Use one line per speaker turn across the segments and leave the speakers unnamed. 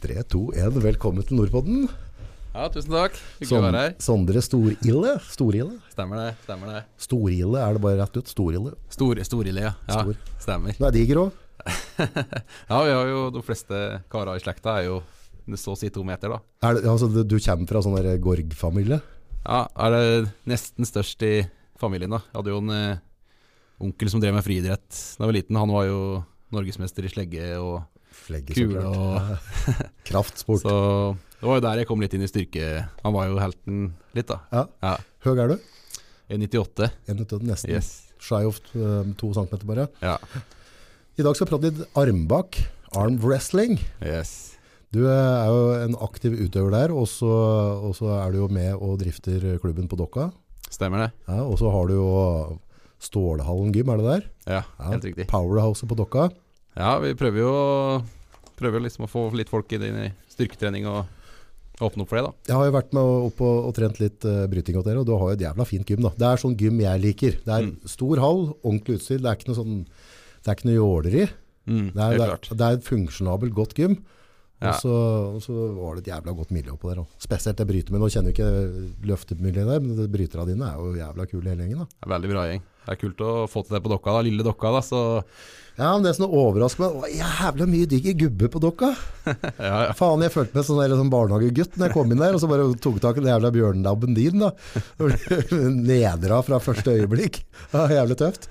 3, 2, 1. Velkommen til Nordpodden.
Ja, tusen takk. Hyggelig å være her.
Sondre Storille. Storille?
Stemmer det. stemmer det.
Storille er det bare rett ut. Storille.
Stor, Storile, ja. ja
Stor.
Stemmer.
Du er diger òg.
Ja, vi har jo De fleste karer i slekta er jo så å si to meter, da.
Altså, du du kommer fra sånn der Gorg-familie?
Ja, Er det nesten størst i familien, da. Jeg hadde jo en eh, onkel som drev med friidrett da jeg var liten. Han var jo norgesmester i slegge og
Flegge, så
kule
klart.
og
Kraftsport.
Så det var jo der jeg kom litt inn i styrke. Han var jo helten litt, da.
Ja.
Ja.
Høg er du?
1,98.
En minutt og nesten.
Yes.
Shy of eh, to centimeter bare.
Ja.
I dag skal vi prate litt armbak. Arm wrestling.
Yes.
Du eh, er jo en aktiv utøver der, og så og så er du jo med og drifter klubben på Dokka.
Stemmer det.
Ja, og så har du jo Stålhallen gym, er det der?
Ja,
Ja,
helt riktig.
Powerhouset på Dokka.
Ja, vi prøver jo prøver liksom å få litt folk inn i styrketrening og åpne opp for det, da.
Jeg har jo vært med opp og, og trent litt eh, bryting og dere, og du har jo et jævla fint gym da. Det er sånn gym jeg liker. Det er
Mm.
stor hall, ordentlig utstyr, det er ikke noe sånn, det er ikke noe jåleri.
Mm,
Det er,
helt
det er,
klart.
det er et funksjonabelt godt gym.
Ja.
Og, så, og så var det et jævla godt miljø oppå der også. Spesielt det bryter med, nå kjenner vi ikke løftemiljøet der, men det bryterne dine er jo jævla kule hele gjengen da.
Det er veldig bra gjeng. Det er kult å få til det på dokka, da. Lille dokka, da. Så
Ja, men det som overrasker meg, var jævla mye digge gubbe på dokka.
ja, ja.
Faen, jeg følte meg som en sånn barnehagegutt når jeg kom inn der, og så bare tok tak i den jævla bjørnelabben din, da. Nedra fra første øyeblikk. Ja, jævlig tøft.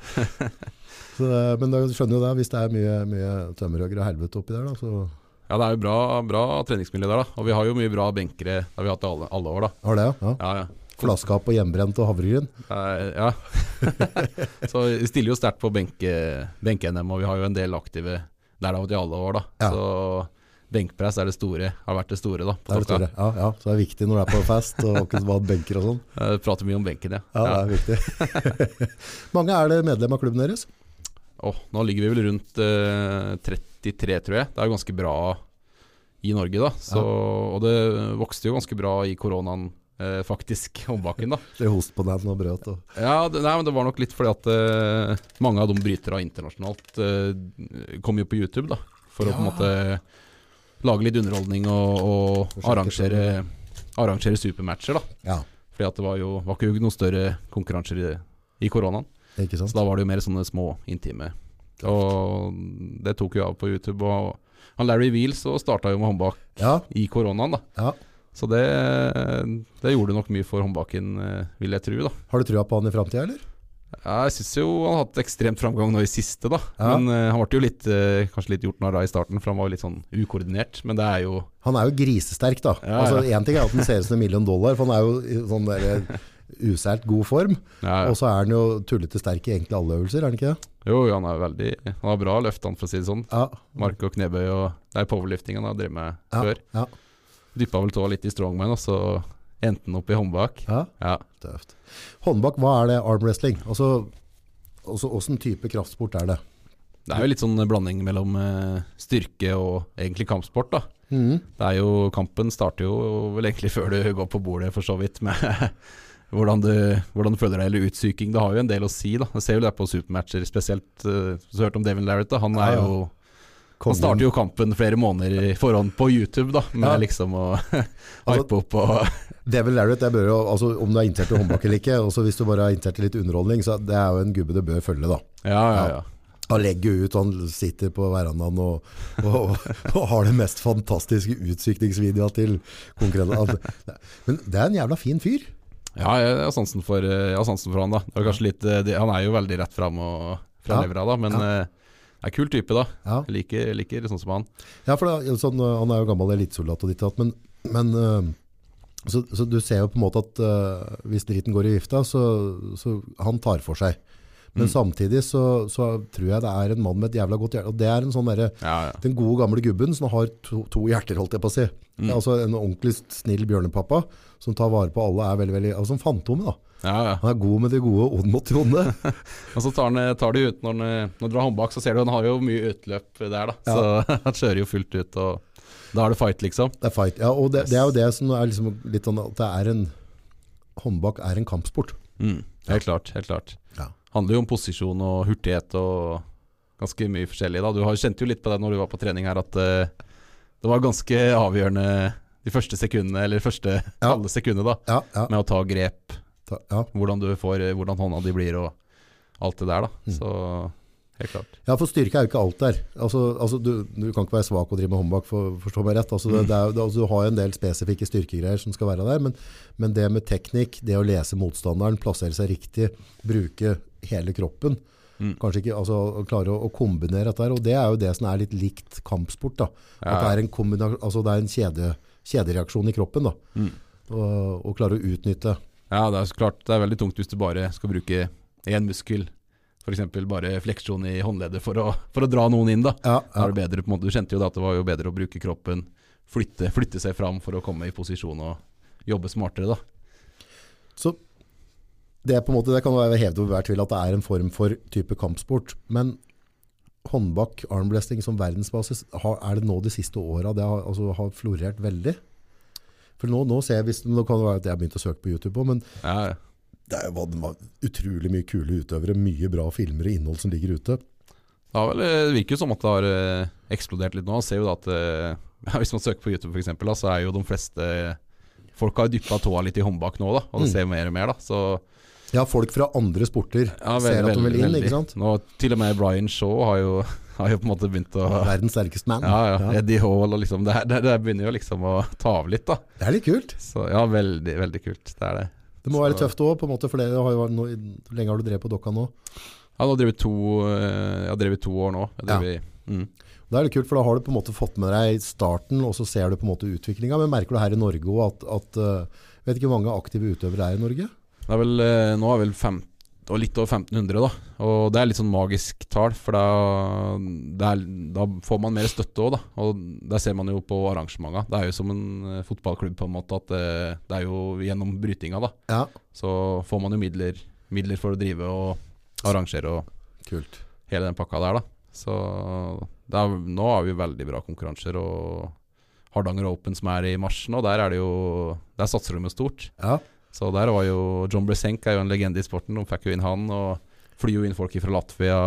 Så, det- men du skjønner jo det, hvis det er mye, mye tømmerhøgre og helvete oppi der, da, så
ja, det er jo bra, bra treningsmiljø der, da. Og vi har jo mye bra benkere. Det har vi hatt i alle, alle år, da.
har det, ja.
Ja, ja.
Flaskehap og hjemmebrent og havregryn.
Eh, ja. så vi stiller jo sterkt på benke- benke-NM, og vi har jo en del aktive der da, i alle år. da.
Ja.
Så benkpress er det store, har vært det store. da.
Det er det store. Ja, ja, så det er viktig når det er på fest og ikke bare benker og sånn.
Eh, prater mye om benken, ja.
Ja, det er viktig. Mange er det medlem av klubben deres?
Åh, nå ligger vi vel rundt eh, 33, tror jeg. Det er jo ganske bra i Norge, da. Så,
Ja.
Og det vokste jo ganske bra i koronaen, eh, faktisk, ombakken, da.
Det er host på den og brøt og
Ja, det, nei, men det var nok litt fordi at eh, mange av de brytere internasjonalt eh, kom jo på YouTube, da. For å på en måte lage litt underholdning og, og
sjekke
arrangere, arrangere supermatcher, da.
Ja,
Fordi at det var jo var ikke noen større konkurranser i, i koronaen.
ikke sant?
Så da var det jo mer sånne små, intime. Og det tok jo av på YouTube. Og han Larry Wheels så starta jo med håndbak
Ja,
i koronaen, da.
ja.
Så det, det gjorde nok mye for håndbaken, eh, vil jeg tro, da.
Har du trua på han i framtida, eller?
Jeg syns jo han har hatt ekstremt framgang nå i siste, da.
Ja.
Men eh, han ble jo litt, eh, kanskje litt gjort narr av i starten, for han var jo litt sånn ukoordinert. Men det er jo
Han er jo grisesterk, da.
Ja,
altså,
ja.
en ting er at han ser ut som en million dollar, for han er jo i sånn der useilt god form.
ja,
Og så er han jo tullete sterk i egentlig alle øvelser, er han ikke det?
Jo, han er veldig Han har bra løft, han, for å si det sånn.
Ja.
Marke og knebøy og Det er powerlifting han har drevet med
Ja,
før.
ja,
Dyppa vel tåa litt i strongman, og så endte han opp i håndbak.
ja.
Ja.
Tøft. Håndbak, hva er det arm wrestling? Altså, altså, åssen type kraftsport er det?
Det er jo litt sånn blanding mellom eh, styrke og egentlig kampsport, da. Det er jo, kampen starter jo vel egentlig før du går på bordet, for så vidt, med hvordan du, hvordan du føler deg, eller utsyking. Det har jo en del å si, da. Jeg ser jo det på supermatcher, spesielt eh, Så hørte om Devin Larrett, da. Han
Ja,
er
ja.
jo Han starter jo kampen flere måneder i forhånd på YouTube, da, med
Ja. Altså
liksom å hype opp og
Devil Larrett, jeg bør jo, altså, om du er interessert i håndbak eller ikke, også hvis du bare er interessert i litt underholdning, så det er jo en gubbe du bør følge, da.
Ja, ja, ja.
Han legger jo ut, han sitter på verandaen og, og, og har det mest fantastiske utsykningsvideoa til konkurrenten. Han- Men det er en jævla fin fyr.
Ja, jeg har sansen for, eh, jeg har sansen for han, da. Det var kanskje litt, eh, det- han er jo veldig rett fram og fra
Ja.
levra, da, men eh, det er kul type, da.
Ja.
Jeg liker, liker sånn som han.
Ja, for det, er jo sånn, øh, Han er jo gammel elitesoldat og ditt og datt, men, men øh, så, så du ser jo på en måte at øh, hvis driten går i vifta, så, så han tar for seg. Men samtidig så, så tror jeg det er en mann med et jævla godt hjerte. Og det er en sånn derre
Ja, ja.
Den gode gamle gubben som har to, to hjerter, holdt jeg på å si. Altså en ordentlig snill bjørnepappa som tar vare på alle, er veldig, veldig altså, Som Fantomet, da.
ja, ja.
Han er god med det gode, ond mot det onde.
Og så tar, han, tar det ut når han, eh, når han drar håndbak, så ser du han har jo mye utløp der, da. Så han kjører jo fullt ut, og da er det fight, liksom.
Det er fight. Ja, og det, det er jo det som er liksom litt sånn at det er en Håndbak er en kampsport.
Helt klart. helt klart.
Ja.
Handler jo om posisjon og hurtighet og ganske mye forskjellig, da. Du har kjente jo litt på det når du var på trening her, at eh, Det var ganske avgjørende de første sekundene, eller første
Ja.
halve sekundet, da,
Ja, ja,
med å ta grep,
ta, ja.
hvordan du får eh, Hvordan hånda di blir, og alt det der, da.
Mm.
Så helt klart.
ja, for styrke er jo ikke alt der. Altså, altså, du, du kan ikke være svak og drive med håndbak, for, forstå meg rett. Altså, det, det er, jo- det, altså, du har jo en del spesifikke styrkegreier som skal være der, men, men det med teknikk, det å lese motstanderen, plassere seg riktig, bruke hele kroppen,
Mm.
kanskje ikke altså, å klare å, å kombinere dette her, og det er jo det som er litt likt kampsport. da. At det
Ja.
er en, kombina- altså, det er en kjede, kjedereaksjon i kroppen, da.
Mm.
Og, og klare å utnytte.
ja, det er så klart. Det er veldig tungt hvis du bare skal bruke én muskel, f.eks. bare fleksjon i håndleddet for å, for å dra noen inn, da.
Ja,
Da
ja.
er det bedre, på en måte. Du kjente jo da at det var jo bedre å bruke kroppen, flytte, flytte seg fram for å komme i posisjon og jobbe smartere, da.
Så det, er på en måte, det kan være hevet over hver tvil at det er en form for type kampsport, men håndbak, armblesting som verdensbasis, har, er det nå de siste årene det har, altså, har florert veldig? For nå, nå ser jeg, hvis, nå kan det være at jeg har begynt å søke på YouTube også, men
Ja, ja.
det er jo hva- hva- utrolig mye kule utøvere, mye bra filmer og innhold som ligger ute.
Ja, vel, eh, det virker jo som at det har eh, eksplodert litt nå. Man ser jo da at eh, ja, Hvis man søker på YouTube, for eksempel, da, så er jo de fleste Folk har dyppa tåa litt i håndbak nå, da, og det
Mm.
ser mer og mer. da Så
Ja, folk fra andre sporter
ja,
ser at de vil inn, ikke sant?
Nå, til og med Brian Shaw har jo, har jo på en måte begynt å ja,
Verdens sterkeste man.
ja,
Ja.
Eddie Hall og liksom Det, her- det, det begynner jo liksom å ta av litt, da.
Det er litt kult.
Så ja, veldig, veldig kult. Det er det.
Det må være
Så-
tøft også, på en måte, for det har jo vært noe, hvor lenge har du drevet på dokka nå?
Jeg har nå drevet to, eh, jeg har drevet to år nå. Jeg har drevet, mm.
Da er det kult, for da har du på en måte fått med deg starten, og så ser du på en måte utviklinga. Men merker du her i Norge òg at, at eh, Vet ikke hvor mange aktive utøvere det er i Norge?
det er vel, eh, nå er vel fem, og litt over 1500, da. Og det er litt sånn magisk tall, for da, det er, da får man mer støtte òg, da. Og der ser man jo på arrangementa. Det er jo som en eh, fotballklubb, på en måte, at eh, det er jo gjennom brytinga, da.
Ja,
Så får man jo midler, midler for å drive og arrangere og
kult.
hele den pakka der, da. Så det er, nå har vi veldig bra konkurranser, og Hardanger Open som er i mars nå, der er det jo Der satser de jo stort.
Ja,
Så der var jo John Bresenk er jo en legende i sporten, de fikk jo inn han, og flyr jo inn folk fra Latvia,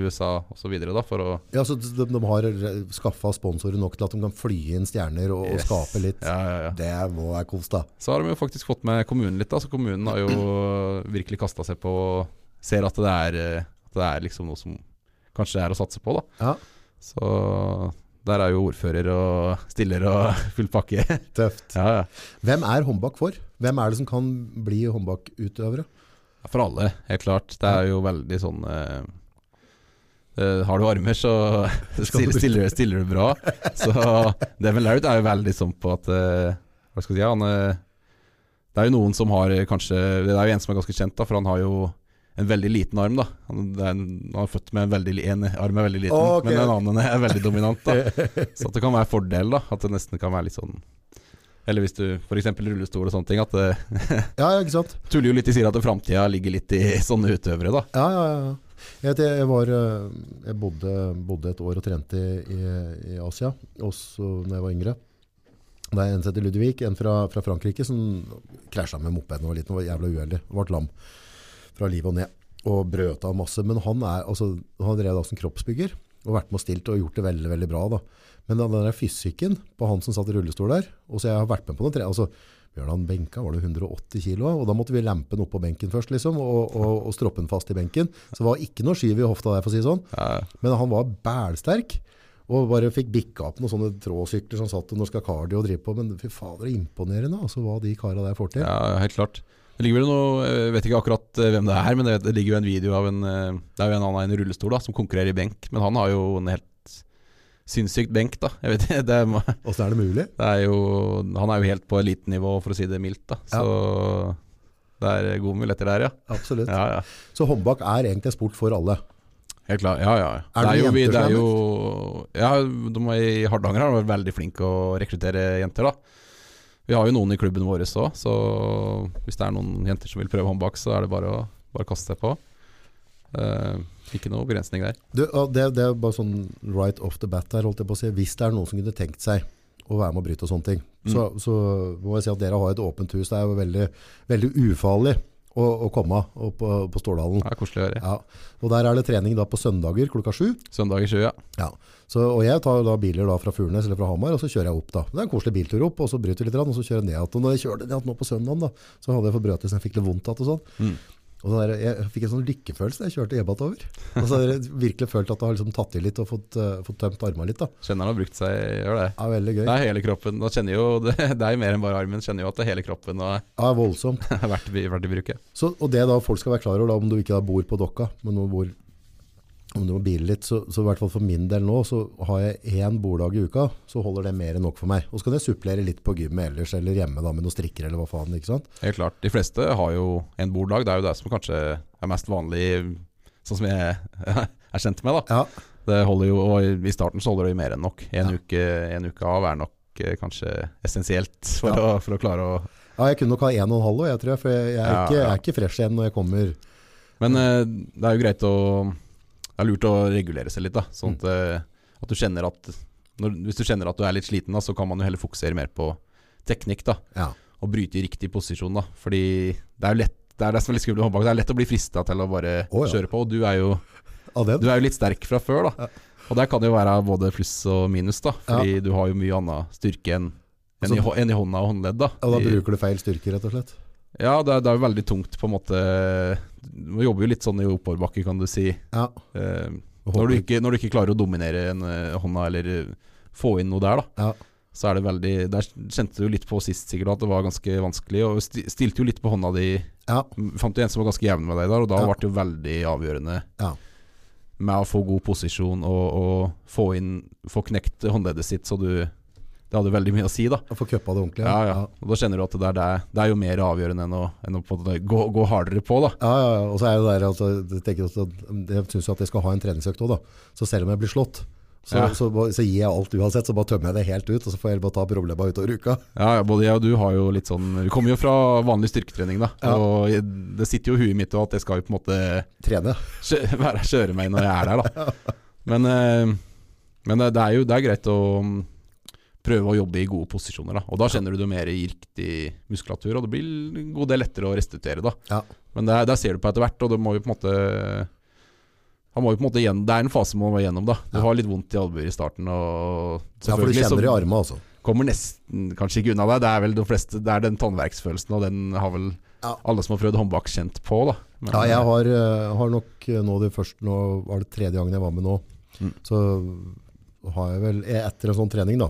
USA osv. da, for å
ja så de, de har skaffa sponsorer nok til at de kan fly inn stjerner og, og
Yes.
skape litt.
Ja, ja, ja.
Det må være kos, da.
Så har de jo faktisk fått med kommunen litt, da, så kommunen har jo virkelig kasta seg på og ser at det er, eh, at det er liksom noe som kanskje er å satse på, da.
Ja.
Så der er jo ordfører og stiller og full pakke.
Tøft.
Ja, ja.
Hvem er håndbak for? Hvem er det som kan bli håndbakutøvere?
For alle, helt klart. Det er jo veldig sånn eh, eh, Har du armer, så
Skal du-
stiller, stiller, stiller du bra. Så Devin Larrett er jo veldig sånn på at eh, Hva skal jeg si han, eh, Det er jo noen som har eh, kanskje Det er jo en som er ganske kjent, da, for han har jo en veldig liten arm. da Han, det er en, han er født med en, veldig, li- en arm er veldig liten,
Å, ok.
men en annen er veldig dominant. da Så at det kan være fordel, da. At det nesten kan være litt sånn Eller hvis du f.eks. rullestol og sånne ting. At eh, det,
Ja, ja, ikke sant?
tuller jo litt i sier at framtida ligger litt i sånne utøvere, da.
Ja, ja, ja. Jeg, vet, jeg, var, eh, jeg bodde, bodde et år og trente i, i Asia, også da jeg var yngre. Det er en som heter Ludvig, en fra, fra Frankrike, som krasja med mopeden og var liten og var jævla uheldig. og Ble lam fra livet og ned. Og brøt av masse. Men han, er, altså, han drev da som kroppsbygger og vært med og stilt og gjort det veldig veldig bra. da. Men den der fysikken på han som satt i rullestol der og så Jeg har vært med på noen tre, altså, Bjørnan benka var det 180 kilo, og da måtte vi lempe den opp på benken først, liksom, og, og, og stroppe den fast i benken. Så det var ikke noe skyv i hofta der, for å si det sånn.
Ja,
Men han var bælsterk, og bare fikk bikka opp noen sånne tråsykler som satt og norska cardio og drive på, men fy fader, det er imponerende, altså, hva de kara der får til.
ja, ja, helt klart. Det ligger vel noe, jeg vet ikke akkurat eh, hvem det er, men det, det ligger jo en video av en eh, Det er jo en annen i en rullestol da, som konkurrerer i benk, men han har jo en helt sinnssykt benk, da. Jeg vet ikke, det, er-
Åssen er det mulig?
det er jo Han er jo helt på elitenivå, for å si det mildt, da. Så det er gode muligheter der, ja.
Absolutt.
ja, ja.
Så håndbak er egentlig en sport for alle.
Helt klart. Ja, ja.
Er det
det, er jo,
noen
vi,
jenter som er
det er jo Ja, de er i Hardanger har de vært veldig flinke å rekruttere jenter, da. Vi har jo noen i klubben vår òg, så hvis det er noen jenter som vil prøve håndbak, så er det bare å bare kaste seg på. Eh, ikke noe begrensning der.
Du, og det, det er bare sånn right off the bat der, holdt jeg på å si. Hvis det er noen som kunne tenkt seg å være med og bryte og sånne ting, så, så må jeg si at dere har et åpent hus. Det er jo veldig, veldig ufarlig å, å komme opp på, på Ståldalen.
Det er koselig å høre.
Ja. Og der er det trening da på søndager klokka sju.
Søndag i sjø, ja.
Ja. Så, og jeg tar da biler da fra Furnes eller fra Hamar, og så kjører jeg opp. da. Det er en koselig biltur opp, og så bryter vi litt, grann, og så kjører jeg ned igjen. Og når jeg kjørte ned igjen nå på søndagen, da, så hadde jeg fått brøtis, jeg fikk litt vondt igjen og sånn.
Mm.
Og så der, jeg fikk en sånn lykkefølelse da jeg kjørte e-bat over. Og så har jeg virkelig følt at jeg har liksom tatt i litt og fått, eh, fått tømt armene litt. da.
Kjenner han har brukt seg, gjør det.
Det er veldig gøy.
Det er hele kroppen. Da kjenner jo det, det er jo mer enn bare armen. Kjenner jo at det er hele kroppen og
Det er voldsomt.
er verdt, verdt i bruket.
Så, og det da folk skal være klar over, da, om du ikke da bor på dokka, men om du bor, om du må bile litt, så, så i hvert fall for min del nå, så har jeg én borddag i uka, så holder det mer enn nok for meg. Og så kan jeg supplere litt på gymmet ellers, eller hjemme da, med noen strikker eller hva faen, ikke sant?
Helt klart. De fleste har jo en borddag. Det er jo det som kanskje er mest vanlig, sånn som jeg er kjent med, da.
Ja,
Det holder jo, og I starten så holder det jo mer enn nok. En,
Ja.
uke, en uke av er nok eh, kanskje essensielt for,
Ja.
å, for å klare å
ja jeg kunne nok ha én og en halv, også, jeg tror jeg, for jeg, jeg, er,
Ja,
ikke, jeg
ja.
er ikke fresh igjen når jeg kommer.
Men eh, det er jo greit å Det er lurt å regulere seg litt, da. Sånn at, eh, at du kjenner at når, Hvis du kjenner at du er litt sliten, da, så kan man jo heller fokusere mer på teknikk, da.
Ja,
Og bryte i riktig posisjon, da. Fordi det er jo lett det er det som er litt skummelt med håndbak. Det er lett å bli frista til å bare
Å, ja.
kjøre på. Og du er, jo,
av den.
du er jo litt sterk fra før, da. Og der kan det jo være både pluss og minus, da. Fordi du har jo mye annen styrke enn enn
Altså-
i, hå- enn i hånda og håndledd, da.
Og da
I-
bruker du feil styrke, rett og slett.
ja, det er, det er jo veldig tungt, på en måte. Du jobber jo litt sånn i oppoverbakke, kan du si.
Ja.
Eh, når, du ikke, når du ikke klarer å dominere en eh, hånda eller eh, få inn noe der, da,
Ja.
så er det veldig Der kjente du litt på sist sikkert at det var ganske vanskelig, og sti, stilte jo litt på hånda di.
Ja,
Fant jo en som var ganske jevn med deg der, og da
Ja.
ble det jo veldig avgjørende
Ja.
med å få god posisjon og, og få inn Få knekt håndleddet sitt, så du Det hadde veldig mye å si, da.
å få køppa det ordentlig.
Ja, ja. Og da kjenner du at det er, det, det er jo mer avgjørende enn å, enn å på en måte gå, gå hardere på, da.
Ja, ja, ja. og så er det der altså, jeg, tenker også at, um, jeg synes jo at jeg skal ha en treningsøkt også da. Så selv om jeg blir slått, så,
Ja.
så, bare- så gir jeg alt uansett, så bare tømmer jeg det helt ut, og så får jeg bare ta problemet utover uka.
Ja, ja, både jeg og du har jo litt sånn Vi kommer jo fra vanlig styrketrening, da.
Ja.
Og jeg, det sitter jo i huet mitt også at jeg skal jo på en måte
Trene.
kjø- være kjøre meg når jeg er der, da. Men, eh, men det, det er jo det er greit å mm, prøve å jobbe i gode posisjoner, da. Og da kjenner du det mer i riktig muskulatur, og det blir en god del lettere å restituere, da.
Ja.
Men det, der ser du på etter hvert, og det må jo på en måte han må jo på en måte igjen, Det er en fase man må igjennom. da Du
Ja.
har litt vondt i albuer i starten. Og
Ja, for du
selvfølgelig så-
kjenner det i armene, altså.
kommer nesten kanskje ikke unna deg. Det er vel de fleste Det er den tannverksfølelsen, og den har vel
Ja.
alle som har prøvd håndbak, kjent på, da. Men,
Ja, jeg har, eh, har nok eh, nå det første, nå var det tredje gangen jeg var med nå,
Mm.
så har jeg vel, eh, etter en sånn trening da,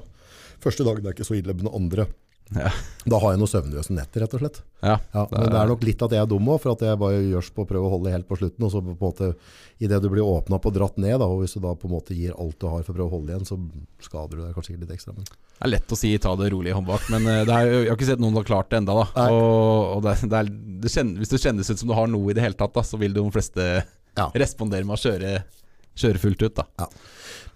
første dagen er ikke så ille, men den andre,
Ja.
da har jeg noe søvnløse netter, rett og slett.
ja,
Ja,
Det
men det
er-
er nok litt at jeg er dum òg, for at jeg bare gjørs på å prøve å holde helt på slutten. Og så på en måte, idet du blir åpna opp og dratt ned, da, og hvis du da på en måte gir alt du har for å prøve å holde igjen, så skader du deg kanskje sikkert litt ekstra. Men
Det er lett å si 'ta det rolig i håndbak', men eh, det er, jo- jeg har ikke sett noen som har klart det ennå.
Nei.
Og, og det, er- det er, det kjennes, hvis det kjennes ut som du har noe i det hele tatt, da, så vil de fleste
Ja.
respondere med å kjøre, kjøre fullt ut. da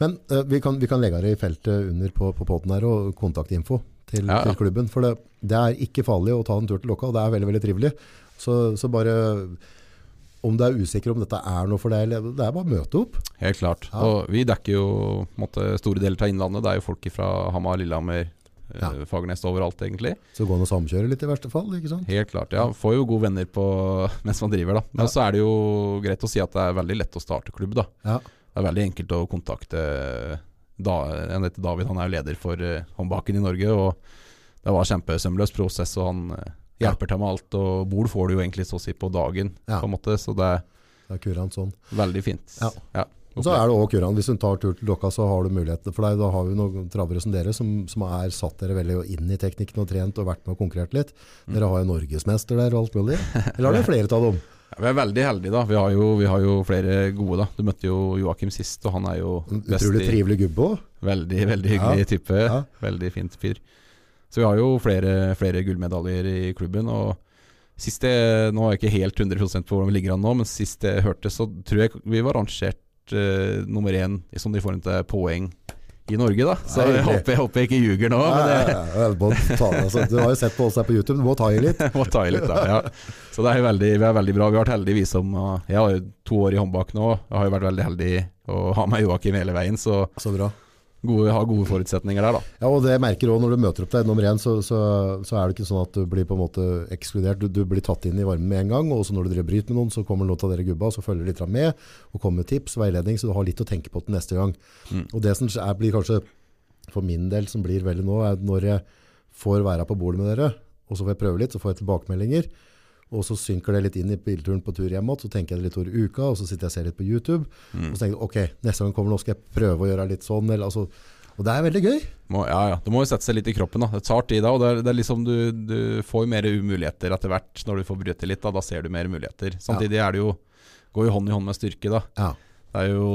men eh, vi, kan, vi kan legge det i feltet under på, på poden her, og kontaktinfo til,
Ja, ja.
til klubben. For det, det er ikke farlig å ta en tur til Lokka, og det er veldig veldig trivelig. Så, så bare om du er usikker om dette er noe for deg, eller det er bare å møte opp.
Helt klart.
Ja.
Og vi dekker jo på en måte, store deler av Innlandet. Det er jo folk fra Hamar, Lillehammer, eh,
Ja.
Fagernes overalt, egentlig.
Så gå an å samkjøre litt i verste fall. ikke sant?
Helt klart, ja. Får jo gode venner på, mens man driver, da. Men
Ja.
så er det jo greit å si at det er veldig lett å starte klubb, da.
Ja.
Det er veldig enkelt å kontakte da, Han heter David, han er jo leder for eh, håndbaken i Norge. Og det var kjempesømløs prosess, og han eh,
Ja.
hjelper til med alt. Og bord får du jo egentlig så å si på dagen,
Ja.
på en måte. Så det er
Det er kurant sånn.
veldig fint.
Ja. Og Så
opplegg.
er det også kurant. Hvis hun tar tur til Dokka, så har du muligheter for deg. Da har vi noen travere som dere, som, som er satt dere veldig inn i teknikken og trent og vært med og konkurrert litt. Dere har jo norgesmester der og alt mulig. Eller har dere flere av dem?
Mm. Ja, vi er veldig heldige, da. Vi har jo, vi har jo flere gode, da. Du møtte jo Joakim sist, og han er jo
En
best
Utrolig
i-
trivelig gubbe òg.
Veldig, veldig hyggelig
Ja,
type.
ja.
Veldig fint fyr. Så vi har jo flere, flere gullmedaljer i klubben. Og sist jeg, Nå er jeg ikke helt 100 på hvordan vi ligger an nå, men sist jeg hørte, så tror jeg vi var rangert eh, nummer én i sånn i forhold til poeng i Norge, da. Så
Nei,
jeg
hyggelig.
håper, jeg håper jeg ikke ljuger nå, men jeg
Altså, du har jo sett på oss her på YouTube, du må ta i litt.
må ta i litt da, ja. Så det er veldig, vi er veldig bra. Vi har vært heldige, vi som og Jeg har jo to år i håndbak nå. Jeg har jo vært veldig heldig å ha med Joakim hele veien, så
Så bra.
gode, har gode forutsetninger der, da.
Ja, og det merker du også når du møter opp deg nummer én, så, så, så er det ikke sånn at du blir på en måte ekskludert. Du, du blir tatt inn i varmen med en gang, og også når du driver bryt med noen, så kommer noen av dere gubba, og så følger de litt med, og kommer med tips, veiledning, så du har litt å tenke på til neste gang.
Mm.
Og det som er, blir kanskje, for min del, som blir veldig nå, er at når jeg får være på bordet med dere, og så får jeg prøve litt, så får jeg tilbakemeldinger, og så synker det litt inn i bilturen på tur hjemme, igjen, så tenker jeg det litt over uka, og så sitter jeg og ser litt på YouTube, og så tenker jeg, ok, neste gang kommer nå, skal jeg prøve å gjøre litt sånn, eller, altså, og det er veldig gøy.
Må, ja, ja. Du må jo sette seg litt i kroppen. da Det tar tid, da. Og det er, det er liksom du, du får jo mer muligheter etter hvert når du får bryte litt. Da Da ser du mer muligheter. Samtidig er det jo går jo hånd i hånd med styrke. da
Ja.
Det er jo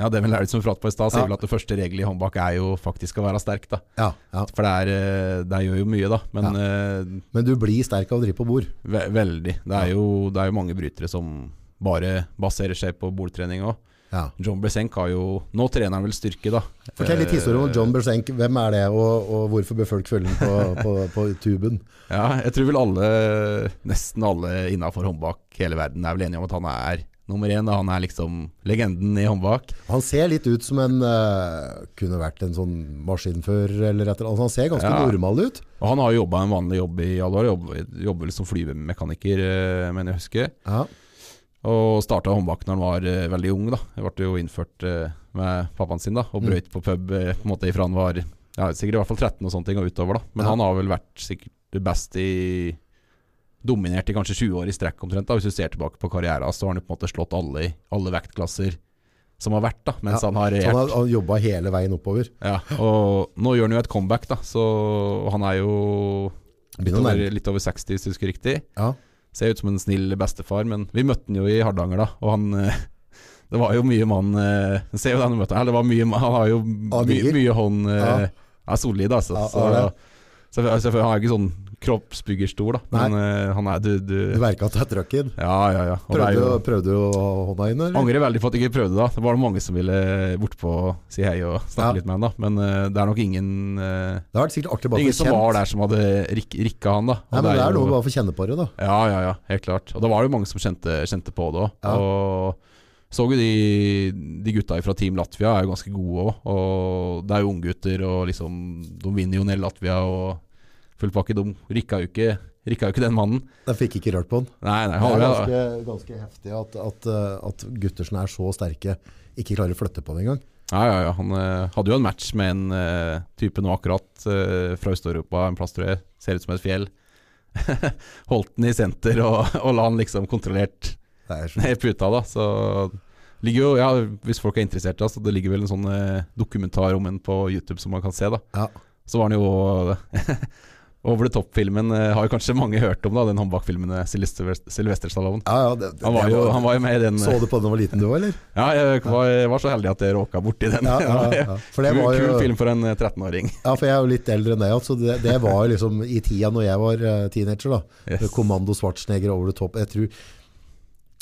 Ja, det vi lærte som vi pratet på i stad, sier
Ja.
vel at det første regel i håndbak er jo faktisk å være sterk. da
Ja, ja.
For det, er, eh, det gjør jo mye, da. Men eh,
Men du blir sterk av å drive på bord.
ve veldig. Det er, jo, det er jo mange brytere som bare baserer seg på bordtrening òg.
Ja.
John Bresenk har jo Nå trener han vel styrke, da.
Fortell litt historie om
Eh,
John Bersenk. Hvem er det, og, og hvorfor bør folk følge den på, på, på tuben?
Ja, jeg tror vel alle, nesten alle innafor håndbak hele verden er vel enige om at han er nummer én. da. Han er liksom legenden i håndbak.
Han ser litt ut som en eh, Kunne vært en sånn maskinfører eller et eller annet. Han ser ganske
Ja.
normal ut.
Og han har jo jobba en vanlig jobb i alle år. jobb- Jobber vel som flymekaniker, eh, mener jeg å huske.
Ja.
Og starta håndbak når han var eh, veldig ung. da Jeg ble jo innført eh, med pappaen sin da og
Mm.
brøyt på pub eh, på en måte ifra han var ja, sikkert i hvert fall 13 og sånne ting og utover. da Men
Ja.
han har vel vært sikkert det best i Dominert i kanskje 20 år i strekk omtrent. da Hvis du ser tilbake på karrieren, så har han jo på en måte slått alle i alle vektklasser som har vært, da mens
Ja.
han har
Så
regjert.
han har, han jobba hele veien oppover.
Ja, og nå gjør han jo et comeback, da så og han er jo litt
Begynner å
over,
nærme.
litt over 60, hvis du husker riktig.
Ja.
Ser ut som en snill bestefar, men vi møtte han jo i Hardanger, da. Og han eh, Det var jo mye mann eh, Ser jo den du møtte han, det var mye mann- Han har jo
Ah,
mye,
digger.
mye hånd eh,
Ja.
Er solid, altså.
Ja,
så,
ja, det.
så, så, han er ikke sånn kroppsbyggerstor, da. Men eh, han er du, du
Du merka at du er trucken.
Ja, ja, ja. Og det er
Prøvde,
jo,
du- prøvde du å ha hånda inn, eller?
angrer veldig på at jeg ikke prøvde, da. Det var det mange som ville bortpå og si hei og snakke
Ja.
litt med han, da. Men eh, det er nok ingen eh,
Det har vært sikkert artig bare
Ingen
å få
som
kjent.
var der som hadde rik rikka han, da. Og
Nei, men det er
jo-
noe bare å få kjenne på det, da.
Ja, ja, ja, helt klart. Og da var det jo mange som kjente, kjente på det òg.
Ja.
Og så jo de, de gutta fra Team Latvia er jo ganske gode òg. Og det er jo unggutter, og liksom De vinner jo ned Latvia og full pakke. De rikka jo ikke, rikka jo ikke den mannen.
Jeg fikk ikke rørt på den.
Nei, nei,
Det
han,
er
ja,
ganske, ganske heftig at, at, eh, at gutter som er så sterke, ikke klarer å flytte på det engang.
ja, ja, ja, han eh, hadde jo en match med en eh, type nå akkurat eh, fra Øst-Europa, en plass, tror jeg. Ser ut som et fjell. Holdt den i senter og, og la han liksom kontrollert
Det er så
ned i puta, da. Så ligger jo, ja, hvis folk er interessert, da, så det ligger vel en sånn eh, dokumentar om en på YouTube som man kan se, da.
Ja.
Så var den jo Over the Top-filmen eh, har jo kanskje mange hørt om, da, den håndbakfilmen eh, Sylvester, Sylvester Stallone.
Ja, ja, det, det,
Han var,
det
jo, han var jo med i den.
Så du på den da du var liten du òg, eller?
Ja, jeg var, jeg var så heldig at jeg råka borti den.
Ja, ja, ja. For det
Kul,
var jo,
kul film for en eh, 13-åring.
ja, for jeg er jo litt eldre enn deg, altså det, det var jo liksom i tida når jeg var eh, teenager, da.
Yes.
Med Kommando Schwarzenegger over the top. Jeg tror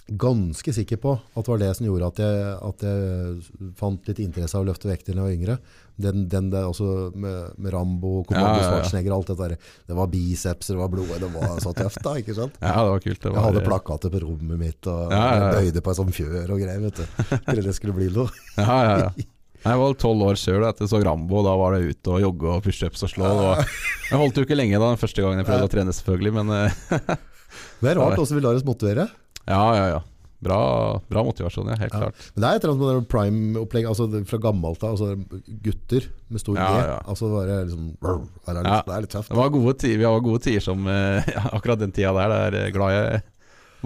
Ganske sikker på at det var det som gjorde at jeg, at jeg fant litt interesse av å løfte vekter da jeg var yngre. Den, den der altså med, med Rambo, Kommando
Ja, ja, ja.
Schwarzenegger og alt det der. Det var biceps, det var blod, det var så tøft da, ikke sant?
Ja, det var kult. Det
Jeg
var,
hadde plakater på rommet mitt og
Ja, ja, ja.
bøyde på en sånn fjør og greier, vet du. Trodde det skulle bli noe.
Ja, ja, ja. Jeg var tolv år sjøl da jeg så Rambo. Da var det ute og jogge og pushups og slå. Og jeg holdt jo ikke lenge da den første gangen jeg prøvde å trene, selvfølgelig. Men eh,
Det er rart hvordan vi lar oss motivere.
ja, ja, ja. Bra, bra motivasjon, ja. Helt
Ja.
klart.
Men det er et eller annet med det prime-opplegg altså det- fra gammelt av. Altså gutter med stor G.
Ja, ja.
Altså bare liksom, brr, det, er litt,
Ja.
det er litt tøft.
Det var gode tider, vi har gode tider som eh, ja, akkurat den tida der. Jeg er glad jeg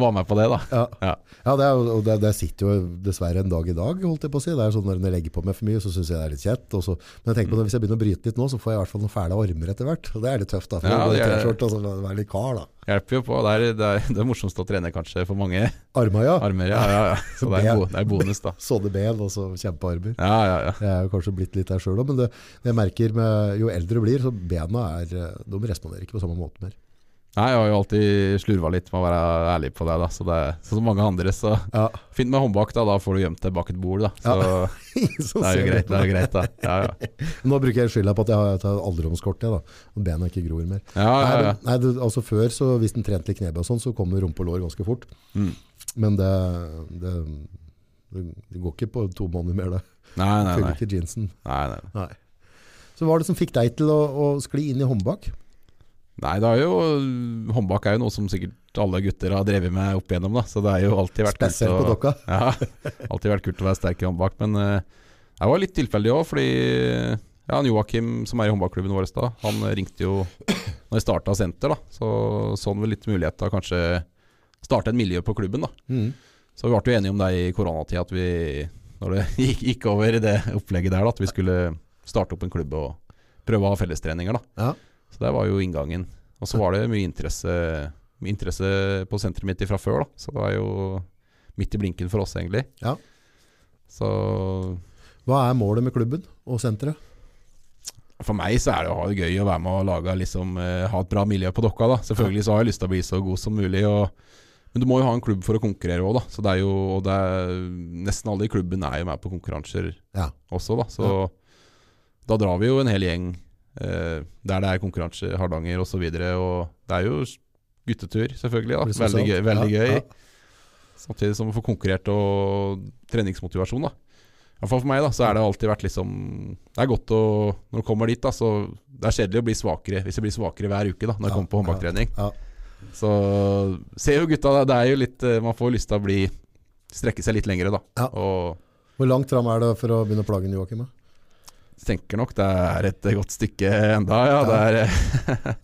var med på det, da.
Ja,
Ja.
ja det, er, jo- og det, det sitter jo dessverre en dag i dag, holdt jeg på å si. Det er sånn Når jeg legger på meg for mye, så syns jeg det er litt kjett. Og så, men jeg tenker på det, hvis jeg begynner å bryte litt nå, så får jeg i hvert fall noen fæle armer etter hvert. Og det er litt tøft, da. For
Ja,
å gå i
det er-
T-skjorte og så være litt kar, da.
Hjelper jo på. Det er, det, er, det er morsomst å trene kanskje for mange
Arma, ja.
armer. Ja, ja, ja. Så det er, en bo, det er bonus, da.
Sånne ben og så kjempearmer.
Ja, ja, ja.
Jeg er jo kanskje blitt litt der sjøl òg, men det, jeg merker med, jo eldre du blir, så bena er, eh, de responderer ikke på samme måte mer.
Nei, jeg har jo alltid slurva litt med å være ærlig på det, da. Så det er sånn som mange andre, så
Ja,
Fint med håndbak, da. Da får du gjemt deg bak et bord, da. Så
så
det er
ser
jo
jeg
greit,
på
det er
det.
jo greit, da. Ja, ja.
Nå bruker jeg skylda på at jeg har- jeg tar alderdomskort, jeg, da. Og bena ikke gror mer.
Ah, ja,
Nei,
ja, ja.
men, nei det, altså Før, så hvis den trente litt knebøy og sånn, så kom rumpe og lår ganske fort.
Mm.
Men det, det, det går ikke på to måneder mer, det.
Nei, nei,
Følger
nei.
ikke jeansen.
nei, nei.
Nei. Så hva er det som fikk deg til å, å skli inn i håndbak?
Nei, det er jo Håndbak er jo noe som sikkert alle gutter har drevet med opp igjennom, da. Så det er jo alltid vært kult
Spesielt på
å-
dokka.
Ja, alltid vært kult å være sterk i håndbak, men eh, jeg var litt tilfeldig òg, fordi ja, han Joakim som er i håndbakklubben vår da, han ringte jo når jeg starta senter, da, så så han vel litt mulighet til å kanskje starte et miljø på klubben. da.
Mm.
Så vi ble jo enige om det i koronatida, at vi, når det gikk, gikk over i det opplegget der, da, at vi skulle starte opp en klubb og prøve å ha fellestreninger. da.
Ja.
Så det var jo inngangen. Og så var det mye interesse, mye interesse på senteret mitt fra før, da. Så det var jo midt i blinken for oss, egentlig.
Ja.
Så
Hva er målet med klubben og senteret?
for meg så er det jo ha det gøy å være med og lage, liksom, eh, ha et bra miljø på dokka, da. Selvfølgelig så har jeg lyst til å bli så god som mulig. Og, men du må jo ha en klubb for å konkurrere òg, da. Så det er jo, og det er, nesten alle i klubben er jo med på konkurranser
Ja.
også, da. Så da drar vi jo en hel gjeng eh, der det er konkurranse, Hardanger osv. videre og det er jo guttetur, selvfølgelig.
Blir
da Ah, Veldig
sosialt.
gøy. Veldig
sånn? Ja,
gøy.
ja.
Samtidig som å få konkurrert og treningsmotivasjon, da. I hvert fall for meg, da, så er det alltid vært liksom Det er godt å Når du kommer dit, da, så Det er kjedelig å bli svakere hvis jeg blir svakere hver uke, da, når
Ja,
jeg kommer på håndbaktrening.
ja,
Så ser jo gutta, da, det er jo litt eh, Man får lyst til å bli Strekke seg litt lengre, da.
Ja.
Og
Hvor langt fram er det for å begynne å plage Joakim? da?
tenker nok det er et godt stykke enda, ja. Det er,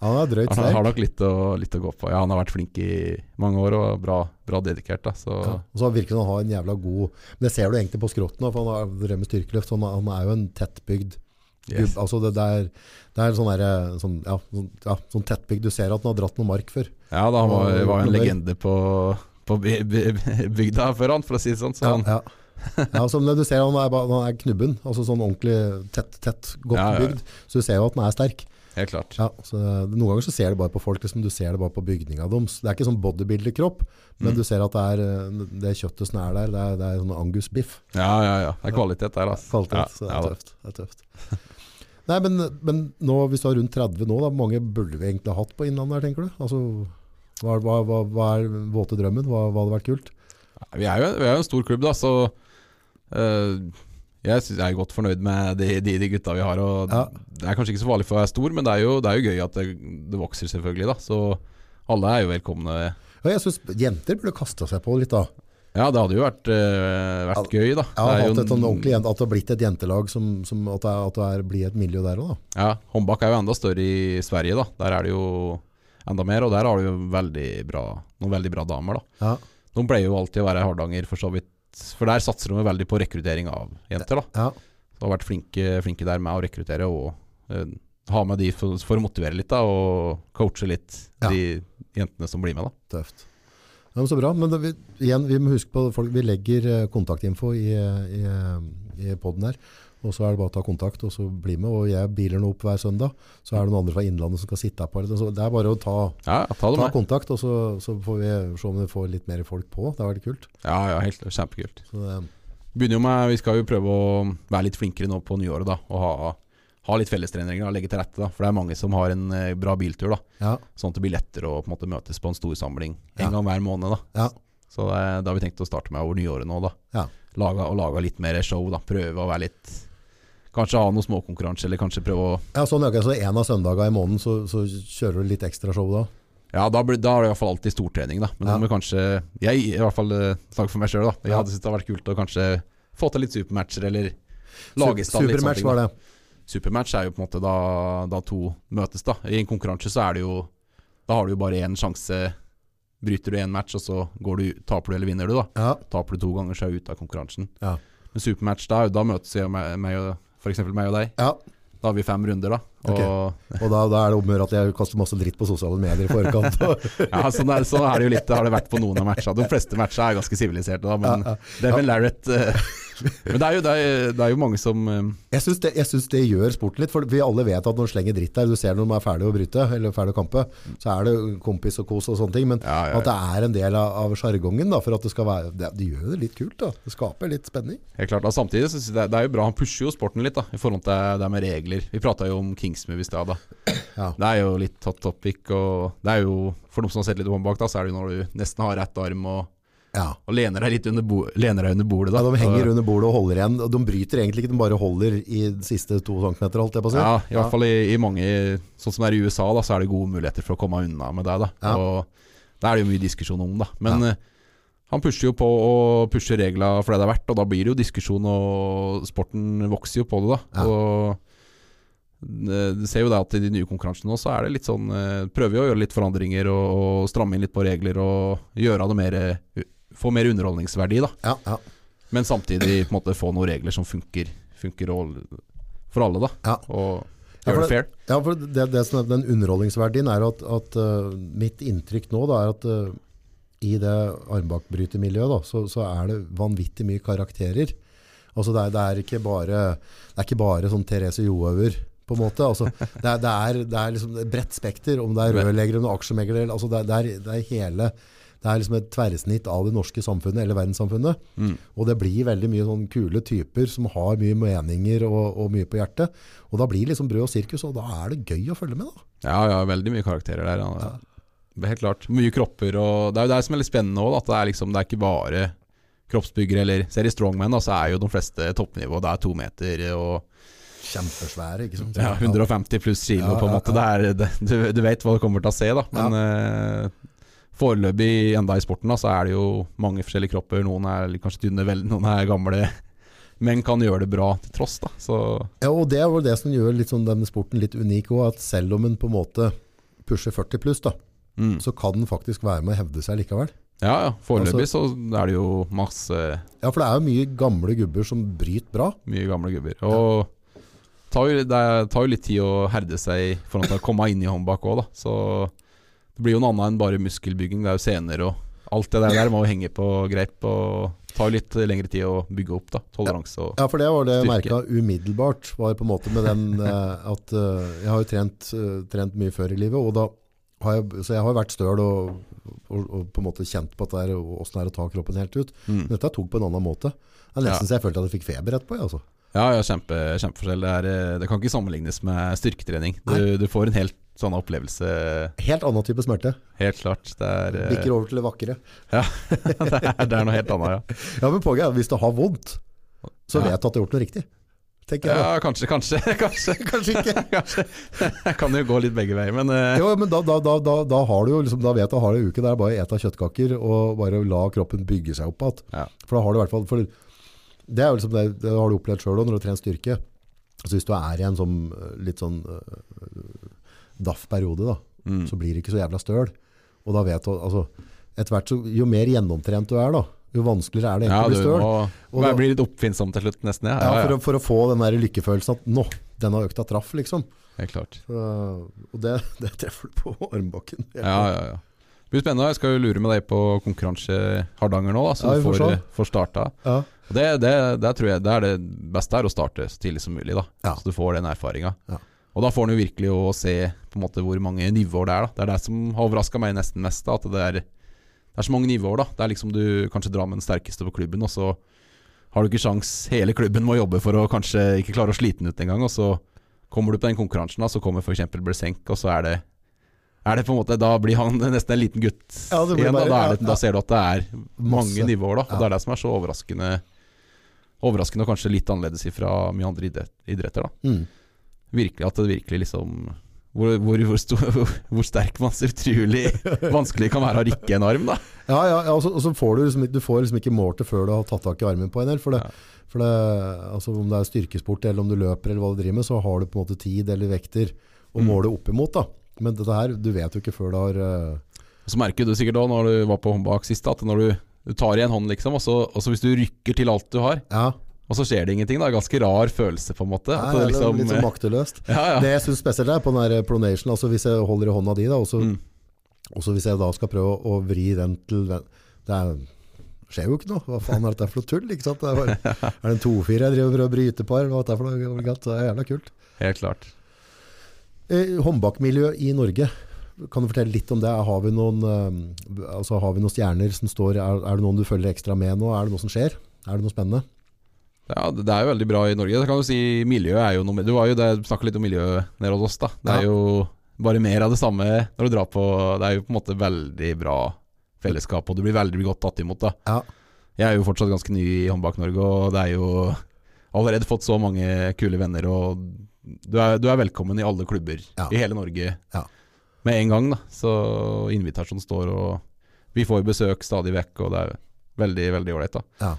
Han er drøyt
han
sterk.
har nok litt å, litt å gå på. Ja, han har vært flink i mange år og bra, bra dedikert, da. Så
Ja. Og så virker han å ha en jævla god Men det ser du egentlig på skrotten, også, for han har drevet med styrkeløft. så Han, han er jo en tettbygd
yes.
gubb. Altså det, det er, det er sånn, der, eh, sånn, ja, sånn, ja, sånn tettbygd. Du ser at han har dratt noe mark før.
Ja, da, han var,
Og
var jo en
Robert.
legende på, på by, by, bygda før han, for å si det sånn. Så han,
Ja, ja. ja altså, men du ser han er, bare- han er knubben. Altså sånn ordentlig tett, tett godt
Ja, ja, ja.
bygd. Så du ser jo at han er sterk.
helt klart.
Ja, så det- noen ganger så ser du bare på folk, liksom, du ser det bare på bygninga deres. Det er ikke sånn bodybuilder-kropp, men
Mm.
du ser at det, er, eh, det kjøttet som er der, det er, det er sånn angus-biff.
Ja, ja, ja. Det er kvalitet der, altså.
Kvalitet,
Ja,
så det
ja
er
da.
tøft. Det er tøft. Nei, men, men nå, hvis du er rundt 30 nå, da, hvor mange burde vi egentlig ha hatt på Innlandet her, tenker du? Altså, hva, hva, hva, hva er den våte drømmen? Hva, hva hadde vært kult?
Nei, Vi er jo vi er jo en stor klubb, da, så eh, jeg, synes, jeg er godt fornøyd med de, de, de gutta vi har. Og
Ja.
Det er kanskje ikke så farlig for å være stor, men det er jo, det er jo gøy at det, det vokser, selvfølgelig. da Så alle er jo velkomne.
Ja, jeg synes jenter burde kaste seg på litt da.
Ja, det hadde jo vært, eh, vært gøy, da.
Jeg har
Det er jo
hatt et sånn
en-
ordentlig jent, at det har blitt et jentelag, som, som at det, er, at det er, blir et miljø der også da.
Ja, håndbak er jo enda større i Sverige, da. Der er det jo enda mer, og der har du jo veldig bra, noen veldig bra damer, da.
Ja,
De pleier jo alltid å være i Hardanger, for så vidt. For der satser de jo veldig på rekruttering av jenter, da.
ja,
Så har vært flinke, flinke der med å rekruttere og eh, ha med de for, for å motivere litt, da, og coache litt
Ja.
de jentene som blir med, da.
tøft. Ja, men så bra, men det, vi, igjen, vi må huske på, folk, vi legger eh, kontaktinfo i, eh, i, eh, i podden her, og så er det bare å ta kontakt og så bli med, og jeg biler nå opp hver søndag, så er det noen andre fra innlandet som skal sitte her på, det, så det er bare å ta,
Ja, ja, ta det
ta
med.
kontakt, og så, så får vi se om vi får litt mer folk på, det har vært kult.
Ja, ja, helt kjempekult.
Så, eh, det-
Begynner jo med, Vi skal jo prøve å være litt flinkere nå på nyåret, da. Og ha, ha litt fellestreninger og legge til rette, da. For det er mange som har en eh, bra biltur, da.
ja,
Sånn at det blir lettere å på en måte møtes på en storsamling
Ja.
en gang hver måned. da
ja,
Så det, det har vi tenkt å starte med over nyåret nå. da
Ja.
Laga, og laga litt mer show. da Prøve å være litt Kanskje ha noen småkonkurranser, eller kanskje prøve å
ja, sånn, ok, så en av søndagene i måneden, så, så kjører du litt ekstra show da.
Ja, da, blir, da er det i hvert fall alltid stortrening, da. Men
Ja.
om vi kanskje Jeg i hvert fall eh, snakker for meg sjøl, da. Jeg
Ja.
hadde syntes det hadde vært kult å kanskje få til litt supermatcher, eller
Su-
lage i stand litt sånne
Supermatch
ting. da.
var det.
Supermatch er jo på en måte da, da to møtes, da. I en konkurranse så er det jo Da har du jo bare én sjanse. Bryter du én match, og så går du, taper du eller vinner du, da.
Ja,
Taper du to ganger, så er du ute av konkurransen.
Ja.
Men supermatch, da, er jo- da møtes jeg og meg, meg og for eksempel meg og deg.
ja,
Da har vi fem runder, da. Og,
og da, da er det omgjør at jeg kaster masse dritt på sosiale medier i forkant.
ja, sånn, er, sånn er det jo litt, det har det vært på noen av matchene. De fleste matchene er ganske siviliserte, da, men
Ja, ja.
Devin Larrett eh, Men det er jo, det er, det er jo mange som eh,
Jeg syns det, jeg synes det gjør sporten litt, for vi alle vet at når de slenger dritt der, du ser når de er ferdig å bryte, eller ferdig å kampe, så er det kompis og kos og sånne ting, men
Ja, ja, ja.
at det er en del av, av sjargongen, da, for at det skal være det, det gjør jo det litt kult, da. Det skaper litt spenning.
Helt klart, da, Samtidig synes jeg det, er- det er jo bra, han pusher jo sporten litt da i forhold til det med regler. Vi prata jo om Kingsmove i stad. da.
Ja.
Det er jo litt hot topic. og det er jo, For de som har sett litt håndbak, da, så er det jo når du nesten har rett arm og
Ja.
Og lener deg litt under, bo lener deg under bordet. Da.
Ja, de
Så-
henger under bordet og holder igjen. Og De bryter egentlig ikke, de bare holder i de siste to centimeter, holdt jeg på å si.
Ja, i hvert fall i, i mange Sånn som det er i USA, da, så er det gode muligheter for å komme unna med deg. Da.
Ja.
Og det er det jo mye diskusjon om, da. Men
Ja.
eh, han pusher jo på og pusher regla for det det er verdt, og da blir det jo diskusjon, og sporten vokser jo på det, da.
Ja.
Og eh, du ser jo det at i de nye konkurransene nå, så er det litt sånn eh, Prøver jo å gjøre litt forandringer og, og stramme inn litt på regler og gjøre det mer eh, Få mer underholdningsverdi, da.
Ja, ja,
Men samtidig på en måte få noen regler som funker, funker og- for alle, da.
Ja.
Og
Ja, for
gjøre det
det-
fair.
ja. for det, det som er den underholdningsverdien er at, at eh, mitt inntrykk nå da, er at eh, i det armbakbrytermiljøet da, så, så er det vanvittig mye karakterer. Altså det er, det er ikke bare, det er ikke bare sånn Therese Johaug på en måte. Altså, det, er, det, er, det er liksom et bredt spekter, om det er rørleggere og aksjemegler, eller- altså det, er- det, er, det er hele, det er liksom et tverrsnitt av det norske samfunnet, eller verdenssamfunnet. Og det blir veldig mye sånn kule typer som har mye meninger og, og mye på hjertet. Og da blir det liksom brød og sirkus, og da er det gøy å følge med da.
Ja, ja, veldig mye karakterer der. Ja. Helt klart. Mye kropper, og det er jo det som er litt spennende òg, at det er, liksom, det er ikke bare kroppsbyggere eller Ser i Strongman, da, så er jo de fleste toppnivå det er to meter og
Kjempesvære, ikke sant?
ja, 150 pluss kilo,
Ja,
på en
ja,
måte. Det er, det, du, du vet hva du kommer til å se, da. Men eh, foreløpig, enda i sporten, da, så er det jo mange forskjellige kropper. Noen er litt- kanskje tynne, vel, noen er gamle. Men kan gjøre det bra til tross, da. Så
Ja, og det er jo det som gjør litt sånn denne sporten litt unik også, at selv om en på en måte pusher 40 pluss da,
mm.
så kan den faktisk være med å hevde seg likevel.
ja, ja. Foreløpig
Altså-
så er det jo masse
Ja, for det er jo mye gamle gubber som bryter bra.
Mye gamle gubber. Og tar jo, det er- tar jo litt tid å herde seg for å komme inn i håndbak òg, da. Så det blir jo noe annet enn bare muskelbygging. Det er jo sener og alt det der, der må jo henge på greip. Og tar jo litt lengre tid å bygge opp, da. Toleranse og
Ja, for det var det jeg
Styrke.
merket umiddelbart, var på en måte med den eh, at eh, jeg har jo trent, eh, trent mye før i livet, og da har jeg, så jeg har jo vært støl og, og, og på en måte kjent på at det er, og hvordan det er å ta kroppen helt ut. Men
mm.
dette tok på en annen måte. Det er nesten så jeg følte at jeg fikk feber etterpå, jeg, altså.
Ja, ja, kjempe, kjempeforskjell. Det, er, eh, det kan ikke sammenlignes med styrketrening. Du, du får en helt sånn opplevelse,
Helt annen type smerte.
helt klart. Det er, eh,
Bikker over til det vakre.
det er, det er noe helt annet, ja.
Ja, men poenget er at hvis det har vondt, så
Ja.
vet du at du har gjort noe riktig. Tenker jeg da.
Ja, kanskje, kanskje. Kanskje.
Kanskje ikke.
kanskje. Det kan jo gå litt begge veier, men eh,
Jo, men da, da, da, da, da har du jo liksom, da vet du, har du en uke der bare et av kjøttkaker og bare la kroppen bygge seg opp igjen.
Ja.
For da har du i hvert fall, for det er jo liksom det, det har du opplevd selv også når du trener styrke. Så hvis du er i en sånn eh, litt sånn eh, daff periode da,
Mm.
så blir det ikke så jævla støl. Og da vet du, altså, etter hvert så, jo mer gjennomtrent du er da, jo vanskeligere er det
Ja,
egentlig å bli
du
støl.
må
Og
må
da-
jeg bli litt oppfinnsom til slutt, nesten. Ja,
Ja, for, å, for å få den der lykkefølelsen at nå, denne økta traff liksom.
Helt klart.
Så, og det, det treffer du på armbakken.
Ja, ja, ja. Det blir spennende. Jeg skal jo lure med deg på konkurranse Hardanger nå, da, så
Ja, vi
du
får
får,
se.
eh, får starta.
Ja.
Og Det, det, det tror jeg det er det beste er å starte så tidlig som mulig, da.
Ja.
så du får den erfaringa.
Ja.
Og da får du virkelig å se på en måte hvor mange nivåer det er. da Det er det som har overraska meg nesten mest. da At det er, det er så mange nivåer. da Det er liksom du kanskje drar med den sterkeste på klubben, og så har du ikke sjans Hele klubben må jobbe for å kanskje ikke klare å slite den ut engang. Og så kommer du på den konkurransen, da så kommer f.eks. Blesenk, og så er det er det på en måte, Da blir han nesten en liten gutt
Ja, det blir
igjen.
bare-
da, da,
ja,
er det,
ja.
da ser du at det er mange
Masse.
nivåer. da
Ja.
Og Det er det som er så overraskende Overraskende og kanskje litt annerledes fra mye andre idrett, idretter. da
Mm.
virkelig at det virkelig liksom hvor, hvor, hvor, stor, hvor sterk man så utrolig vanskelig kan være å rikke en arm, da.
Ja, ja, ja og, så, og så får du liksom, ikke- du får liksom ikke målt det før du har tatt tak i armen på en del, for, det,
Ja.
for det, altså, om det er styrkesport eller om du løper eller hva du driver med, så har du på en måte tid eller vekter å
Mm.
måle opp imot da. Men dette her, du vet jo ikke før du har... eh,
Og Så merker du sikkert da når du var på håndbak sist, at når du, du tar i en hånd, liksom, og så, og så hvis du rykker til alt du har,
ja,
og så skjer det ingenting, da. Ganske rar følelse, på en måte.
det
At
er
det liksom,
litt sånn makteløst.
ja, ja.
Det jeg synes spesielt er på den der pronation, altså hvis jeg holder i hånda di da, og så
Mm.
Og så hvis jeg da skal prøve å vri den til ven- Det er, skjer jo ikke noe. Hva faen er dette for noe tull? Ikke sant? Det er, bare, er det en 2-4 jeg driver og prøver å bryte på her? Hva er dette for noe? gammelt? Det er jævla kult.
Helt klart.
Eh, Håndbakmiljøet i Norge, kan du fortelle litt om det? Har vi noen, eh, altså, har vi noen stjerner som står er, er det noen du følger ekstra med nå? Er det noe som skjer? Er det noe spennende?
Ja, det det er jo veldig bra i Norge. Det kan du si miljøet er jo noe med- Du var jo der, snakka litt om miljøet nede hos oss, da. Det
Ja.
er jo bare mer av det samme når du drar på Det er jo på en måte veldig bra fellesskap, og du blir veldig godt tatt imot. da
Ja.
Jeg er jo fortsatt ganske ny i Håndbak-Norge, og det er jo allerede fått så mange kule venner. Og du er, du er velkommen i alle klubber
Ja.
i hele Norge
Ja.
med en gang. da Så invitasjonen står, og vi får besøk stadig vekk, og det er veldig, veldig ålreit. da
Ja.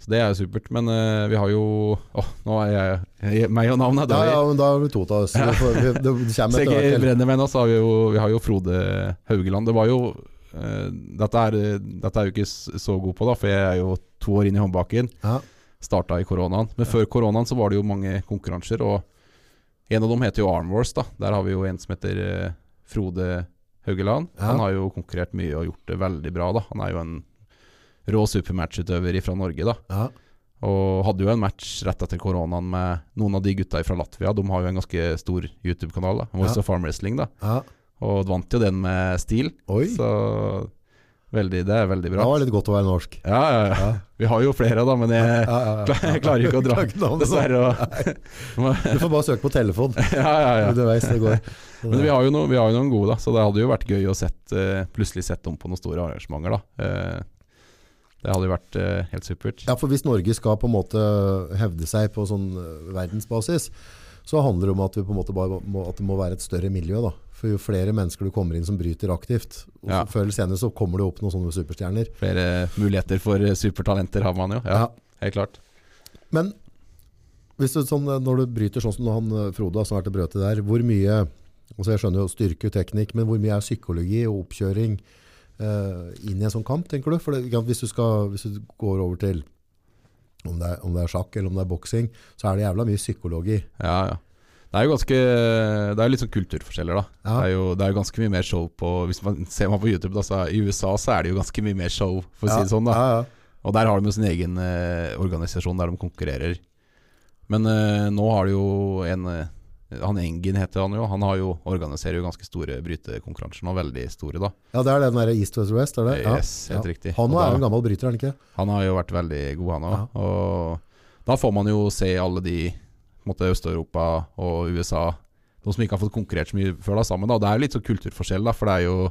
Så det er jo supert. Men eh, vi har jo Åh, nå er jeg, jeg meg og navnet.
Ja,
Da,
ja, men da blir det to av oss. Det, får, vi- det kommer
så
etter
jeg
hvert. til.
brenner meg nå, så har vi jo, vi har jo Frode Haugeland. Det var jo eh, dette, er, dette er jeg jo ikke s- så god på, da, for jeg er jo to år inn i håndbaken.
Ja.
Starta i koronaen. Men før koronaen så var det jo mange konkurranser, og en av dem heter jo Arm Wars. da Der har vi jo en som heter eh, Frode Haugeland.
Ja.
Han har jo konkurrert mye og gjort det veldig bra. da Han er jo en rå supermatchutøver fra Norge, da.
Ja.
Og hadde jo en match rett etter koronaen med noen av de gutta fra Latvia. De har jo en ganske stor YouTube-kanal, da. Voice
Ja.
of Farm Wrestling, da.
Ja.
Og vant jo den med stil.
Oi,
Så veldig, det er veldig
det
bra.
var litt godt å være norsk.
Ja, ja, ja.
Ja.
Vi har jo flere, da, men jeg
Ja, ja, ja.
kla- jeg klarer jo ikke å dra,
Klarer ikke navnet. sånn.
dessverre. å-
Du får bare søke på telefon
Ja, ja, ja.
underveis. Det går.
Men vi har, jo noen, vi har jo noen gode, da, så det hadde jo vært gøy å sett, eh, plutselig sett dem på noen store arrangementer. da. Eh, det hadde jo vært eh, helt supert.
Ja, for hvis Norge skal på en måte hevde seg på sånn eh, verdensbasis, så handler det om at, vi på en måte bare må, at det må være et større miljø. da. For jo flere mennesker du kommer inn som bryter aktivt, og
Ja.
før eller senere så kommer det opp noen sånne superstjerner.
Flere muligheter for eh, supertalenter har man jo. Ja,
Ja.
Helt klart.
Men hvis du, sånn, eh, når du bryter sånn som når han eh, Frode da, som har vært og brøt det der, hvor mye altså Jeg skjønner jo styrke og teknikk, men hvor mye er psykologi og oppkjøring eh, inn i en sånn kamp, tenker du? For det, ikke sant, hvis, du skal, hvis du går over til om det, er, om det er sjakk eller om det er boksing, så er det jævla mye psykologi.
Ja, ja. Det er jo ganske Det er jo litt sånn kulturforskjeller, da.
Ja.
Det, er jo, det er jo ganske mye mer show på Hvis man ser man på YouTube, da, så er, i USA så er det jo ganske mye mer show, for å si det sånn. da
Ja, ja.
Og der har de jo sin egen eh, organisasjon der de konkurrerer. Men eh, nå har de jo en eh, Han Engin heter han jo. Han har jo, organiserer jo ganske store brytekonkurranser nå. Veldig store, da.
Ja, det er den der East West West, er det? Ja.
Yes, helt riktig.
Han
Og
er jo en
da,
gammel bryter, er han ikke?
han har jo vært veldig god, han òg. Og da får man jo se alle de på en måte, Øst-Europa og USA, de som ikke har fått konkurrert så mye før da, sammen. da Det er jo litt sånn kulturforskjell, da, for det er jo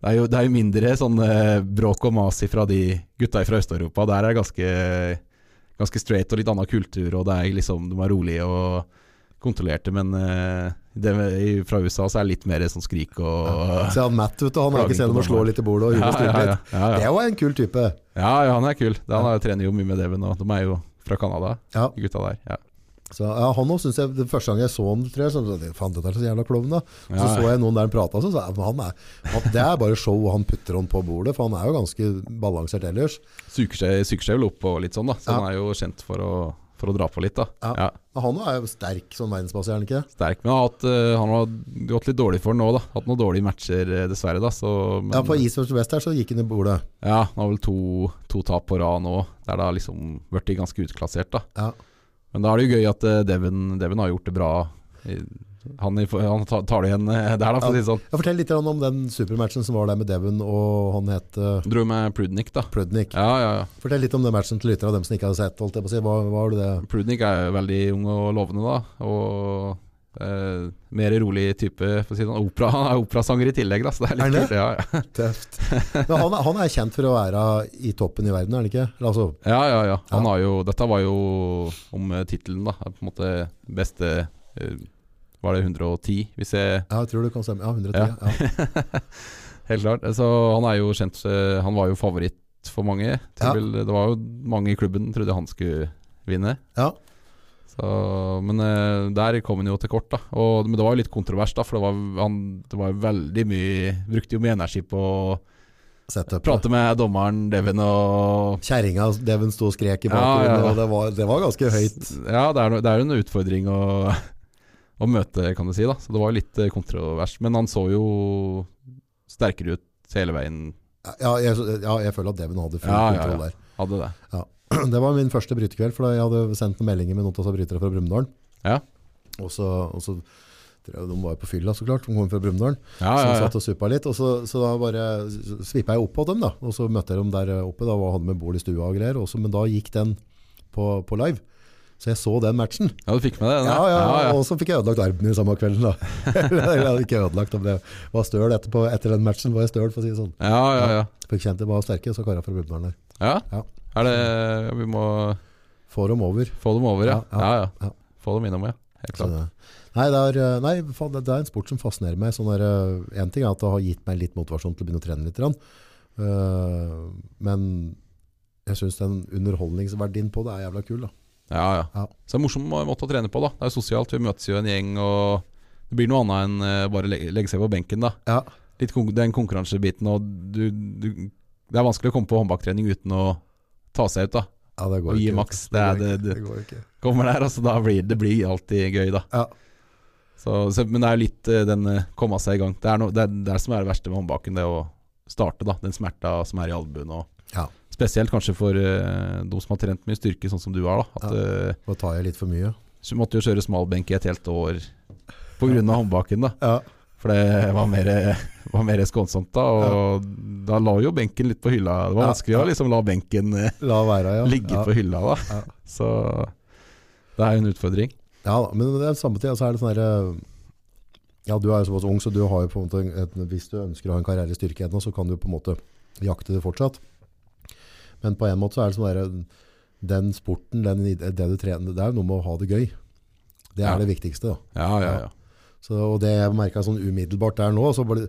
det er jo, det er jo mindre sånn eh, bråk og mas fra de gutta fra Øst-Europa. Der er det ganske, ganske straight og litt annen kultur, og det er liksom, de er rolige og kontrollerte. Men eh, det med, i- fra USA så er det litt mer sånn skrik og
Se han Matt, vet du, han har
Klaging
ikke sett
på
ham å
dommeren.
slå litt i bordet og gjøre styrt litt.
ja,
Det
ja.
er jo en kul type.
ja, ja, han er kul. Det- Han er, trener jo mye med Devon, og de er jo fra Canada,
Ja,
de gutta der. Ja.
så, ja han også synes jeg, den første gang jeg så han, tror jeg, så tenkte jeg, faen, dette er så jævla klovn da. Og så
Ja.
så jeg noen der han pratet, så sa jeg, "Men han er, han, det er bare show, han putter han på bordet, for han er jo ganske balansert ellers.
Suker seg, suker seg vel opp og litt sånn, da. Så
Ja.
han er jo kjent for å, for å dra på litt, da.
Ja.
Ja.
Men han er jo sterk sånn verdensbasis, er han ikke?
Sterk, men han har hatt, eh, han har gått litt dårlig for den nå, da. Hatt noen dårlige matcher, eh, dessverre. da så, men,
Ja, på East West West her så gikk han i bordet.
ja, Han har vel to, to tap på rad nå, der det har liksom blitt ganske utklassert. da
Ja,
Men da er det jo gøy at eh, Devon, Devon har gjort det bra. I- Han, i- han tar tar det igjen eh, der, da, for å si det sånn.
Ja, fortell litt om den supermatchen som var der med Devon, og han heter
Dro med Prudnik, da.
Prudnik.
Ja, ja, ja.
Fortell litt om den matchen til lyttere av dem som ikke hadde sett. Holdt jeg på å si. Hva, hva var det det?
Prudnik er jo veldig ung og lovende, da. Og eh, mer rolig type, for å si det sånn. Opera, han er operasanger i tillegg, da, så det er
Er
litt
han det?
kult. Ja, ja.
Tøft. Men han, er- han er kjent for å være i toppen i verden, er han ikke? Eller Altså,
ja, ja, ja. Han
Ja.
har jo Dette var jo om eh, tittelen, da. På en måte beste eh, Var det 110, hvis jeg
ja, jeg tror du kan stemme. Ja, 110. Ja.
Helt klart. Så han er jo kjent eh, Han var jo favoritt for mange. Til
Ja.
vel- Det var jo mange i klubben trodde han skulle vinne.
Ja.
Så, men eh, der kom han jo til kort, da. Og, men det var jo litt kontrovers, da. For det var, han, det var jo veldig mye Brukte jo mye energi på å
Setup.
prate med dommeren, Devin og
Kjerringa Devon sto og skrek i
Ja,
bakgrunnen,
ja, ja.
og det var, det var ganske høyt.
Ja, det er, no- det er jo en utfordring å, å møte, kan du si, da. Så det var jo litt eh, kontrovers. Men han så jo sterkere ut hele veien.
Ja, jeg, ja, jeg føler at Devon hadde full
Ja, ja, ja.
kontroll der.
Hadde det.
Det var min første brytekveld, for da jeg hadde sendt noen meldinger med noen av disse brytere fra Brumunddal.
Ja.
Og så, og så tror jeg de var jo på fylla, så klart, som kom fra Brumunddal.
Ja,
Så
ja,
jeg
ja.
satt og suppa litt, og så, så da bare svippa jeg opp på dem, da. Og så møtte jeg dem der oppe, da var- hadde de bord i stua og greier. Også, men da gikk den på, på live. Så jeg så den matchen.
Ja, du fikk med deg den?
Ja,
ja.
ja,
Ja, ja.
Og så fikk jeg ødelagt armen min samme kvelden. da. Eller jeg hadde ikke ødelagt, men jeg var støl etterpå. Etter den matchen var jeg støl, for å si det sånn.
Ja, ja, ja.
Fikk kjent de var sterke, så kara fra Brumunddal der.
ja.
Ja.
Er det Vi må
Får dem over.
få dem over, ja.
Ja,
Ja,
ja,
ja.
ja.
Få dem innom, ja. Helt
Så
klart.
det- Nei, det er, eh, nei, faen, det det er en sport som fascinerer meg. Sånn der, eh, en ting er at det har gitt meg litt motivasjon til å begynne å trene litt. grann. Eh, men jeg syns den underholdningsverdien på det er jævla kul. da.
Ja, ja.
Ja.
Så det er en morsom måte å trene på, da. Det er sosialt. Vi møtes jo en gjeng, og det blir noe annet enn eh, bare legge, legge seg på benken, da.
Ja,
Litt kon den konkurransebiten, og du, du Det er vanskelig å komme på håndbaktrening uten å ta seg ut, da.
ja det går
Og gi
ikke.
maks. Det er det,
går ikke.
det
det går ikke.
kommer der, altså. Da blir det blir alltid gøy, da.
Ja.
Så, så, men det er jo litt eh, den eh, komme seg i gang. Det er no, det, er det er som er det verste med håndbaken, det å starte, da. Den smerta som er i albuen. Og,
Ja.
Spesielt kanskje for eh, de som har trent mye styrke, sånn som du har. da At
Ja.
eh,
Nå tar jeg litt for mye.
Så måtte jo kjøre smalbenk i et helt år pga. håndbaken, da.
Ja,
For det var mer, var mer skånsomt da. Og da la jo benken litt på hylla. Det var
Ja,
vanskelig å liksom la benken eh,
La være, ja.
ligge
ja.
på hylla da.
Ja.
Så det er jo en utfordring.
Ja, da, men det er samme tid, så er det sånn der, eh, Ja, du er jo såpass ung, så du har jo på en måte en- et, Hvis du ønsker å ha en karriere i styrke ennå, så kan du på en måte jakte det fortsatt. Men på en måte så er det sånn der eh, Den sporten, den, id- det du trener Det er jo noe med å ha det gøy. Det er
Ja.
det viktigste, da.
Ja, ja, ja.
Så, og det jeg merket sånn umiddelbart der nå, så var det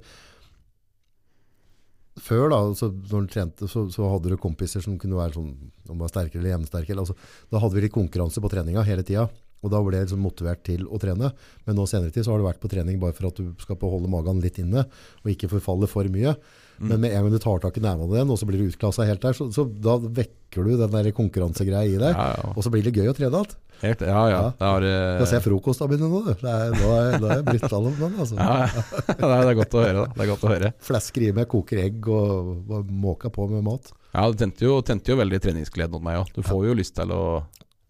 før da, så, når du trente, så, så hadde du kompiser som kunne være sånn, om du var sterkere eller jevnsterkere. Altså, da hadde vi litt konkurranse på treninga hele tida, og da ble jeg liksom motivert til å trene. Men nå senere tid så har du vært på trening bare for at du skal beholde magen litt inne, og ikke forfalle for mye.
Mm.
Men med en gang du tar tak i nevene dine, og så blir du utklassa helt der, så, så da vekker du den der konkurransegreia i deg,
Ja, ja.
og så blir det gøy å trene igjen.
Helt, ja, ja.
Ja.
Det er, eh,
Jeg ser frokosta mine nå, du. Det er- Nå er nå er jeg blitt all om den, altså.
ja, ja. Nei, det er godt å høre. da Det er godt å høre
flesker i meg, koker egg og, og måker på med mat.
Ja, Det tente jo, tente jo veldig treningsgleden hos meg òg. Du får jo lyst til å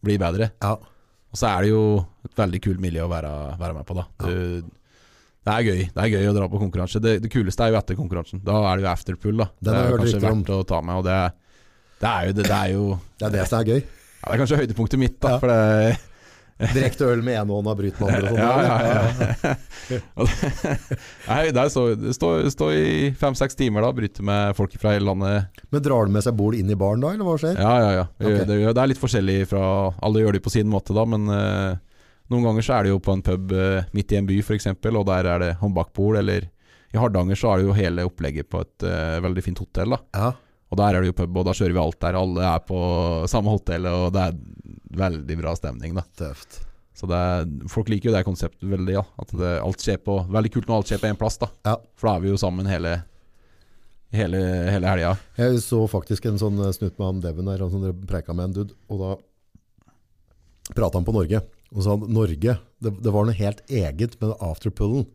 bli bedre.
Ja.
Og så er det jo et veldig kult miljø å være, være med på, da. Du, det er gøy Det er gøy å dra på konkurranse. Det, det kuleste er jo etter konkurransen. Da er det jo afterpool, da.
Den
det
har
er
jeg
jo
hørt
kanskje
rykter om.
verdt å ta med. Og det, det er jo Det, det er jo
Det er det som er gøy.
ja, Det er kanskje høydepunktet mitt, da.
Ja.
For det,
Direkte øl med ene hånda, bryt med andre. og sånn. sånt.
ja, ja, ja. Og det- Nei, det er så Stå, stå i fem-seks timer, da. Bryte med folk fra hele landet.
Men drar han med seg bol inn i baren da, eller hva skjer?
Ja, ja, ja. Vi gjør-
Ok.
Det, gjør- det er litt forskjellig fra Alle gjør det på sin måte, da, men eh, noen ganger så er det jo på en pub eh, midt i en by, f.eks., og der er det håndbakbord, eller i Hardanger så er det jo hele opplegget på et eh, veldig fint hotell, da.
Ja.
Og der er det jo pub, og da kjører vi alt der. Alle er på samme hotellet, og det er veldig bra stemning, da.
Tøft.
Så det er, folk liker jo det konseptet veldig, ja. At det, alt skjer på Veldig kult når alt skjer på én plass, da.
Ja.
For da er vi jo sammen hele Hele, hele helga.
Jeg så faktisk en sånn eh, snutt med han Devin der, han som preika med en dude, og da prata han på Norge. Og sa han Norge, det, det var noe helt eget med afterpullen.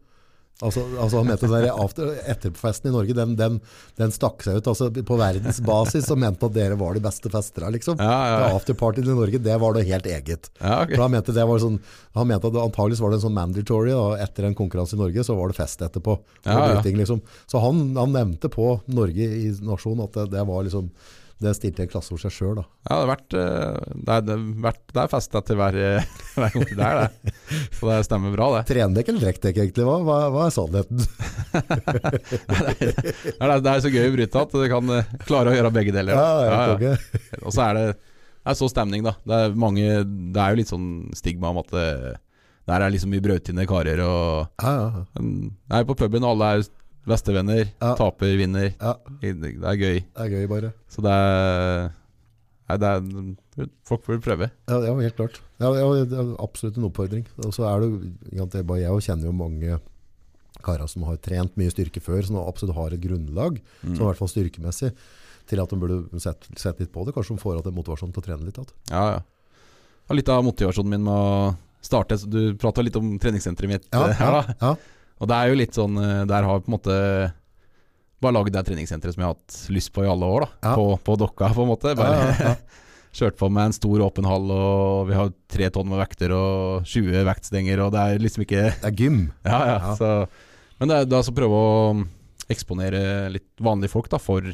Altså, altså han mente den der after, etterfesten i Norge, den, den, den stakk seg ut. Altså, på verdensbasis så mente han at dere var de beste festerne, liksom.
Ja, ja, ja.
Afterpartyen i Norge, det var noe helt eget.
ja ok.
For han mente, det var sånn, han mente at det antageligvis var det en sånn mandatory, da. etter en konkurranse i Norge, så var det fest etterpå. Og
Ja, ja.
bryting, liksom. Så han, han nevnte på Norge i nasjonen at det, det var liksom, det stilte en klasse for seg selv da.
Ja, det har vært eh, Det er, det har vært, det er fest etter hver, eh, hver gang det er det. Så det stemmer bra, det.
Trendekk eller trekkdekk egentlig, hva, hva, hva er sannheten?
Det er, det er så gøy å bryte at du kan eh, klare å gjøre begge deler.
Ja,
da.
ja,
Ja, ja.
konge.
Og så er det, det er så stemning, da. Det er, mange, det er jo litt sånn stigma om at det, der er liksom mye brautende karer og
ja, ja,
Men Jeg er på puben, alle er bestevenner.
Ja.
Taper, vinner.
ja,
Det er gøy.
det er gøy bare.
Så det er, nei, det er Folk burde prøve.
Ja, ja, helt klart. Ja, ja, det er absolutt en oppfordring. Og så er det, jo- ikke sant, jeg bare- jeg jo kjenner jo mange karer som har trent mye styrke før, som absolutt har et grunnlag,
Mm.
som i hvert fall styrkemessig, til at de burde sett, sett litt på det, kanskje de får at det er motivasjon til å trene litt. At.
Ja, ja. Og litt av motivasjonen min med å starte så Du prata litt om treningssenteret mitt eh, her, da.
ja,
Og det er jo litt sånn eh, Der har jeg på en måte bare lagd det treningssenteret som jeg har hatt lyst på i alle år,
Ja.
da. På, på dokka, på en måte.
ja,
Bare
ja, ja.
kjørt på med en stor åpen hall, og vi har tre tonn med vekter og 20 vektstenger, og det er liksom ikke
Det er gym.
Ja, ja.
Ja.
Så, men det er da så prøve å um, eksponere litt vanlige folk da, for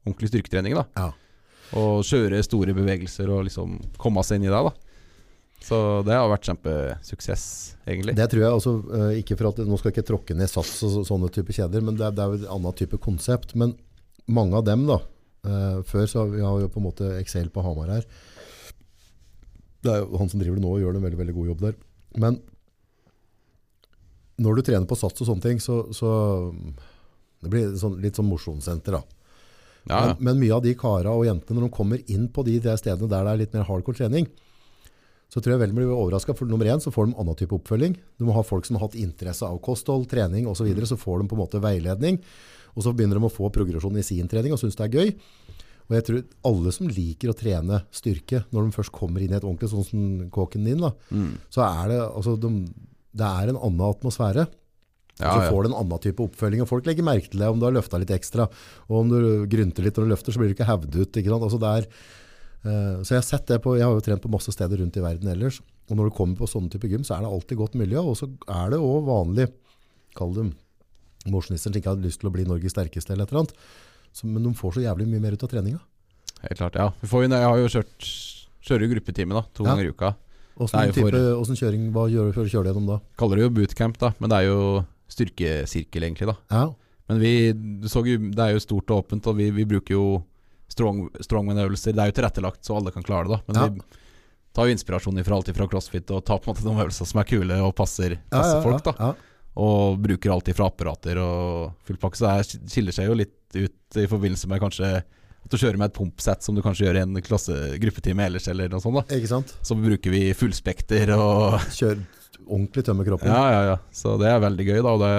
ordentlig styrketrening. da.
Ja.
Og kjøre store bevegelser og liksom komme seg inn i det. da. Så det har vært kjempesuksess, egentlig.
Det tror jeg også, eh, ikke for at, Nå skal jeg ikke tråkke ned sats og så- sånne type kjeder, men det er, det er jo et annet type konsept. Men mange av dem, da eh, Før så har vi har jo på en måte Excel på Hamar her. Det er jo han som driver det nå og gjør en veldig, veldig god jobb der. Men når du trener på sats og sånne ting, så, så mm, det blir sånn, litt sånn mosjonssenter. da.
Ja, ja.
Men, men mye av de kara og jentene, når de kommer inn på de, der stedene der det er litt mer hardcore trening, så tror jeg veldig blir overraska. For nummer én så får de annen type oppfølging. Du må ha folk som har hatt interesse av kosthold, trening osv. Så, videre, så får de på en måte veiledning. Og så begynner de å få progresjon i sin trening og syns det er gøy. Og jeg tror alle som liker å trene styrke, når de først kommer inn i et ordentlig sånn som kåken din, da,
Mm.
så er det, altså, de, det er en annen atmosfære.
ja,
Så
ja.
får du en annen type oppfølging, og folk legger merke til deg om du har løfta litt ekstra. Og om du grynter litt når du løfter, så blir du ikke hevd ut. Ikke sant? Altså det er, eh, så jeg har sett det på, jeg har jo trent på masse steder rundt i verden ellers. Og når du kommer på sånne type gym, så er det alltid godt miljø. Og så er det òg vanlig, kall dem mosjonister som ikke har lyst til å bli Norges sterkeste eller et eller annet. Så, men de får så jævlig mye mer ut av treninga.
Helt klart, ja. Vi får jo, jeg har jo kjørt kjører jo gruppetime da, to
Ja.
ganger i uka. Det
Åssen
er jo for-
type- åssen kjøring, hva gjør, kjører du gjennom da?
Kaller det jo bootcamp, da, men det er jo styrkesirkel, egentlig. da.
Ja,
Men vi, du så jo, det er jo stort og åpent, og vi, vi bruker jo strong, strongman-øvelser. Det er jo tilrettelagt så alle kan klare det, da. Men
Ja.
vi tar jo inspirasjon ifra alt ifra crossfit og tar på en måte de øvelsene som er kule og passer, passer folk, da.
Ja,
Og bruker alt ifra apparater og full pakke. Så det her skiller seg jo litt ut i forbindelse med kanskje at du kjører med et pumpsett som du kanskje gjør i en klasse, gruppetime ellers, eller noe sånt. da
ikke sant?
Så bruker vi fullspekter og
Kjør ordentlig tømme kroppen.
Ja, ja, ja. Så det er veldig gøy, da. Og det,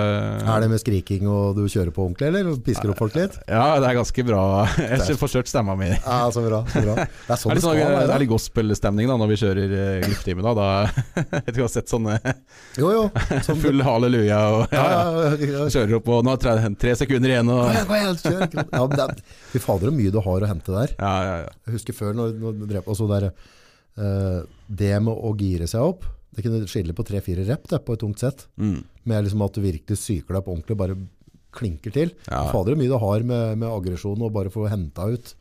Er det med skriking og du kjører på ordentlig, eller pisker opp folk litt?
Ja, det er ganske bra. Jeg får kjørt stemma mi. Det
Ja, så bra. Så bra. Det er sånn det
er litt, sånn,
skal
det er
være.
litt gospelstemning da, når vi kjører eh, gruppetime. Da. Da, jeg tror jeg har sett sånne
Jo, jo. Sånn,
full halleluja og
ja,
ja, ja.
ja, ja, ja.
kjører opp og nå er tre, tre sekunder igjen og
Kom igjen, kom igjen, kjør. ikke sant? Ja, men det er- Fy fader, så mye du har å hente der.
Ja, ja, ja.
Jeg husker før når, når du drev altså der, eh, Det med å gire seg opp Det kunne skille på tre-fire rep det, på et tungt sett.
Mm.
Med liksom at du virkelig syker deg opp ordentlig, bare klinker til.
Ja.
Fy Fader, så mye du har med, med aggresjon og bare få henta ut.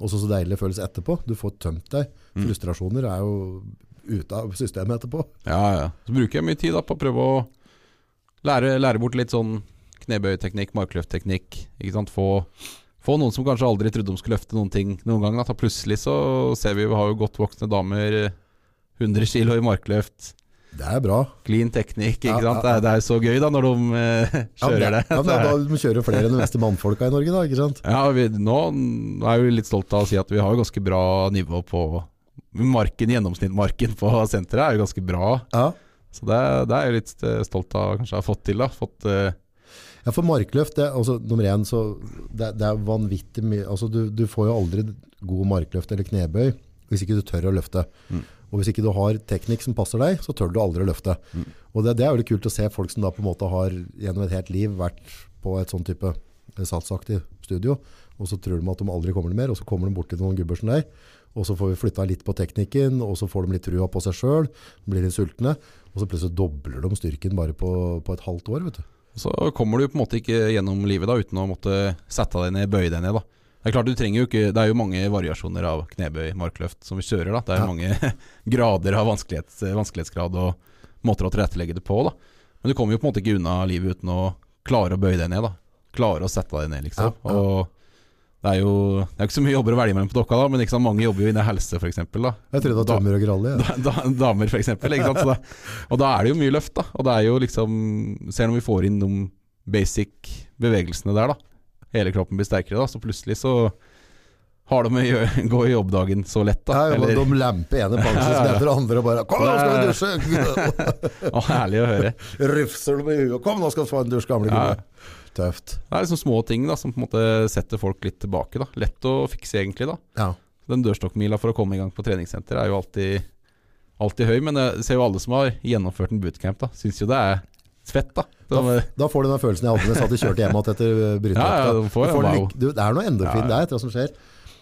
Også så deilig det føles etterpå. Du får tømt deg. Frustrasjoner er jo ute av systemet etterpå.
Ja, ja. Så bruker jeg mye tid da på å prøve å lære, lære bort litt sånn knebøyteknikk, markløftteknikk. Ikke sant? Få, få noen som kanskje aldri trodde de skulle løfte noen ting noen gang. Da. Ta plutselig så ser vi vi har jo godt voksne damer, eh, 100 kilo i markløft,
Det er bra.
clean teknikk. Ikke
Ja,
sant?
ja,
Det, er, det er jo så gøy da når de eh, kjører
ja, men-
det.
Ja,
Det
men,
er-
da, de kjører flere enn de meste mannfolka i Norge, da. ikke sant?
Ja, vi, nå er vi litt stolte av å si at vi har jo ganske bra nivå på marken, gjennomsnittmarken på senteret er jo ganske bra.
Ja.
Så det, det er jeg litt eh, stolt av kanskje jeg har fått til. da fått, eh,
ja for markløft, det, er altså, nummer én, så det, det er vanvittig mye altså, du, du får jo aldri god markløft eller knebøy hvis ikke du tør å løfte. Og hvis ikke du har teknikk som passer deg, så tør du aldri å løfte. Og det, det er jo litt kult å se folk som da på en måte har gjennom et helt liv vært på et sånn type satsaktig studio, og så tror de at de aldri kommer til mer, og så kommer de bort til noen gubber som deg, og så får vi flytta litt på teknikken, og så får de litt trua på seg sjøl, blir litt sultne, og så plutselig dobler de styrken bare på, på et halvt år, vet du.
så kommer du på en måte ikke gjennom livet da uten å måtte sette deg ned, bøye deg ned. da det er klart du trenger jo ikke Det er jo mange variasjoner av knebøy, markløft, som vi kjører. da Det er jo mange grader av vanskelighets, vanskelighetsgrad og måter å tilrettelegge det på. da Men du kommer jo på en måte ikke unna livet uten å klare å bøye deg ned. da Klare å sette deg ned, liksom.
Ja, ja.
Og det er jo det er ikke så mye jobber å velge mellom på dokka, da men ikke sant, mange jobber jo innen helse, f.eks. da
Jeg trodde det var
Da-
tømmer og gralle. Ja.
da, da, damer, for eksempel. Ikke sant? Så da, og da er det jo mye løft, da. Og det er jo liksom Ser når vi får inn de basic bevegelsene der, da. Hele kroppen blir sterkere, da. Så plutselig så har de å gjø- gå i jobbdagen så lett, da.
Ja, jo,
Eller,
De lamper ene
Ja,
pensjonen
ja, ja.
etter andre og bare 'Kom, nå skal vi dusje!'
å, herlig å høre.
Rufser dem i huet. 'Kom, nå skal vi få en dusj, gamle
Ja.
gubbe'. Tøft.
Det er liksom små ting da som på en måte setter folk litt tilbake. da Lett å fikse, egentlig. da
Ja.
Den dørstokkmila for å komme i gang på treningssenter er jo alltid Alltid høy, men jeg ser jo alle som har gjennomført en bootcamp, da syns jo det er fett, da. Sånn,
Da,
eh, De,
da får du den følelsen jeg hadde da jeg satt og kjørte hjem igjen etter eh, brytevekta.
Ja, ja, du får
Du
jo wow.
lykke- du, det er noe endorfin
Ja, ja.
der etter hva som skjer.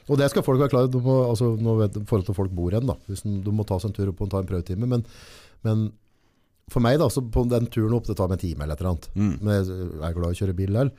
Og det skal folk være klar over. Du må- Altså, nå vet du forhold til folk bor hen, da. Hvis en- du må ta seg en tur opp og ta en prøvetime. Men, men for meg, da, så på den turen opp, det tar meg en time eller et eller annet.
Mm.
Men jeg er glad i å kjøre bil der.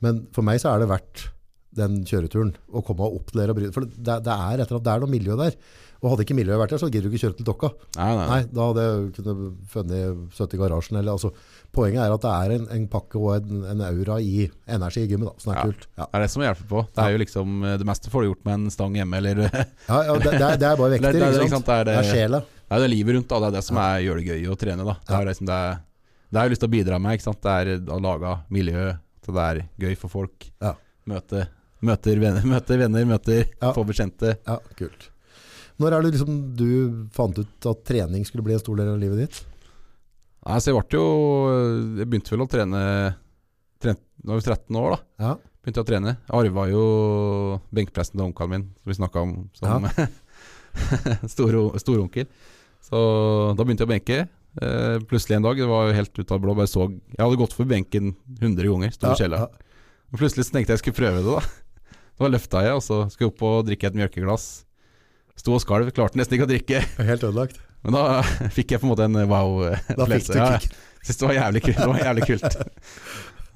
Men for meg så er det verdt den kjøreturen og komme opp der og bry For det, det er etter at det er noe miljø der. Og hadde ikke miljøet vært der, så gidder du ikke kjøre til Dokka.
Nei, nei.
Nei, da hadde jeg kunnet funnet søtt i garasjen. Eller, altså, poenget er at det er en, en pakke og en, en aura i energi i gymmet, da, som er
Ja.
kult. Ja.
Det er det som hjelper på. Det er jo liksom eh, Det meste får du gjort med en stang hjemme, eller Det
Ja, ja, det, det, er, det er bare
Det-
vekter,
det er-
ikke
ikke
sant?
sant, det er
Det er
det-
sjela.
er jo det livet rundt, da. Det er det som er, gjør det gøy å trene, da. Det
Ja.
er liksom det Det har jeg lyst til å bidra med, ikke sant. Det er eh, å lage miljø til det er gøy for folk.
Ja.
Møte Møter venner, møter, venner, møter
Ja.
få bekjente.
Ja, kult. Når er det liksom du fant ut at trening skulle bli en stor del av livet ditt?
Nei, så jeg ble jo Jeg begynte vel å trene trent, Da var jeg 13 år, da.
Ja,
begynte jeg å trene. Arva jo benkpressen til onkelen min, som vi snakka om som stor- storonkel. Så da begynte jeg å benke. Eh, plutselig en dag, det var jo helt ut av det blå, bare så Jeg hadde gått forbi benken 100 ganger, sto i kjelleren. Men Plutselig så tenkte jeg jeg skulle prøve det, da. Da løfta jeg, og så skulle jeg opp og drikke et mjølkeglass. Sto og skalv, klarte nesten ikke å drikke.
Ja, helt ødelagt.
Men da fikk jeg på en måte en
Da fikk
wow-opplevelse.
du kick.
Synes det var jævlig kult. Det var jævlig kult.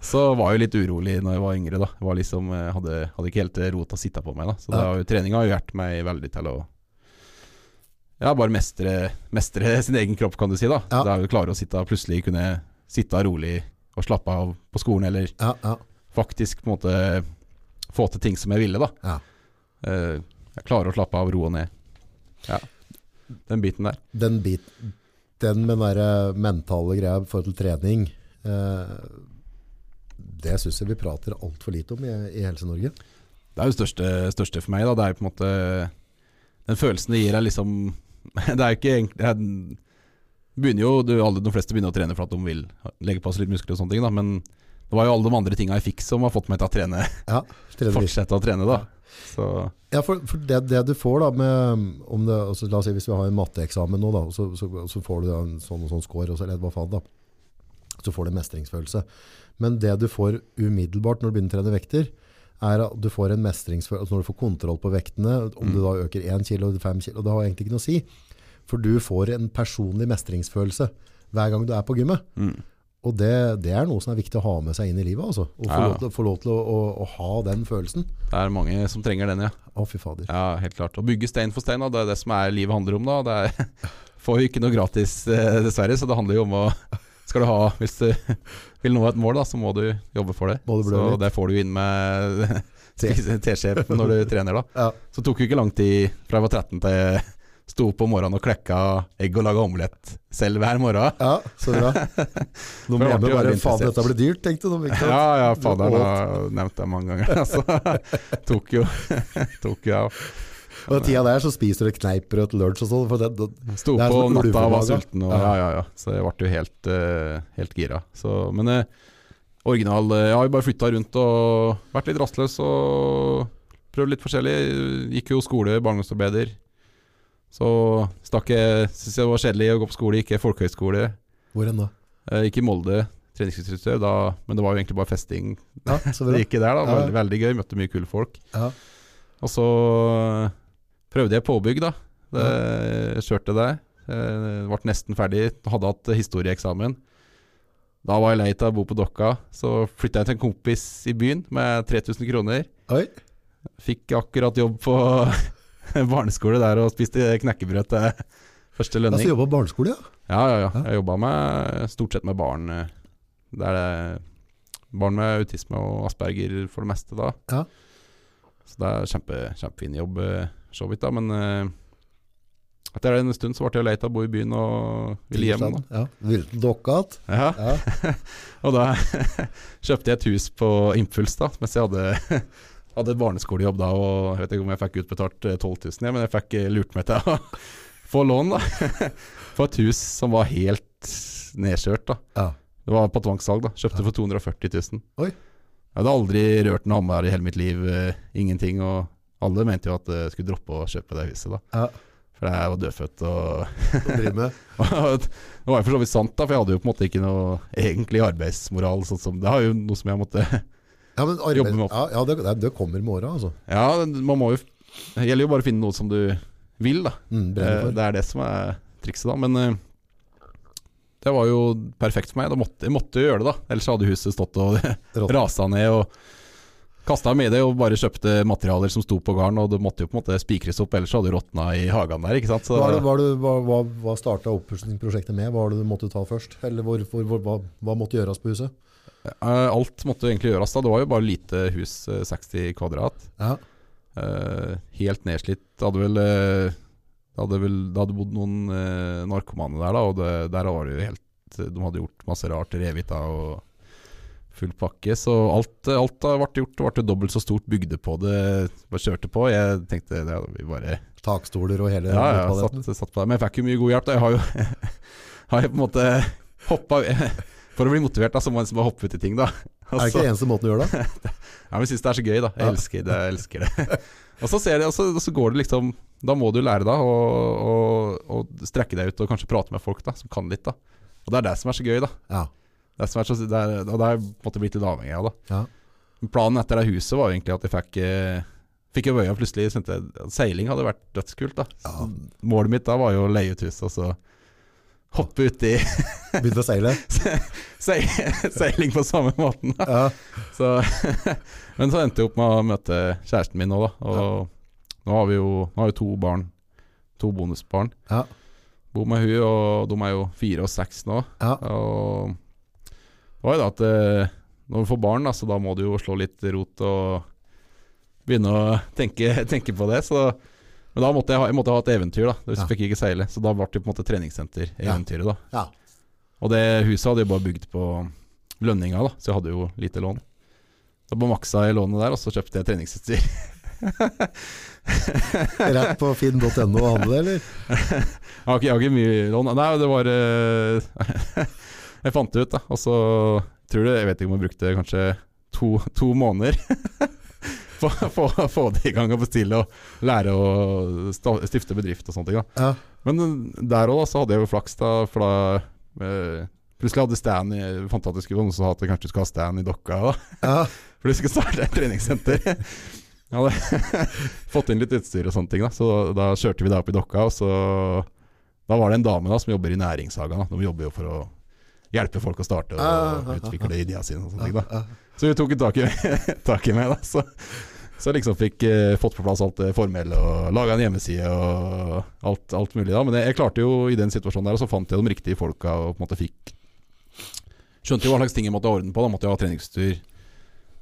Så var jeg jo litt urolig når jeg var yngre. da Jeg var liksom, eh, hadde, hadde ikke helt ro til å sitte på meg. da Så det
Ja.
har jo- treninga har jo hjulpet meg veldig til å Ja, bare mestre, mestre sin egen kropp, kan du si. da
Ja.
Det er jo klare å sitte plutselig kunne sitte rolig og slappe av på skolen, eller
Ja, ja.
faktisk på en måte få til ting som jeg ville, da.
Ja.
Eh, Jeg klarer å slappe av, roe ned. Ja. Den biten der.
Den, bit, den med den der eh, mentale greia i forhold til trening, eh, det synes jeg vi prater alt for lite om i, i Helse-Norge.
Det er jo det største, største for meg. Da. Det er jo på en måte Den følelsen det gir deg liksom Det er jo ikke egentlig jeg, begynner jo, du, alle, De fleste begynner å trene for at de vil legge på seg litt muskler og sånne ting, da, men det var jo alle de andre tinga jeg fikk som har fått meg til å trene.
Ja, trener vi.
Fortsette å trene, da. Så
Ja, for, for det, det du får da med, om det, altså, La oss si hvis vi har en matteeksamen nå, da, og så, så, så får du da en sånn og sånn score, og så, eller hva faen da, så får du en mestringsfølelse. Men det du får umiddelbart når du begynner å trene vekter, er at du får en mestringsfølelse, altså når du får kontroll på vektene, om du da øker 1 kilo eller 5 kilo, det har egentlig ikke noe å si. For du får en personlig mestringsfølelse hver gang du er på gymmet.
mm.
Og det, det er noe som er viktig å ha med seg inn i livet, altså. Å få
Ja.
lov til, få lov til å, å, å ha den følelsen.
det er mange som trenger den, ja.
Å, fy fader.
ja. Helt klart. Å bygge stein for stein, da, det er det som er livet handler om. da Det er, får jo ikke noe gratis, eh, dessverre, så det handler jo om å skal du ha, Hvis du vil nå et mål, da, så må du jobbe for det.
Må du blø
så
litt.
det får du inn med spise- teskje når du trener, da.
Ja.
Så tok det ikke lang tid fra jeg var 13 til jeg sto opp om morgenen og klekka egg og laga omelett selv hver morgen.
Ja, så bra. Nå må
jeg
hjemme
ble
bare
veldig
Faen,
interessert.
dette blir dyrt, tenkte de. Ikke sant?
Ja, ja, faderen har nevnt det mange ganger. Altså, tok jo Tok jo av.
Og den tida der så spiser du et kneippbrød til lunsj og sånn. For det, det,
Sto
Det er
på
sånn
natta og var
ulvedager.
sulten. Og,
Ja.
ja, ja, ja. Så jeg ble jo helt, eh, helt gira. Så, men eh, original eh, Jeg har jo bare flytta rundt og vært litt rastløs og prøvd litt forskjellig. Gikk jo skole, barndomsarbeider. Så stakk jeg Syntes jeg det var kjedelig å gå på skole, gikk jeg folkehøyskole.
hvor enn da?
Eh, Gikk i Molde, treningsinstruktør, da, men det var jo egentlig bare festing.
Ja, så bra.
Det gikk i der, da.
Ja.
Veldig, veldig gøy. Møtte mye kule folk.
Ja.
Og så øh, prøvde jeg påbygg, da. Det, jeg kjørte det. Eh, Ble nesten ferdig. Hadde hatt historieeksamen. Da var jeg lei av å bo på Dokka, så flytta jeg til en kompis i byen med 3000 kroner.
Oi.
Fikk akkurat jobb på barneskole der og spiste knekkebrød til første
Altså
lønning.
jobba på barneskole, ja?
Ja, ja, ja.
Ja.
Jeg jobba med, stort sett med barn. eh, Der det er barn med autisme og asperger for det meste, da.
Ja.
Så det er kjempe, kjempefin jobb, eh, for så vidt, da. Men eh, etter en stund så ble jeg lei av å bo i byen og ville hjem. Da.
Ja. Ville til dokka att?
Ja.
Ja.
Og da kjøpte jeg et hus på impuls, da, mens jeg hadde hadde et barneskolejobb da, og jeg vet ikke om jeg fikk utbetalt eh, 12 000, ja, men jeg fikk eh, lurt meg til å få lån, da. For et hus som var helt nedkjørt, da.
ja.
Det var på tvangssalg, da. Kjøpte for 240 000.
Oi.
Jeg hadde aldri rørt en hammer i hele mitt liv. eh, ingenting. Og alle mente jo at jeg skulle droppe å kjøpe det huset, da.
Ja.
For jeg var dødfødt, og,
Å drive med.
og Det var jo for så vidt sant, da, for jeg hadde jo på en måte ikke noe egentlig arbeidsmoral. Sånn som, det er jo noe som jeg måtte
Ja, men arbeid,
Jobbe med opp.
ja, ja det, det- det kommer med åra, altså.
Ja, man må jo Det gjelder jo bare å finne noe som du vil, da.
Mm, brenner
Eh,
for.
Det er det som er trikset, da. Men eh, det var jo perfekt for meg. Da måtte, jeg måtte jo gjøre det, da. Ellers hadde huset stått og
Rått.
rasa ned. Og Kasta med det og bare kjøpte materialer som sto på garn, og det måtte jo på en måte spikres opp, ellers hadde det råtna i hagen der. ikke sant? Så-
Hva, er det- hva, er det- hva, hva, hva starta oppussingsprosjektet med? Hva var det du måtte ta først? Eller hvor, hvor, hvor, hva, hva måtte gjøres på huset?
Eh, Alt måtte jo egentlig gjøres da. Det var jo bare lite hus, eh, 60 kvadrat.
Ja.
Eh, helt nedslitt. Det hadde vel, eh, det hadde vel det hadde bodd noen eh, narkomane der, da, og det, der var det jo helt De hadde gjort masse rart, revet av og full pakke. Så alt, eh, alt har vært gjort. Det ble dobbelt så stort bygde på det. Bare kjørte på. Jeg tenkte ja, vi bare
Takstoler og hele
ja, ja,
paletten.
satt, satt på det. Men jeg fikk jo mye god hjelp. Da. Jeg har jo har jeg på en måte hoppa For å bli motivert, da, så må en liksom bare hoppe ut i ting, da. Og
Er det
så-
ikke eneste måten å gjøre det?
ja, men jeg syns det er så gøy, da. Jeg
Ja.
elsker det. jeg elsker det Og så ser jeg, og så, og så går det liksom Da må du lære deg å, å, å strekke deg ut og kanskje prate med folk da som kan litt. da Og det er det som er så gøy, da.
Ja.
Det er som er så, det er, og det er jeg på en måte blitt litt avhengig av. da
Ja.
Men Planen etter det huset var jo egentlig at jeg fikk eh, Fikk jo øya plutselig syntes jeg- Seiling hadde vært dødskult. da
Ja.
Målet mitt da var jo å leie ut huset og så hoppe uti
Begynte å seile?
seiling på samme måten. da
Ja.
Så, men så endte jeg opp med å møte kjæresten min nå, da. Og nå har vi jo nå har vi to barn. To bonusbarn.
Ja.
Bor med hun, og de er jo fire og seks nå.
Ja.
Og det var jo da at eh, når du får barn, da, så da må du jo slå litt rot og begynne å tenke, tenke på det. Så, men da måtte jeg, ha, jeg måtte ha et eventyr, da. Hvis
Ja.
jeg fikk ikke seile. Så da ble det på en måte treningssenter-eventyret, da.
Ja.
Og det huset hadde jeg bare bygd på lønninga, da, så jeg hadde jo lite lån. Så bare maksa jeg lånet der, og så kjøpte jeg treningsutstyr.
Rett på finn.no og handle, eller?
Jeg har ikke, jeg har ikke mye lån. Nei, det var eh, Jeg fant det ut, da. Og så tror jeg Jeg vet ikke om jeg brukte kanskje to, to måneder på å få- få det i gang og bestille og lære å sta- stifte bedrift og sånne ting. da.
Ja.
Men eh, der òg, så hadde jeg jo flaks, da. For da eh, plutselig hadde Stan jeg Fant at jeg skulle noen som sa at jeg kanskje skulle ha Stan i dokka. da
ja.
For du skal starte et treningssenter. Jeg hadde fått inn litt utstyr og sånne ting, da. så da kjørte vi da opp i dokka. Og så, da var det en dame da som jobber i næringshagen. Da. De jobber jo for å hjelpe folk å starte og
Ah, ah,
utvikle ideene sine. og sånne ting da.
Ja.
Så vi tok tak i, tak i meg, da. Så, så liksom fikk eh, fått på plass alt det formelle og laga en hjemmeside og alt, alt mulig. da Men jeg, jeg klarte jo i den situasjonen der, og så fant jeg de riktige folka og på en måte fikk Skjønte jo hva slags ting jeg måtte ha orden på. Da måtte jeg ha treningsutstyr.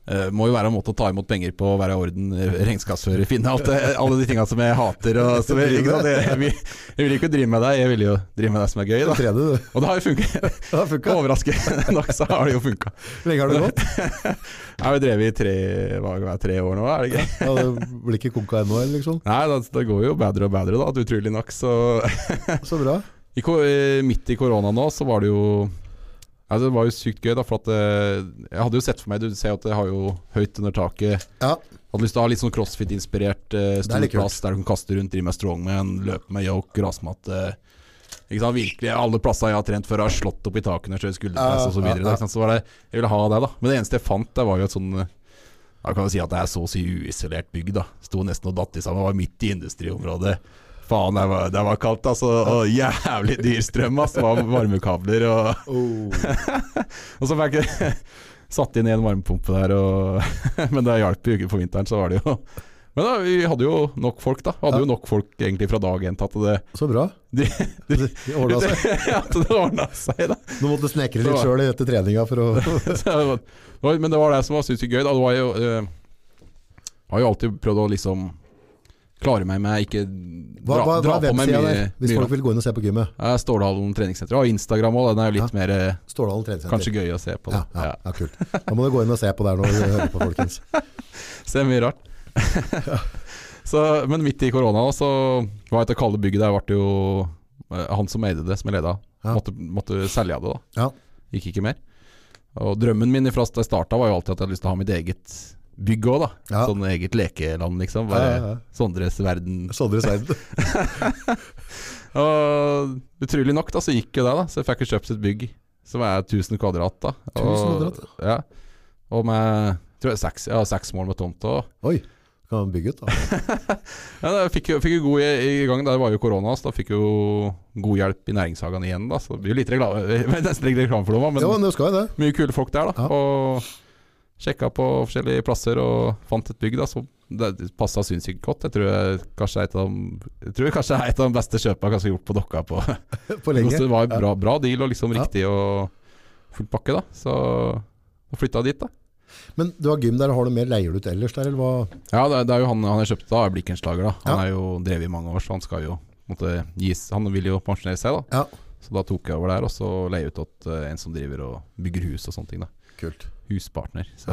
Eh, må jo være en måte å ta imot penger på, være i orden, eh, regnskapsfører, finne alt det, alle de tinga som jeg hater. Og, som jeg, ikke sant? Jeg, jeg, vil- jeg vil ikke drive med deg, jeg vil jo drive med deg som er gøy. Da.
Tredje, du.
Og det har jo funka.
Det har funka.
Overraskende nok så har det jo funka.
Hvor lenge har det gått?
Jeg har jo drevet i tre, hva, hva er det, tre år nå, er det ikke?
Ja, det blir ikke konka ennå, eller liksom.
Nei, det, det går jo bedre og bedre, da, utrolig nok. Så
Så bra.
I, ko- eh, midt i korona nå, så var det jo Altså, det var jo sykt gøy, da, for at eh, jeg hadde jo sett for meg Du ser jo at jeg har jo høyt under taket.
Ja.
Hadde lyst til å ha litt sånn crossfit-inspirert eh,
er
stor
litt kult.
plass der du kan kaste rundt, drive med strongman, løpe med yoke, grasmatte. Ikke sant, Virkelig, Alle plasser jeg har trent før, har slått opp i takene, kjørt skulderpress
Ja,
og så videre
ja, ja.
da, ikke sant? Så var det, jeg ville ha det, da. Men det eneste jeg fant, der var jo et sånn eh, Da kan vi si at det er så å si uisolert bygg, da. Sto nesten og datt i sammen, var midt i industriområdet. Faen, det var, det var kaldt, altså. Og jævlig dyr strøm, ass. Det var varmekabler og
Oh.
og så fikk jeg satt inn en varmepumpe der, og, men det hjalp jo ikke på vinteren, så var det jo Men da, vi hadde jo nok folk, da. Vi Hadde jo nok folk egentlig fra dag én til at det
Så bra.
de, de,
Det ordna seg.
Ja, at det ordna seg, da.
Du måtte snekre litt sjøl etter treninga for å
Så det var- det var- Men det var det som var sinnssykt gøy. Da. Det var jo eh, Har jo alltid prøvd å liksom klare meg med ikke
Hva, hva,
dra,
hva
dra
er
på meg
websida
mye.
der, hvis
mye
folk vil gå inn og se på gymmet?
da. Eh, Stårdalen treningssenter. Og Instagram òg, den er jo litt mer eh,
Stårdalen treningssenter.
kanskje gøy å se på.
Ja,
Da.
ja, ja, kult. Da må du gå inn og se på der når du hører på, folkens.
Se mye rart. så, men midt i korona, så var det kalde bygget der, ble jo eh, han som eide det, som jeg leda,
Ja.
måtte, måtte selge det. da
Ja.
Gikk ikke mer. Og drømmen min fra jeg starta, var jo alltid at jeg hadde lyst til å ha mitt eget bygg òg, da.
Ja.
Sånn eget lekeland,
Ja,
liksom.
ja,
Bare
ja. Sånn
Sondres verden.
Sondre Seid.
Og utrolig nok, da, så gikk jo det, da. Så jeg fikk jo kjøpt et bygg som er 1000 kvadrat, da.
1000 kvadrat,
ja. Og med tror jeg, seks, ja, seks mål med tomt òg.
Oi, kan man bygge ut, da?
Ja, da fikk, jo- fikk jo god i, i gang, da det var jo korona, så da fikk jo god hjelp i næringshagen igjen. da, Så det blir jo litt reklame, nesten litt reklame for dem, da, men
Jo, men du skal jo det.
mye kule folk der. da,
Ja.
og Sjekka på forskjellige plasser og fant et bygg da, som passa sinnssykt godt. Jeg tror, jeg, kanskje er et av de, jeg tror kanskje det er et av de beste kjøpa jeg har gjort på Dokka. på
For lenge.
Det var en
Ja.
bra, bra deal og liksom
Ja.
riktig og full pakke, da. Så og flytta dit, da.
Men du har gym der, har du mer leier du ut ellers der, eller hva?
Ja, det er, det er jo han, han jeg kjøpte da, er Blikkenslager. da Han
Ja.
er jo drevet i mange år, så han skal jo på en måte, gis Han vil jo pensjonere seg, da.
Ja.
Så da tok jeg over der, og så leier jeg ut til eh, en som driver og bygger hus og sånne ting. da
Kult.
Huspartner. Så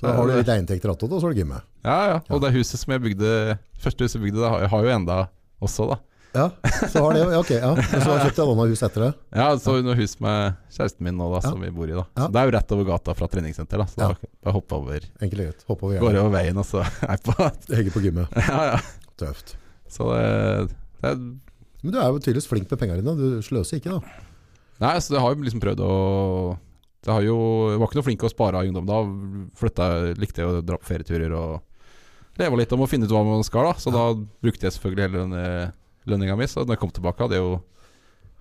Så da har du litt eientekter attåt, og så har du gymmet.
ja, ja. Og det huset som jeg bygde, første huset jeg bygde, det har jeg har jo enda også, da.
Ja, så har det, ja, ok, ja. Men så kjøpte jeg et annet hus etter det.
Ja, så hun har hus med kjæresten min nå, da, som vi bor i. da
Ja.
Så Det er jo rett over gata fra treningssenter, da. Så
Ja.
da, da hopper jeg over
Enkelt og greit. Hoppe over
Går
gjerdet.
over veien, og så er jeg på
Hegge på gymmet.
Ja, ja.
Tøft.
Så eh, det, det er
Men du er jo tydeligvis flink med pengene dine. Du sløser ikke, da.
Nei, så det har jo liksom prøvd å det har jo, Jeg var ikke noe flink til å spare i ungdom. Da flytta, jeg- likte jeg å dra på ferieturer og leve litt om å finne ut hva man skal. da Så da brukte jeg selvfølgelig hele lønne, lønninga mi. Så når jeg kom tilbake, hadde jeg jo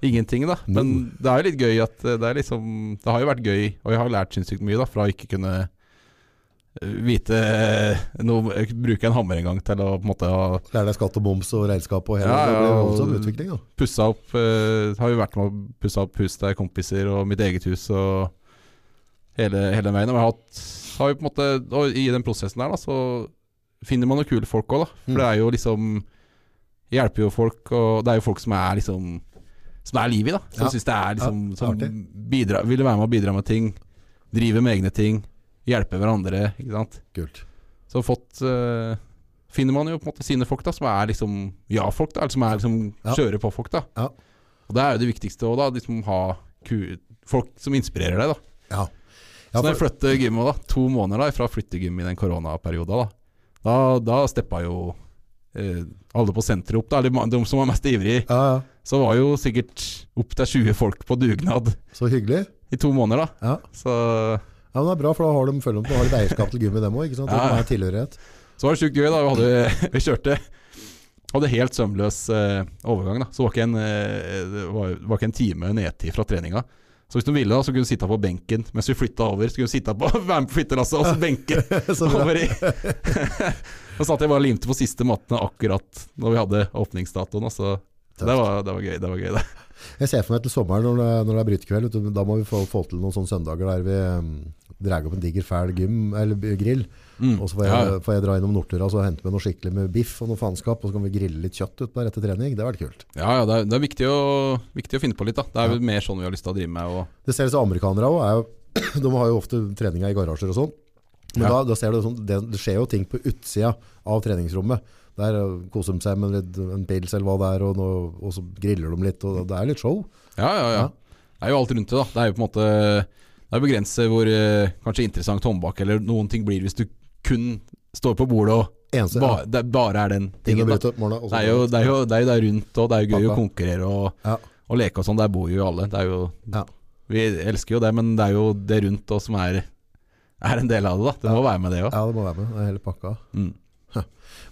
ingenting, da. Men det er jo litt gøy at eh, det er liksom Det har jo vært gøy, og jeg har lært sinnssykt mye da fra å ikke kunne eh, vite eh, noe, Bruke en hammer en gang til å på en måte ha
Lærer deg skatt og moms og regnskap og hele
Ja,
Det blir jo
ja, og-
voldsom utvikling, da.
pussa opp eh, Har jo vært med å pusse opp hus til kompiser og mitt eget hus og hele, hele den veien. Og jeg har hatt har jo på en måte, og I den prosessen der da, så finner man jo kule folk òg, da. For
Mm.
det er jo liksom Hjelper jo folk, og det er jo folk som er liksom Som det er liv i, da. Som
Ja.
synes det er liksom
Ja,
Som
artig.
bidra, vil være med å bidra med ting. Drive med egne ting. Hjelpe hverandre, ikke sant.
Kult.
Så fått eh, Finner man jo på en måte sine folk da som er liksom ja-folk, da eller som er liksom
Ja.
kjøre på folk. da
Ja.
Og det er jo det viktigste òg, da. Liksom ha ku folk som inspirerer deg. da
Ja.
Så
Ja,
når jeg
for,
flytter gymmet, da to måneder da fra flyttegym i den koronaperioden, da Da, da steppa jo eh, alle på senteret opp. da Eller ma- de som var mest ivrige,
ja, ja.
så var jo sikkert opp til 20 folk på dugnad
Så hyggelig.
i to måneder, da.
Ja.
Så
Ja, men Det er bra, for da har de, føler de at de har et eierskap til gymmet, dem òg. Ja,
Ja, ja.
ja. Tilhørighet.
Så var det sjukt gøy da, vi, hadde, vi kjørte Hadde helt sømløs eh, overgang da Så var ikke en, eh, det var, det var ikke en time nedtid fra treninga Så hvis du ville da, så kunne du sitte på benken Mens vi flyttet over, så kunne du sitte på Være med på flyttelasset og så benke
Så bra.
over i Da satt jeg bare og limte på siste mattene akkurat Når vi hadde åpningsdatoen da, Så det var, det var gøy, det var gøy det.
Jeg ser for meg til sommeren når det, når det er brytekveld, vet du, da må vi få, få til noen sånne søndager der vi mm, drar opp en diger fæl gym, eller b- grill, og så får jeg,
Ja.
får jeg dra innom Nordtura og så hente med noe skikkelig med biff og noe faenskap, og så kan vi grille litt kjøtt ut på rette trening. Det har vært kult.
Ja, ja, det er, det er viktig, å, viktig å finne på litt da Det er jo mer sånn vi har lyst til å drive med og,
Det ser ut som amerikanere òg. De har jo ofte treninga i garasjer og sånn. Men
Ja.
da, da ser du sånn, det, det skjer jo ting på utsida av treningsrommet. Der eh, koser de seg med litt, en pils eller hva det er, og, noe, og så griller de litt. Og det er litt show.
Ja, ja, ja.
Ja.
Det er jo alt rundt det, da. Det er jo på en måte Det er begrenset hvor eh, kanskje interessant håndbak eller noen ting blir hvis du kun står på bordet og
Eneste
ba, det bare er den
ting å
tingen. Da.
bryte opp morgenen. og så-
Det er jo det, er jo, det, er jo der rundt, og det er jo gøy å
Pappa.
konkurrere og,
Ja.
og leke og sånn. Der bor jo alle. Det er jo
Ja.
Vi elsker jo det, men det er jo det rundt oss som er, er en del av det, da. Det må være med, det òg.
Ja, det må være med. Det er hele pakka.
Mm.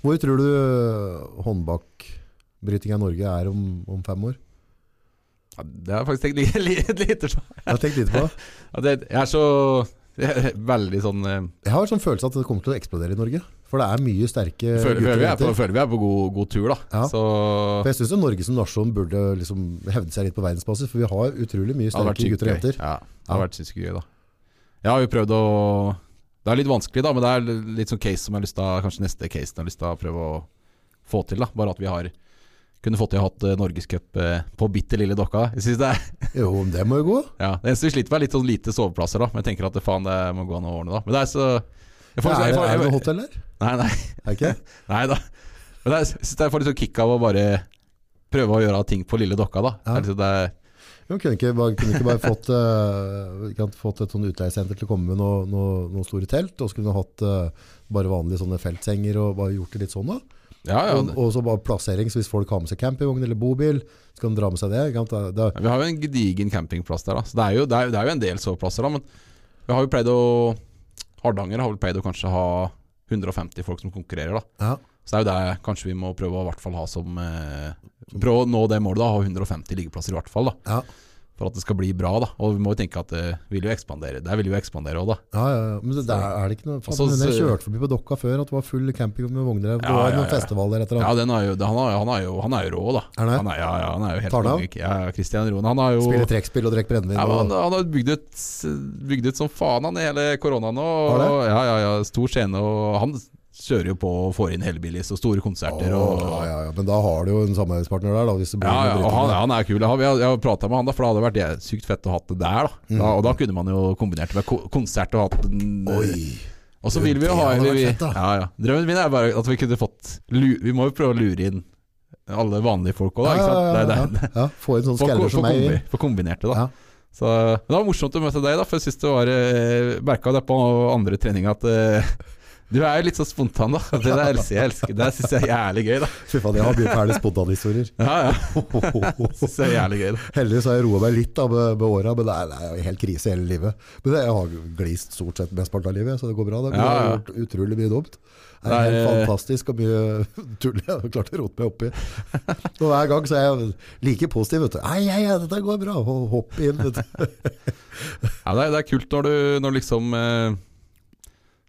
Hvor tror du håndbakbryting i Norge er om, om fem år?
Ja, Det har jeg faktisk tenkt li- li- litt lite på.
Jeg har tenkt litt på det.
Ja, det- Jeg er så jeg er veldig sånn eh,
Jeg har en sånn følelse at det kommer til å eksplodere i Norge. For det er mye sterke
Føler,
Eh, gutter og
føler, vi er på,
jenter.
føler vi er på god, god tur, da.
Ja.
Så
For jeg syns Norge som nasjon burde liksom hevde seg litt på verdensbasis, for vi har utrolig mye
Det hadde vært
sterke
sykt
gutter og
gøy.
jenter.
Ja, det hadde vært sykt gøy da Jeg har jo prøvd å Det er litt vanskelig da, men det er litt sånn case som jeg har lyst til å- Kanskje neste case jeg har lyst til å prøve å få til da Bare at vi har kunne fått til å ha hatt eh, Norgescup eh, på bitte lille dokka. Jeg synes det er
Jo, men det må jo gå.
ja. Det eneste vi sliter med, er litt sånn lite soveplasser. da Men jeg tenker at det faen, det må gå an å ordne, da. Men det er så jeg får,
er,
jeg
det-
får,
er det noe
jeg,
hotell der?
nei, nei,
Er det ikke det?
nei da. Men det er, jeg synes jeg får litt sånn kick av å bare prøve å gjøre ting på lille dokka, da.
Ja.
Det er liksom det er,
Men kunne ikke, bare, kunne ikke bare fått, eh, ikke sant, fått et sånn utleiesenter til å komme med noe- noe- noen store telt, og så kunne du hatt eh, bare vanlige sånne feltsenger og bare gjort det litt sånn da?
ja, ja,
Og, og så bare plassering, så hvis folk har med seg campingvogn eller bobil, så kan de dra med seg det. ikke sant? Det, det,
Ja, Vi har jo en gedigen campingplass der, da. Så det er jo, det er, jo- det er jo en del soveplasser, da. Men vi har jo pleid å Hardanger har vel pleid å kanskje ha 150 folk som konkurrerer, da.
ja.
Så det er jo det kanskje vi må prøve å i hvert fall ha som eh, Prøve å nå det målet, da. Ha 150 liggeplasser i hvert fall, da.
Ja.
for at det skal bli bra. da Og vi må jo tenke at det vil jo ekspandere. Der vil jo ekspandere òg, da.
Ja, ja, ja. Men det, der er det ikke noe faen,
Altså,
men Jeg
så-
kjørte forbi på Dokka før at det var full camping med vogner der. Det
Ja,
var
ja,
noen
ja.
festivaler etter
Ja,
annet.
den er jo, han, er, han, er jo, han er jo rå, da.
Er han det?
han er, ja, ja, han er jo helt
Tar han av?
konge. Ja, ja, Christian Roen. Han har jo
Spille trekkspill og drikke brennevin.
ja, men han,
og-
han har bygd ut, bygd ut som faen han i hele koronaen nå.
Har
Og,
det?
ja, ja, ja, stor scene, og han kjører jo på og får inn Hellbillies og store konserter. og,
Å, ja, ja, ja. Men da har du jo en samarbeidspartner der, da. Hvis det blir
ja, ja,
noe dritt
og han,
med det.
han er kul. Jeg har- Jeg har prata med han, da for da hadde det vært sykt fett å hatt det der. Da.
Mm.
da og da kunne man jo kombinert det med ko- konsert og hatt en
Oi!
Og så vil vi jo ha
Det hadde vært
vi, vi,
fett, da.
ja, ja. Drømmen min er bare at vi kunne fått lu- Vi må jo prøve å lure inn alle vanlige folk òg, da. Ikke sant?
Ja, ja, ja,
Det er det.
ja. Ja, få en sånn
Få
skaller
ko-
som
få
meg inn.
kombi, få kombinert det, da.
Ja.
Så, men det var morsomt å møte deg, da, for jeg syns det var eh, merket det på andre trening at eh, du er jo litt så spontan, da. Det der elsker jeg. elsker. Det syns jeg er jævlig gøy, da.
Fy faen, jeg har mye fæle spontanhistorier.
Ja, ja. Synes jeg er jævlig gøy, da.
Heldigvis har jeg roa meg litt da, med, med åra, men det er, det er jo helt krise hele livet. Men det, jeg har glist stort sett mesteparten av livet, så det går bra. Det, men
Ja,
jeg har
ja.
gjort utrolig mye dumt. Det
Det
er
er-
helt fantastisk hvor mye tull jeg har klart å rote meg oppi. Og hver gang så er jeg like positiv. vet du. Nei, ja, ja, dette går bra. Og hopp inn. vet du.
Ja, det, er, det er kult når du når liksom eh,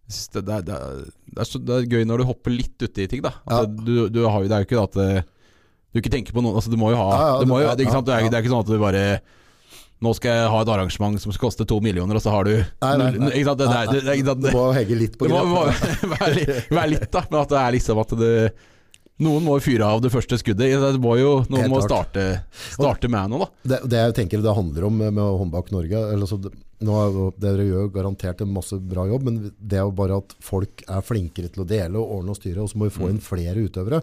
jeg synes det, det, er- det, er, det, er så, det er gøy når du hopper litt uti ting, da. At
Ja.
du, du har jo, det er jo ikke det at eh, du ikke tenker på noen altså, Du må jo ha
Ja, ja,
du må jo,
ja,
det, er ikke sant? Det,
ja.
er, det er ikke sånn at du bare Nå skal jeg ha et arrangement som skal koste to millioner, og så har du
Nei, nei,
null-
nei.
Ikke sant? Det, det,
Nei,
er-
nei.
det, det, er ikke sant?
Du må henge litt på
Det må, må
grep.
være, litt, være litt, da. Men at det er liksom at det Noen må jo fyre av det første skuddet. Det må jo, noen
Helt
må
klart.
starte, starte med noe, da.
Det, det jeg tenker det handler om med Håndbak Norge eller altså, det, nå, er jo- Dere gjør jo garantert en masse bra jobb, men det er jo bare at folk er flinkere til å dele og ordne og styre, og så må vi få inn flere utøvere.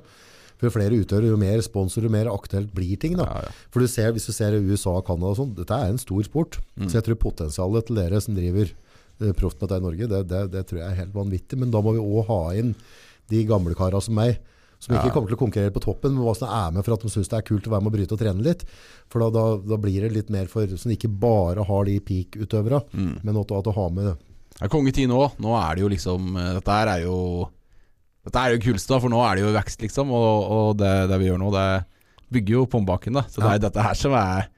For jo flere utøvere, jo mer sponsorer, jo mer aktuelt blir ting. Da.
Ja, ja.
For du ser, Hvis du ser i USA og Canada, og sånn, dette er en stor sport.
Mm.
Så jeg tror potensialet til dere som driver eh, proft med dette i Norge, det, det, det tror jeg er helt vanvittig. Men da må vi òg ha inn de gamle kara som meg, som ikke kommer til å konkurrere på toppen, men hva som er med for at de syns det er kult å være med og bryte og trene litt. For da, da, da blir det litt mer for som ikke bare har de peak-utøverne,
Mm.
men at, at du har med
Det er kongetid nå. Nå er det jo liksom eh, Dette her er jo Dette er jo kunst, da, for nå er det jo vekst, liksom. Og, og det, det vi gjør nå, det bygger jo Pombakken, da. Så det er dette her som er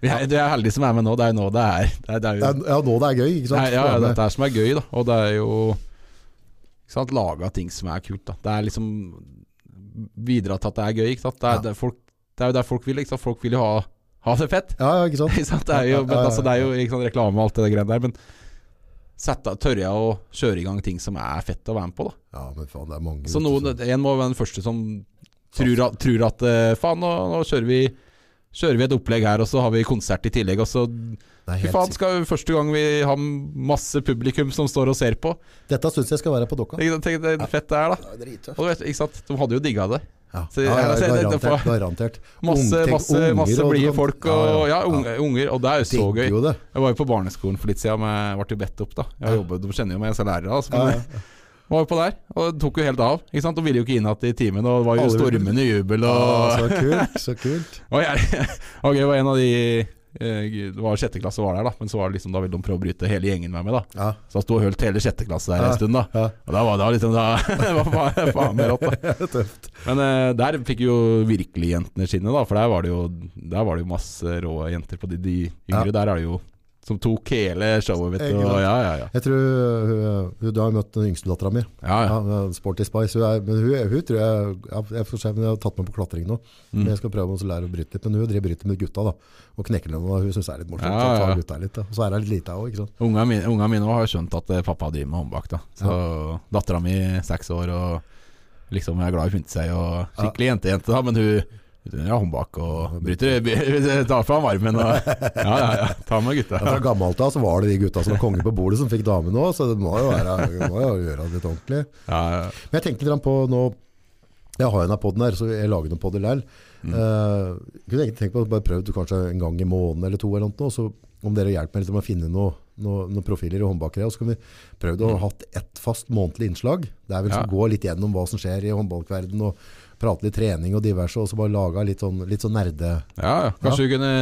Vi er, vi er heldige som er med nå. Det er jo nå det er Det er, det er jo
Det er, Ja, nå det er gøy, ikke sant?
Nei, ja, ja,
Få med-
dette er som er gøy, da. Og det er jo ikke sant, laga ting som er kult, da. Det er liksom bidra til at det er gøy, ikke sant. Det er,
Ja.
det, er folk, det er jo der folk vil, ikke sant. Folk vil jo ha, ha det fett.
ja, ja, ikke sant?
Ikke sant? Det er jo,
Ja, ja,
men
ja,
altså, det er jo ikke sant, reklame og alt det der greiene der, men sette, tørre jeg å kjøre i gang ting som er fett å være med på, da.
Ja, men faen, det er mange.
Så
ute
noen,
som-
en må være den første som tror at, tror at eh, faen, nå, nå kjører vi Kjører vi et opplegg her, og så har vi konsert i tillegg, og så
Det er
Fy
helt
faen,
sikkert.
skal første gang vi har masse publikum som står og ser på.
Dette syns jeg skal være på dokka.
Ikke sant? Tenk det er fett det er, da.
Ja, drittøft.
Og du vet, ikke sant? De hadde jo digga det.
Ja,
Så-
ja, ja,
altså, det- det-
garantert.
for-
garantert.
Masse,
Ung- tenk
masse,
unger,
masse
og du
blide
kan-
folk og ja, unge, unger. Og det er jo så
Digger
gøy.
jo det.
Jeg var jo på barneskolen for litt siden, men jeg ble jo bedt opp, da. Jeg har jobbet, De kjenner jo meg, jeg er lærer, altså.
Ja,
Men
ja.
jeg var jo på der, og det tok jo helt av. Ikke sant? De ville jo ikke inn igjen i timen, og det var jo
Alle ville-
stormende jubel
Ah,
og
så kult, så kult.
Og jeg og jeg var en av de eh, Det var sjette klasse var der, da, men så var det liksom, da ville de prøve å bryte hele gjengen med meg, da.
Ja.
Så jeg sto og hølt hele sjette klasse der
Ja,
en stund, da.
ja.
Og da var det liksom da, Det var faen, faen meg rått, da.
Tøft.
Men eh, der fikk jo virkelig jentene skinne, da. For der var det jo, der var det jo masse rå jenter på de, de yngre. Der er det jo som tok hele showet, vet du.
Ikke sant?
Og, ja, ja, ja.
Jeg tror hun, hun Du har møtt den yngste dattera mi.
ja, ja.
Ja, hun er Sporty Spice. Hun er, men hun, hun tror jeg ja, Jeg får se, men jeg har tatt meg på klatring nå.
Mm.
Men Jeg skal prøve å lære å bryte litt. Men hun driver bryter med gutta, da. Og knekker dem. Og hun syns det er litt morsomt.
Ja,
Så
ja.
tar gutta litt, da. Og så er hun litt lita òg, ikke sant.
Unga mine, unga mine også har jo skjønt at eh, pappa driver med håndbak. da Så Dattera mi seks år og liksom er glad i å pynte seg. Og skikkelig jentejente, da, men hun hun har håndbak og bryter Tar fra ham armen og Ja, ja, ja. Ta med gutta.
Ja, Fra gammelt av så var det de gutta som var konge på bordet, som fikk damene òg. Så det må jo, være, det må jo gjøre det litt ordentlig.
Ja, ja.
Men jeg tenkte litt grann på nå Jeg har jo denne podden her, så jeg lager noen podder der.
Mm.
kunne egentlig tenkt på å bare prøve det kanskje en gang i måneden eller to, eller noe, og så om dere hjelper meg litt med å finne noe, noe, noen profiler i håndbakere. Og så kan vi prøve å ha hatt ett fast månedlig innslag, der vi liksom
Ja.
går litt gjennom hva som skjer i håndballverden, og prater litt trening og diverse, og så bare laga litt sånn, litt sånn nerde...
ja, ja. Kanskje vi kunne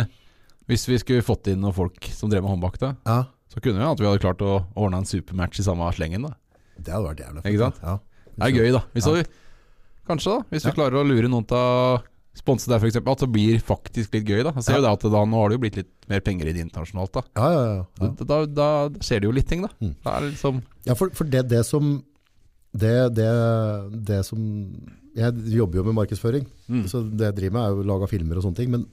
Hvis vi skulle fått inn noen folk som drev med håndbak, da,
Ja,
Så kunne vi at vi hadde klart å ordne en supermatch i samme slengen. da
det hadde vært jævla
Ikke sant?
Ja.
Det er gøy, da. Hvis vi, kanskje, da. Hvis vi klarer å lure noen av sponse deg, f.eks. At det blir faktisk litt gøy. da Jeg ser jo det at da, Nå har det jo blitt litt mer penger i det internasjonalt. Da
Ja, ja, ja. ja.
Da, da, da skjer det jo litt ting, da.
Mm.
Det er liksom
Ja, for, for det, det som det, det, det som Jeg jobber jo med markedsføring,
Mm.
så det jeg driver med, er jo å lage filmer og sånne ting. Men,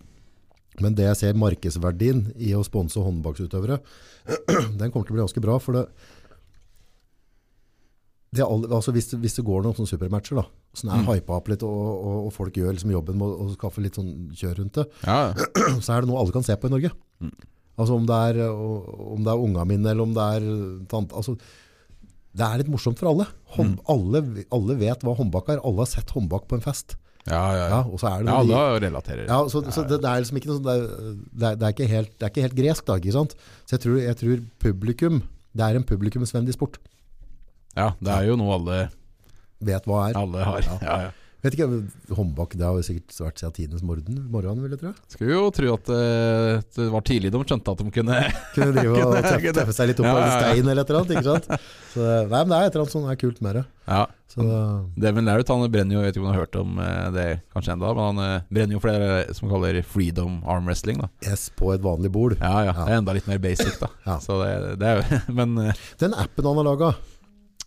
men det jeg ser markedsverdien i å sponse håndbaksutøvere, den kommer til å bli ganske bra. For det, det er alle, altså hvis, det- hvis det går noen sånne supermatcher, da, sånn er
Mm.
hypa opp litt, og, og, og folk gjør liksom jobben med å, å skaffe litt sånn kjør rundt det,
Ja,
så er det noe alle kan se på i Norge.
Mm.
Altså om det er, og- om det er unga mine, eller om det er tante, altså det er litt morsomt for alle. Hånd,
Mm.
alle. Alle vet hva håndbak er. Alle har sett håndbak på en fest.
ja, ja.
Ja,
ja.
og så er det
ja
noe
da relaterer
ja, så, så det, det er liksom ikke noe sånn, det, er, det, er, det, er ikke helt, det er ikke helt gresk da, ikke sant? Så jeg tror, jeg tror publikum, det er en publikumsvennlig sport.
Ja, det er jo noe alle,
Vet hva er.
alle har.
Ja.
Ja, ja.
Vet ikke, håndbak, det har jo sikkert vært siden tidens morgen, morgen, vil jeg tro.
Skulle jo tro at eh, det var tidlig de skjønte at de kunne
Kunne drive og tøffe, tøffe seg litt opp
Ja,
på en
ja, ja.
stein eller et eller annet, ikke sant? Så, eh, nei, men det er et eller annet som er kult med det.
Ja,
Så,
Devin Larrett han brenner jo, jeg vet ikke om du har hørt om eh, det kanskje enda, men han eh, brenner jo flere som kaller freedom arm wrestling. da
S på et vanlig bord.
Ja, ja,
Ja.
det er enda litt mer basic, da.
Ja.
Så det, det er jo Men eh,
Den appen han har laget,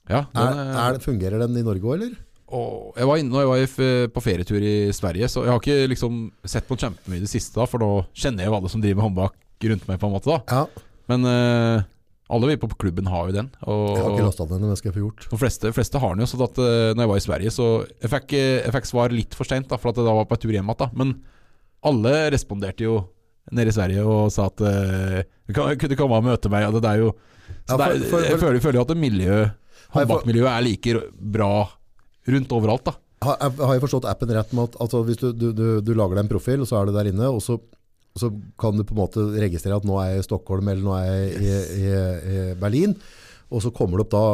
ja.
er,
den, eh,
er, fungerer den i Norge også, eller?
Åh, jeg var inne når jeg var i f- eh, på ferietur i Sverige, så jeg har ikke liksom sett på kjempemye i det siste, da for nå kjenner jeg jo alle som driver med håndbak rundt meg, på en måte. da
Ja,
Men eh, alle vi på klubben har jo den. Og,
jeg har ikke lastet den ennå, men skal jeg få gjort.
de fleste, fleste har den jo, så at, eh, når jeg var i Sverige, så jeg fikk, eh, jeg fikk svar litt for seint, for at jeg da var jeg på tur hjem igjen. da. Men alle responderte jo nede i Sverige og sa at eh, du kan, kunne du komme og møte meg. Og det er jo,
Ja,
så
for-
det er,
for-
jeg føler, føler jo at det miljø,
for-
håndbakmiljøet er like r- bra rundt overalt, da.
Har, har jeg forstått appen rett med at altså, hvis du, du, du, du lager deg en profil, og så er du der inne, og så, så kan du på en måte registrere at nå er jeg i Stockholm eller nå er jeg i, i, i Berlin, og så kommer det opp da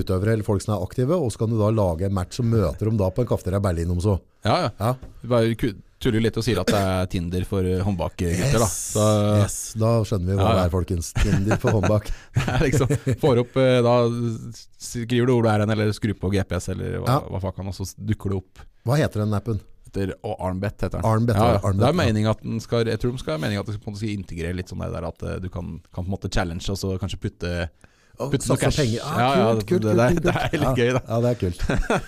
utøvere eller folk som er aktive, og så kan du da lage en match som møter dem da på en kafeteria i Berlin om så.
Ja, ja.
Ja.
Vi bare ku- tuller litt og sier at det er Tinder for eh, håndbakgutter, da. Så eh,
yes. Da skjønner vi hva
Ja,
det
ja.
er, folkens. Tinder for håndbak.
det er liksom Får opp eh, Da skriver du hvor du er hen, eller skrur på GPS, eller hva,
Ja.
hva faen, og så dukker det opp.
Hva heter den appen?
heter og Armbet heter den.
Armbet,
ja,
ja,
ja.
Armbet,
det er
ja.
meningen at den skal Jeg tror de skal ha meningen at de skal, på en måte skal integrere litt sånn det der at eh, du kan, kan på en måte challenge og så kanskje putte
Å,
Putte noe
satse
cash.
penger. Ah,
Ja, ja,
kult, kult,
det-
kult, kult,
det- det
kult.
er litt gøy, da.
Ja, det er kult.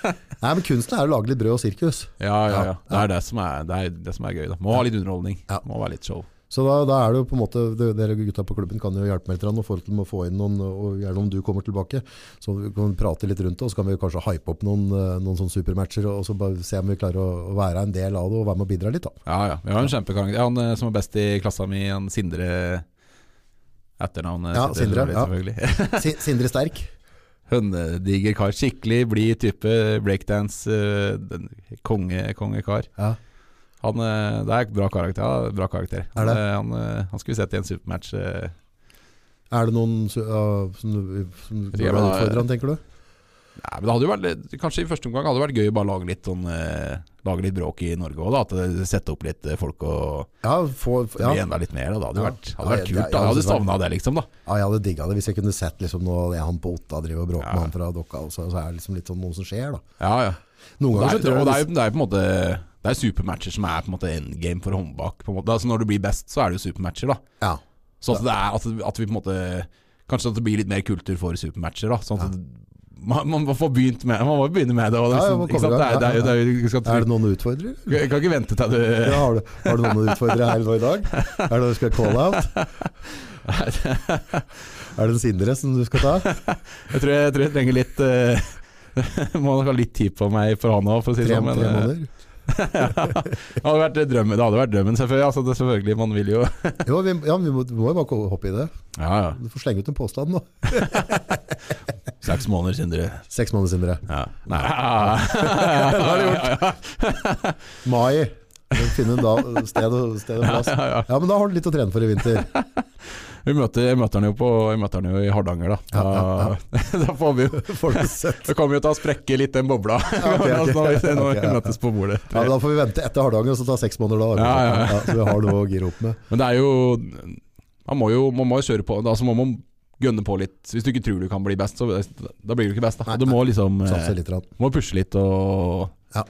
Nei, men kunsten er å lage litt brød og sirkus.
Ja, ja, ja.
Ja,
Det er det som er, det er, det som er gøy. da Må ha litt underholdning.
Ja.
Må være litt show.
Så da, da er det jo på en måte, de- dere gutta på klubben kan jo hjelpe meg litt grann, og forhold til med å få inn noen, og gjerne om du kommer tilbake, så vi kan prate litt rundt det, og så kan vi kanskje hype opp noen, eh, noen sånne supermatcher, og så bare se om vi klarer å, å være en del av det, og være med og bidra litt da.
Ja, ja. Vi har en kjempekarakter. Ja, Han eh, som er best i klassa mi, han Sindre Etternavnet
Ja,
sitter
Sindre,
dårlig,
ja.
selvfølgelig.
Si- Sindre Sterk,
Hønediger kar. Skikkelig blid type breakdance. eh, den- Konge, kongekar.
ja.
Han, eh, det er bra karakter. Ja, bra karakter.
Er det?
Eh, Han, eh, han skulle vi sett i en supermatch. eh,
er det noen su- ja, som, du- som du
Vet ikke,
er
men eh, da-
utfordrende, tenker du?
Nei, men det hadde jo vært litt- Kanskje i første omgang hadde det vært gøy å bare lage litt sånn eh, Lage litt bråk i Norge òg, da. At det- Sette opp litt eh, folk og
Ja, få,
det
ja.
blir enda litt mer. Da. Det
Ja.
hadde vært, hadde
Ja,
vært
ja, ja,
kult. Da. Jeg hadde
det hadde
savna det, liksom. da
ja, jeg hadde digget det hvis jeg kunne sett liksom nå, jeg han på Otta driver og bråker
Ja.
med han fra Dokka, og så, så er det liksom litt sånn noe som skjer da.
Ja, ja.
Noen
Og
ganger så
det, er,
tror jeg
og det, er, jo- det er jo på en måte Det er supermatcher som er på en måte endgame for håndbak. På en måte. Altså, når du blir best, så er det jo supermatcher, da.
ja.
Så at, det er, at, at vi på en måte Kanskje at det blir litt mer kultur for supermatcher. da Sånn at man, man, må få begynt med, man må jo begynne med det. Og det,
Ja,
er
ja,
sånn-
man
ikke sant?
kommer
det,
i gang.
er, det, er, jo- det, er, jo- ikke sant?
Er det noen utfordrere?
Du kan ikke vente til du
Ja, har, du, har du noen utfordrere her nå i dag? Er det noe du skal call out? Er det en Sindre som du skal ta?
Jeg tror jeg, tror jeg trenger litt eh, Må nok ha litt tid på meg for han òg, for å si
Tre,
det
tre
sånn. Men, eh,
måneder?
det, hadde vært drømmen, det hadde vært drømmen, selvfølgelig. Altså, det, selvfølgelig man vil jo
Jo, vi, ja, vi må, vi må jo bare ko- hoppe i det.
Ja, ja.
Du får slenge ut en påstand nå.
Seks måneder, Sindre.
Seks måneder, Sindre.
Ja. Nei Det
har du
gjort.
Mai. Finne en da, sted og, sted og plass. Ja, men da har du litt å trene for i vinter.
Vi møter, jeg møter han jo på Jeg møter han jo i Hardanger, da. Da, da får vi jo
Får du sett.
Det kommer jo til å sprekke litt den bobla
ok, ok.
Altså, når vi, når vi
Ok, ja, ja.
møtes på bordet.
Ja, men da får vi vente etter Hardanger og så ta seks måneder da.
Ja, ja, ja.
så vi har noe å gire opp med.
Men det er jo Man må jo, man må jo kjøre på. Da så må man gønne på litt. Hvis du ikke tror du kan bli best, så da blir du ikke best. Da. Og du må liksom eh,
Satse litt. grann.
må pushe litt og
Ja.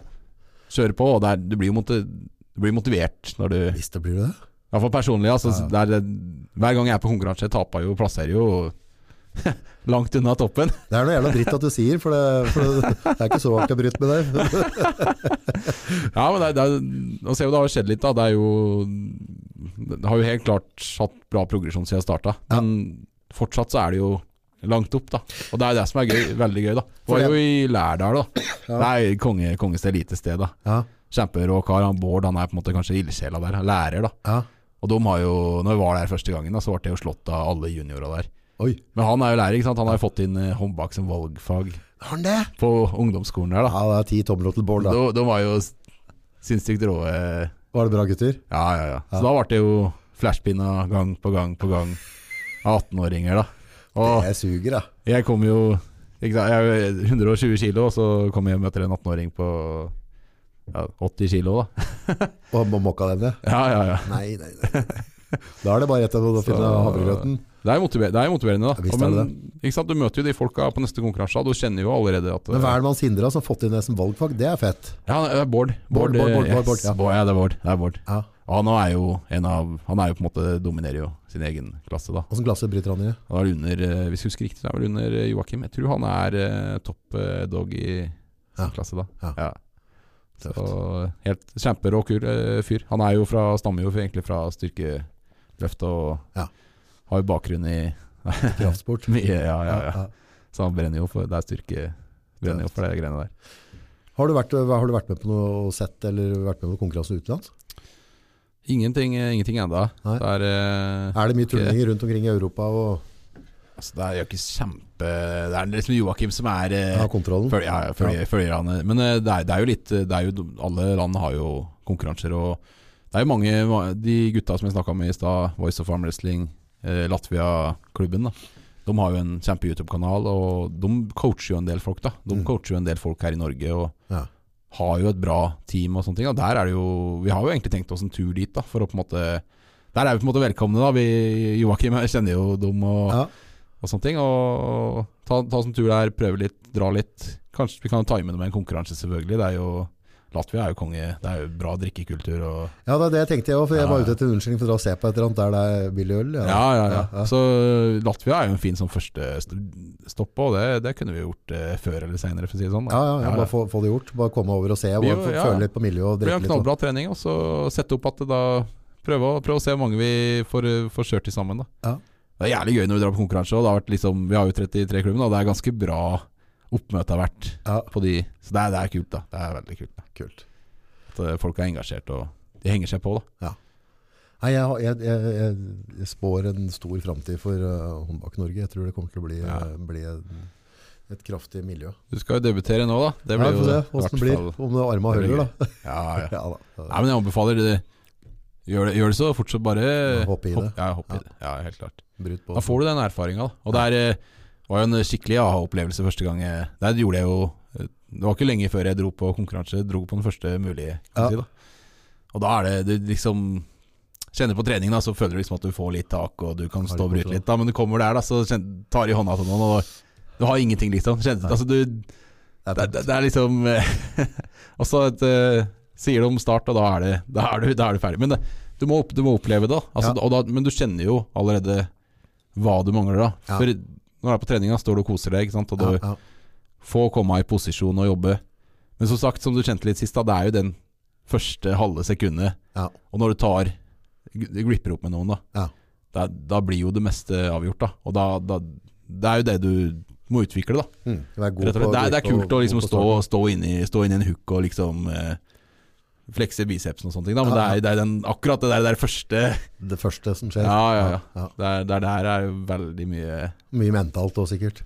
kjøre på, og det er, du, blir jo moti- du blir motivert når du I
Hvis det blir det.
hvert fall personlig. Altså,
Ja,
det er, hver gang jeg er på konkurranse, jeg taper jo, plasserer jo langt unna toppen.
Det er noe jævla dritt at du sier, for det, for det, det er ikke så hardt å bryte med deg.
Ja, men det, er- det, er- nå ser jo det har skjedd litt, da. Det er jo Det har jo helt klart hatt bra progresjon siden jeg starta, men fortsatt så er det jo langt opp, da. Og det er det som er gøy, veldig gøy, da.
For
Var
det-
jo i Lærdal, da.
Ja.
Det er konge, konges elitested, da.
Ja,
Kjemperå kar. Han Bård han er på en måte kanskje ildsjela der. Han lærer, da.
ja.
Og de har jo, når jeg var der første gangen, da, så ble jeg jo slått av alle juniora der.
Oi,
Men han er jo lærer, ikke sant. Han har jo fått inn eh, håndbak som valgfag
har han det?
på ungdomsskolen der, da.
Ja, det er ti tomler til Bård, da.
De, de var jo s- sinnssykt rå. eh,
Var det bra, gutter?
Ja, ja, ja.
Ja.
Så da ble det jo flashpinna gang på gang på gang av 18-åringer, da. Og
Det suger, da.
jeg kom jo ikke sant, Jeg er 120 kilo, og så kom jeg og møter en 18-åring på ja, 80 kilo, da.
Og må mokka dem det?
Ja, ja, ja.
Nei, nei, nei. Da er det bare rett og slett å finne
Så-
havregrøten.
Det er, motiver det er motiverende, da.
Ja, visst
Og
er det
ikke sant? Du møter jo de folka på neste konkurranse, og du kjenner jo allerede at
Men hva er det man sindrer som har fått inn det som valgfag? Det er fett.
Ja, det er Bård.
Bård, Bård, Bård,
eh,
Bård, Bård,
yes,
ja.
Bård, ja, det er Bård. Det er Bård.
Ja.
Og han er jo en av Han er jo på en måte dominerer jo sin egen klasse, da.
Åssen klasse bryter han i?
Han er under, eh, hvis jeg husker riktig, så er han vel under eh, Joakim. Jeg tror han er eh, topp eh, dog i sin
Ja.
klasse da.
Ja.
Så
Tøft.
helt kjemperå kul eh, fyr. Han er jo fra, stammer jo egentlig fra styrkeløft og
Ja.
har jo bakgrunn i
Kraftsport.
mye, ja, ja, ja.
Ja.
Så han brenner jo for det er styrke brenner jo for det greiene der.
Har, du vært, har du vært med på noe og sett eller vært med på konkurranse utenlands?
Ingenting, eh, ingenting enda.
Nei.
Det er, eh,
Er det mye turninger rundt omkring i Europa og
altså, det er jo ikke kjempe Det er liksom Joakim som er eh,
har kontrollen?
Følger, ja, ja, følger, følger han Men eh, det er, det er jo litt eh, det er jo, Alle land har jo konkurranser Og det er jo mange ma- De gutta som jeg snakket med i sted Voice of Arm Wrestling eh, Latvia-klubben da De har jo en kjempe YouTube-kanal Og de coacher jo en del folk da De
Mm.
coacher jo en del folk her i Norge Og
Ja.
har jo et bra team og sånne ting Og der er det jo Vi har jo egentlig tenkt oss en tur dit da For å på en måte Der er vi på en måte velkomne da vi, Joakim jeg kjenner jo dem og
Ja.
og sånne ting. Og ta, ta oss en tur der, prøve litt, dra litt. Kanskje vi kan time det med en konkurranse, selvfølgelig. Det er jo Latvia er jo konge. Det er jo bra drikkekultur og
Ja, det er det jeg tenkte jeg òg, for jeg
Ja.
var ute etter en unnskyldning for å dra og se på et eller annet der det er billig øl.
Ja, ja, ja.
Ja, ja.
Så Latvia er jo en fin sånn første st- stopp, og det, det kunne vi gjort eh, før eller senere, for å si det sånn.
Ja, ja,
da.
ja,
Ja, ja.
bare få, få det gjort. Bare komme over og se. Bare
Jo,
få-
ja, ja.
Føle litt på miljøet og
Det blir
drikke litt. sånn.
en
og-
knallbra trening, og så sette opp at det da Prøve å, prøve å se hvor mange vi får, eh, får kjørt til sammen, da.
Ja.
Det er jævlig gøy når vi drar på konkurranse, og det har vært liksom Vi har jo 33 klubben, og det er ganske bra oppmøte har vært
Ja,
på de Så det er, det er kult, da. Det er veldig kult. da
kult.
At eh, folk er engasjert og de henger seg på. da
Nei, jeg, har- jeg, jeg, jeg, jeg spår en stor framtid for uh, Håndbak Norge. Jeg tror det kommer til å bli,
Ja.
eh, bli en, et kraftig miljø.
Du skal jo debutere nå, da. Det
Nei,
blir
Få
jo
se
i hvert
åssen det blir.
fall-
Om det er arma
Det blir
hører, da.
Ja, ja.
Ja, da.
Nei, men jeg anbefaler det. Gjør det, gjør det så fort som bare
Ja, hopp i det.
ja, hopp
Ja.
i det. Ja, helt klart.
Brutt på.
Da får du den erfaringa, da. Og det er, eh, var jo en skikkelig aha-opplevelse første gang jeg Der gjorde jeg jo eh, Det var ikke lenge før jeg dro på konkurranse. Dro på den første mulige,
Ja.
kan jeg si. da Og da er det, det liksom Kjenner på treningen, da, så føler du liksom at du får litt tak, og du kan
Har
stå og
litt
bryte litt, da. Men du kommer der, da, så kjen- tar de hånda til noen, og du har ingenting, liksom. Kjenner, altså, du,
Det
det,
er
det, det er liksom Og så et, eh, sier du om start, og da er, det, da er, du, da er du ferdig. Men det, du, må, opp- du må oppleve det. da. Altså, og da. Men du kjenner jo allerede hva du mangler. da
Ja.
For når du er på treninga, står du og koser deg, ikke sant? og du
ja, ja.
får komme i posisjon og jobbe. Men som sagt, som du kjente litt sist, da, det er jo den første halve sekundet.
Ja.
Og når du tar gl- glipper opp med noen, da,
Ja.
da, da blir jo det meste avgjort. da Og da, da, det er jo det du må utvikle, da.
Mm, vær god
Rett og slett.
på-
Det er, det
god
er kult
på-
å liksom
god på
stå,
starten.
stå inni stå inn i en hook og liksom eh, flekse bicepsen og sånne ting. Da. Men det
Ja,
er, det er den, akkurat det der, det der første
Det første som skjer.
Ja, ja, ja.
Ja.
Det er, det er der er jo veldig mye
Mye mentalt òg, sikkert.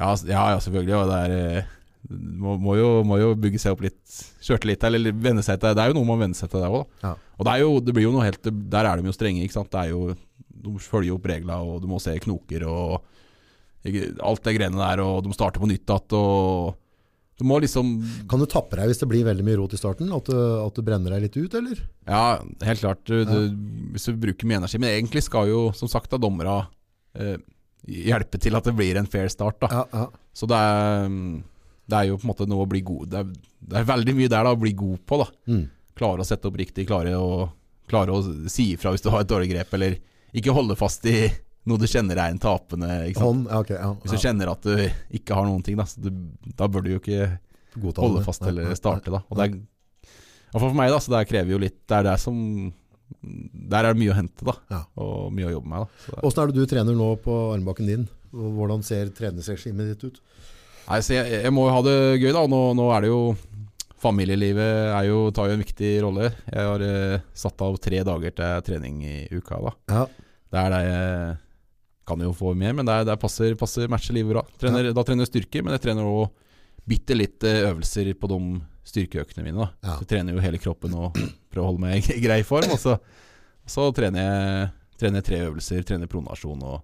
Ja, s- ja, ja selvfølgelig. Og det er eh, må, må, jo, må jo bygge seg opp litt sjøltillit, eller venne seg til Det er jo noe man venner seg til der òg, da.
Ja.
Og det er jo, det blir jo noe helt Der er de jo strenge, ikke sant. Det er jo De følger jo opp reglene, og du må se knoker og ikke- alt det greiene der, og de starter på nytt igjen, og Du må liksom
Kan du tappe deg hvis det blir veldig mye rot i starten? At du, at du brenner deg litt ut, eller?
Ja, helt klart. Du, du, hvis du bruker mye energi. Men egentlig skal jo, som sagt, da dommera eh, hjelpe til at det blir en fair start. Da.
Ja, ja.
Så det er mm, Det er jo på en måte noe å bli god Det er, det er veldig mye der da, å bli god på. da
Mm.
Klare å sette opp riktig, klare å, klare å si ifra hvis du har et dårlig grep, eller ikke holde fast i noe du kjenner er en tapende. Ikke sant?
Hånd, ja, ok, ja,
Hvis du
ja.
kjenner at du ikke har noen ting, da, så du, da bør du jo ikke
Godta
holde
det.
fast
Nei,
eller
nei,
starte. da Og det er, i hvert fall for meg, da, så det krever jo litt Det er det som Der er det mye å hente, da.
Ja.
Og mye å jobbe med. da så det er-
nei. Hvordan er det du trener nå på armbakken din? Og Hvordan ser treningsregimet ditt ut?
Nei, så jeg, jeg må jo ha det gøy, da. og Nå, nå er det jo Familielivet er jo, tar jo en viktig rolle. Jeg har eh, satt av tre dager til trening i uka. da
Ja,
Det er det jeg kan jo få mer, men det, er, det er passer, passer matcher livet bra. Trener, Da trener jeg styrke, men jeg trener òg bitte litt eh, øvelser på de styrkeøkene mine. da
Ja.
Så jeg trener jo hele kroppen og prøver å holde meg i grei form. Og så, så trener, jeg, trener jeg tre øvelser, trener pronasjon og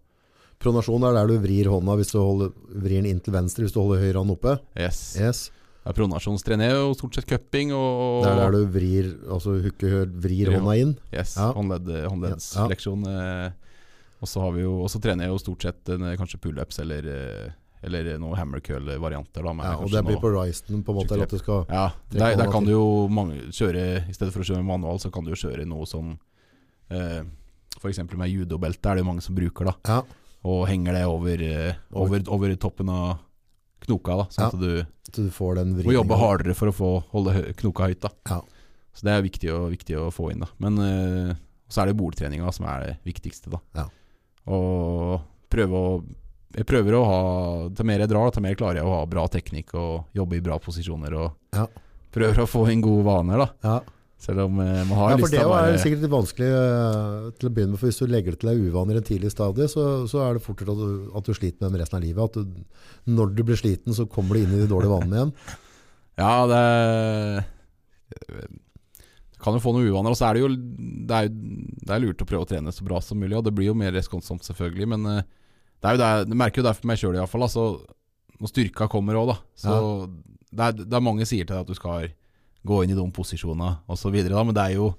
Pronasjon er der du vrir hånda hvis du holder, vrir den inn til venstre hvis du holder høyre hånd oppe.
yes.
Yes.
Det er pronasjonstrener jeg jo stort sett cupping og
Det er der du vrir, altså hooker, hø- vrir
Vrir
hånda inn.
Yes,
Ja.
håndledd, håndleddsleksjon. eh, Og så har vi jo Og så trener jeg jo stort sett en, eh, kanskje pullups eller, eh, eller noen hammer curl-varianter. da, men
Ja, og
kanskje
det blir
noe-
på risten på en måte, eller at du skal...
Ja,
det
der,
kan
der
man
kan
si.
du jo mange, kjøre I stedet for å kjøre manual, så kan du jo kjøre noe som eh, F.eks. med judobelte er det jo mange som bruker, da.
Ja,
Og henger det over, eh, over, over toppen av knoka, da. Sånn
Ja.
at du
at du får den
må
vridningen.
jobbe hardere for å få holde hø knoka høyt, da.
Ja.
Så det er viktig, og, viktig å få inn. da Men eh, så er det bordtreninga som er det viktigste. da
Ja.
Og prøve å Jeg prøver å ha Til mer jeg drar, til mer klarer jeg å ha bra teknikk og jobbe i bra posisjoner. Og
Ja.
prøver å få inn gode vaner, da.
Ja.
Selv om eh, man har
Ja, for
lyst
det
til å
er
være
sikkert litt vanskelig eh, til å begynne med, for hvis du legger det til deg uvaner i en tidlig stadie, så, så er det fortere at du, at du sliter med dem resten av livet. At du, når du blir sliten, så kommer du inn i de dårlige vanene igjen.
Ja, det du kan jo få noen uvaner. Og så er det jo det er, jo- det er lurt å prøve å trene så bra som mulig. Og det blir jo mer responsomt, selvfølgelig. Men eh, det er jo der, jeg merker jo det for meg sjøl, iallfall. Altså, når styrka kommer òg, da. Så det, er, det er mange sier til deg at du skal gå inn i de posisjonene osv. Men det er jo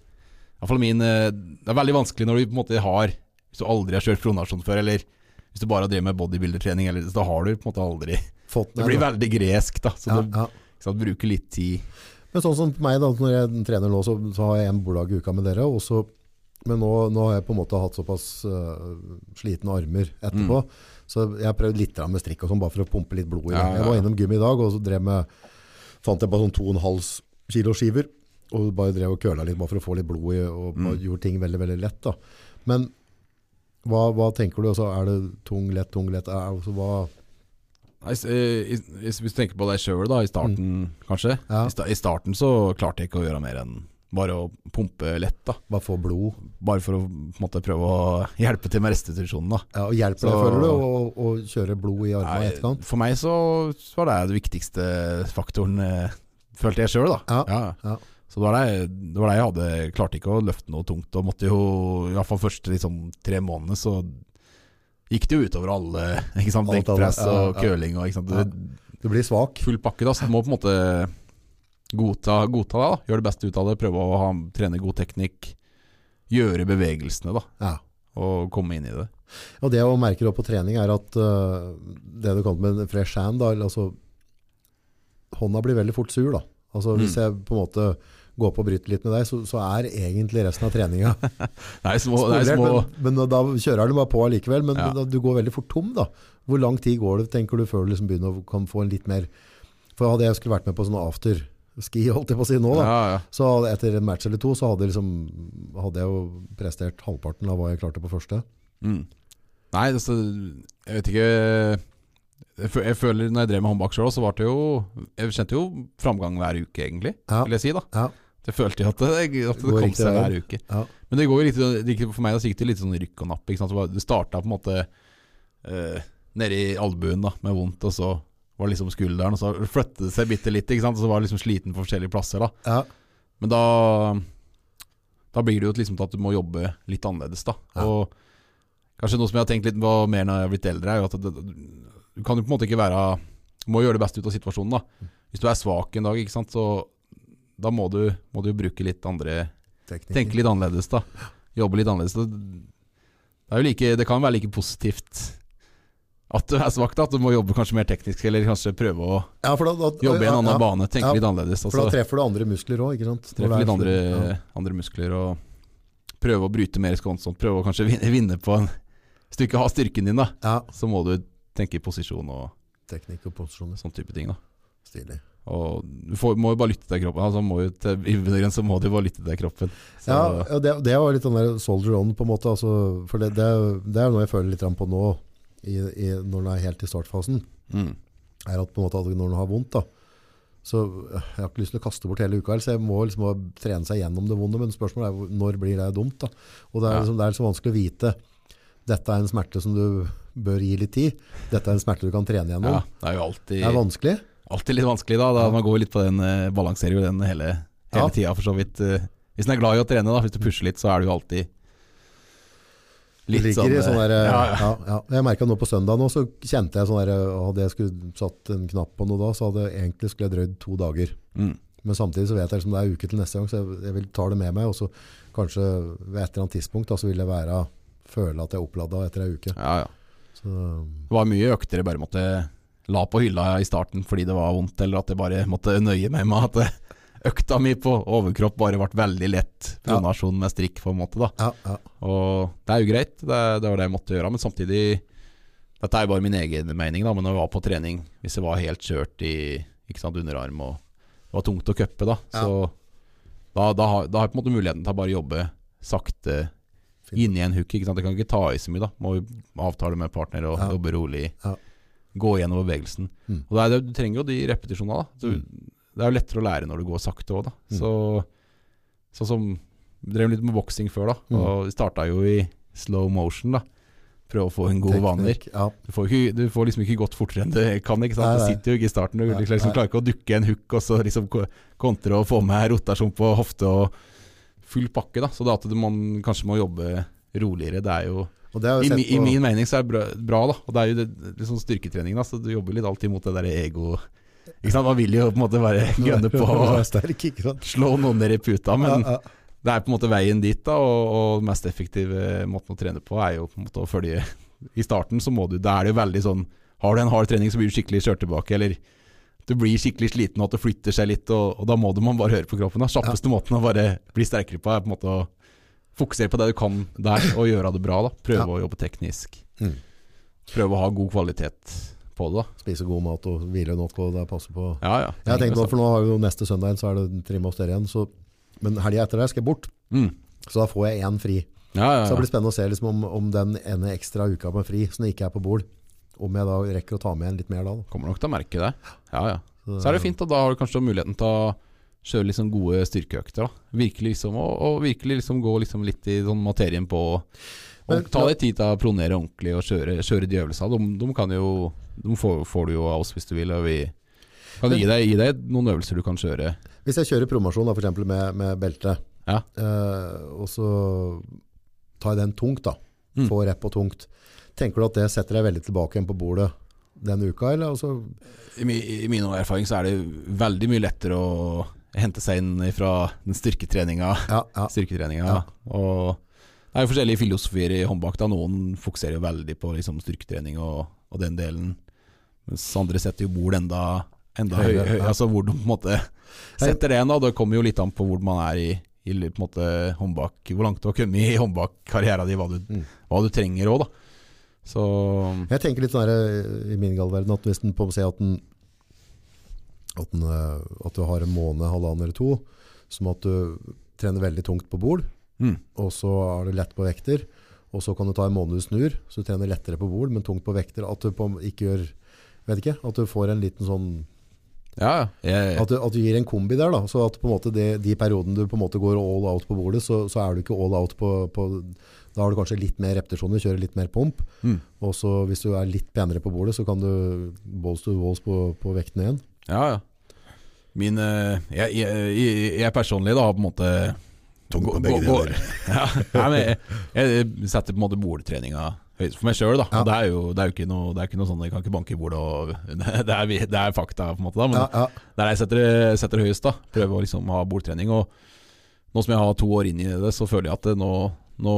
iallfall min eh, Det er veldig vanskelig når du på en måte har Hvis du aldri har kjørt pronasjon før, eller hvis du bare har drevet med bodybuildertrening, eller så da har du på en måte aldri
Fått
Det
ned-
blir veldig gresk, da. Så
ja,
det,
ja.
ikke sant, bruker litt tid.
Men sånn som på meg da, når jeg trener nå, så, så har jeg en borddag i uka med dere, og så, men nå, nå har jeg på en måte hatt såpass øh, slitne armer etterpå, så jeg har prøvd litt grann med strikk og sånn, bare for å pumpe litt blod i det.
Mm. Ja, ja, ja.
Jeg var innom gym i dag, og så drev med, fant jeg bare sånn 2,5 kilo skiver, og bare drev og køla litt, bare for å få litt blod i, og
Mm.
bare gjorde ting veldig, veldig lett da. Men hva, hva tenker du, altså, er det tung, lett, tung, lett, er, altså, hva,
Nei, s- eh, i- i- hvis du tenker på deg sjøl, da, i starten kanskje.
Mm. Ja.
I, sta I starten så klarte jeg ikke å gjøre mer enn bare å pumpe lett, da.
hva får blod?
Bare for å på en måte prøve å hjelpe til med restitusjonen, da.
Ja, og hjelper det,
Så-
føler du, å, å kjøre blod i armene i
Nei,
etterkant?
for meg så var det den viktigste faktoren, eh, følte jeg sjøl, da.
Ja, ja.
Så det var det, det var det jeg hadde. Klarte ikke å løfte noe tungt, og måtte jo, i hvert fall første liksom, tre månedene, så gikk det jo utover alle. ikke sant,
Alt, alle,
Benkpress og
ja, ja.
curling og ikke sant.
Ja.
Det,
Du blir svak.
full pakke, da, så du må på en måte godta, godta det. da Gjøre det beste ut av det, prøve å ha, trene god teknikk. Gjøre bevegelsene, da,
Ja.
og komme inn i det.
Og det jeg merker også på trening er at øh, det du kaller med en fresh hand, da, eller altså, hånda blir veldig fort sur. Da. Altså,
Mm.
Hvis jeg på en måte går på og bryter litt med deg, så, så er egentlig resten av treninga
Det er små, det er
spolert.
små
Men, men da kjører du bare på allikevel. Men
Ja.
da, du går veldig fort tom. da. Hvor lang tid går det tenker du, før du liksom begynner å kan få en litt mer For hadde jeg skulle vært med på sånn afterski, holdt jeg på å si nå, da.
ja, ja.
Så hadde- etter en match eller to så hadde, liksom, hadde jeg jo prestert halvparten av hva jeg klarte på første.
Mm. Nei, altså, jeg vet ikke jeg fø- Jeg føler Når jeg drev med håndbak sjøl, så var det jo Jeg kjente jo framgang hver uke, egentlig,
Ja.
vil jeg si. da
Ja.
Jeg følte jo at det, at det
Går
kom
riktig
seg
vei.
hver uke.
Ja.
Men det går jo litt, det gikk- for meg da, så gikk det litt sånn rykk og napp. Ikke sant? Så var- Det starta på en måte eh, nede i albuen da, med vondt, og så var det liksom skulderen, og så flyttet det seg bitte litt, ikke sant? og så var jeg liksom sliten på forskjellige plasser. da.
Ja.
Men da, da blir det jo liksom til at du må jobbe litt annerledes. da.
Ja.
Og kanskje noe som jeg har tenkt litt på mer når jeg har blitt eldre, er jo at det, du kan jo på en måte ikke være Du må gjøre det beste ut av situasjonen.
Mm.
da. Hvis du er svak en dag, ikke sant, så da må du, må du jo bruke litt andre
Teknikken.
Tenke litt annerledes, da. Jobbe litt annerledes. Det, det, er jo like, det kan være like positivt At du er svak, da. At du må jobbe kanskje mer teknisk, eller kanskje prøve å
Ja, for da, da,
jobbe i en annen
ja,
bane. Tenke
Ja,
litt annerledes.
For da
Altså,
treffer du andre muskler òg, ikke sant? Når det
treffe
er
litt andre,
full- ja.
andre muskler og prøve å bryte mer skånsomt. Prøve å kanskje vinne, vinne på en Hvis du ikke har styrken din, da,
ja.
så må du tenke i posisjon og
Teknikk og posisjoner.
sånn type ting. da
Stilig.
og du får, må jo bare lytte til kroppen. Altså, må jo til, I bunn og grunn så må du bare lytte til kroppen. Så,
Ja, ja, det, det var litt den der soldier on, på en måte. Altså, for det, det, er- det er noe jeg føler litt grann på nå, i, i, når den er helt i startfasen.
mm.
er at på en måte at når du har vondt da, så øh, jeg har ikke lyst til å kaste bort hele uka, her, så jeg må liksom bare trene seg gjennom det vonde, men spørsmålet er hvor- når blir det dumt da? Og det er,
Ja.
liksom, det er liksom vanskelig å vite, dette er en smerte som du bør gi litt tid, dette er en smerte du kan trene gjennom.
ja, det er
Det
jo
er
alltid,
vanskelig.
alltid litt vanskelig, da. da Man går jo litt på den, eh, balanserer jo den hele, hele
Ja.
tida, for så vidt. eh, Hvis en er glad i å trene, da, hvis du pusher litt, så er du jo alltid
Det ligger i sånn der,
eh,
ja,
ja,
ja. Jeg merket nå på søndag nå, så kjente jeg sånn der, hadde jeg skulle satt en knapp på noe da, så hadde jeg egentlig skulle jeg drøyd to dager.
Mm.
Men samtidig så vet jeg liksom, det er uke til neste gang, så jeg, jeg vil ta det med meg, og så kanskje ved et eller annet tidspunkt da, så vil jeg være, føle at jeg er oppladet etter en uke.
ja, ja.
Så,
Det var mye økter jeg bare måtte la på hylla i starten fordi det var vondt, eller at jeg bare måtte nøye meg med at eh, økta mi på overkropp bare ble veldig lett
Ja.
pronasjon med strikk, på en måte. da
ja, ja,
Og det er jo greit, det, det var det jeg måtte gjøre. Men samtidig Dette er jo bare min egen mening, da, men når jeg var på trening, hvis jeg var helt kjørt i ikke sant, underarm og det var tungt å cuppe, da,
Ja.
så da, da, har- da har jeg på en måte muligheten til å bare jobbe sakte
Fint.
inni en hook. Ikke sant? Jeg kan ikke ta i så mye, da. Må jo avtale med partner og
Ja.
jobbe rolig.
Ja.
Gå gjennom bevegelsen.
Mm.
Og det er, det- Du trenger jo de repetisjonene, da. Du, Det er jo lettere å lære når du går sakte òg, da.
Mm.
Så, sånn som Drev litt med boksing før, da.
Mm.
Og starta jo i slow motion, da. Prøve å få en god vaner.
Teknikk, Ja,
Du får, ikke, du får liksom ikke gått fortere enn du kan. ikke sant?
Nei, nei.
Du sitter jo ikke i starten. Du
Nei,
liksom,
nei.
klarer ikke å dukke en hook og så liksom ko- kontre og få med rotasjon på hofte og full pakke. da. Så det at du- man kanskje må jobbe roligere, det er jo
og det har
I,
jeg sett
mi- I
på-
min mening så er det bra, bra da. Og det er jo det, litt sånn styrketrening, da, så du jobber litt alltid mot det der ego Ikke sant? Man vil jo på en måte bare gønne på
Du er
og
sterk, ikke sant?
slå noen ned i puta, men
ja, ja.
det er på en måte veien dit, da, og, og den mest effektive måten å trene på er jo på en måte å følge I starten så må du Da er det jo veldig sånn Har du en hard trening, så blir du skikkelig kjørt tilbake, eller du blir skikkelig sliten og at det flytter seg litt, og, og da må du man bare høre på kroppen. da Kjappeste måten å bare bli sterkere på, er på en måte å fokusere på det du kan der, og gjøre det bra. da
Ja.
Prøve å jobbe teknisk.
Mm.
Prøve å ha god kvalitet på det. da
Spise god mat og hvile nok, og det er passe på.
Ja, ja.
Jeg har tenkt på, for nå har vi jo neste søndag, igjen, så er det trimme og større igjen, så, men helgen etter der skal jeg bort,
mm.
så da får jeg en fri.
Ja, ja,
Så det
ja.
blir spennende å se liksom, om, om den ene ekstra uka med fri, som ikke er på bord, om jeg da rekker å ta med en litt mer da. da.
Kommer nok til å merke det. Ja, ja. Så er det fint, og da har du kanskje muligheten til å kjøre liksom gode styrkeøkter. Da. Virkelig liksom, og, og virkelig liksom gå liksom litt i sånn materien på og,
Men-
Ta deg tid til å pronere ordentlig og kjøre, kjøre de øvelsene. De, de, kan jo, de får, får du jo av oss hvis du vil. Og vi kan
Men-
gi, deg, gi deg noen øvelser du kan kjøre.
Hvis jeg kjører promasjon da, for eksempel med, med belte,
Ja.
eh, og så tar jeg den tungt da,
Mm.
får rep og tungt, tenker du at det setter deg veldig tilbake igjen på bordet denne uka, eller? Altså,
I, mi- I min erfaring så er det veldig mye lettere å hente seg inn fra den styrketreninga
ja, ja,
styrketreninga.
Ja.
Og det er jo forskjellige filosofier i håndbak. Da. Noen fokuserer jo veldig på liksom, styrketrening og, og den delen, mens andre setter jo bord enda, enda høyere.
Høyere,
Høy,
ja.
altså hvor de på en måte setter det nå. Det kommer jo litt an på hvor man er i, i på en måte, håndbak, hvor langt du har kommet i håndbakkarrieren din, hva du,
Mm.
hva du trenger òg, da. Så
Jeg tenker litt sånn her eh, i min galverden at hvis den på å si at den, at, den, eh, at du har en måned, halvannen eller to, som at du trener veldig tungt på bord,
mm,
og så er det lett på vekter, og så kan du ta en måned du snur, så du trener lettere på bord, men tungt på vekter, at du på, ikke gjør, vet ikke, at du får en liten sånn,
ja, ja. Jeg-
at du, at du gir en kombi der da, så at på en måte det, de perioden du på en måte går all out på bordet, så, så er du ikke all out på, på, da har du kanskje litt mer repetisjoner, kjører litt mer pump,
mm.
og så hvis du er litt penere på bordet, så kan du balls to balls på, på vekten igjen.
Ja, ja. Min eh, jeg, jeg, jeg, jeg personlig da har på en måte
Tung på
gå-
begge
gå-
deler.
ja, nei, men jeg, jeg setter på en måte bordtreninga høyest for meg sjøl, da.
Ja.
Og Det er jo det er jo ikke noe, det er ikke noe sånn jeg kan ikke banke i bordet og Det er, vi- det er fakta, på en måte, da. Men
Ja, ja,
der jeg setter, det- setter det høyest, da. Prøver å liksom ha bordtrening. Og nå som jeg har to år inn i det, så føler jeg at det nå Nå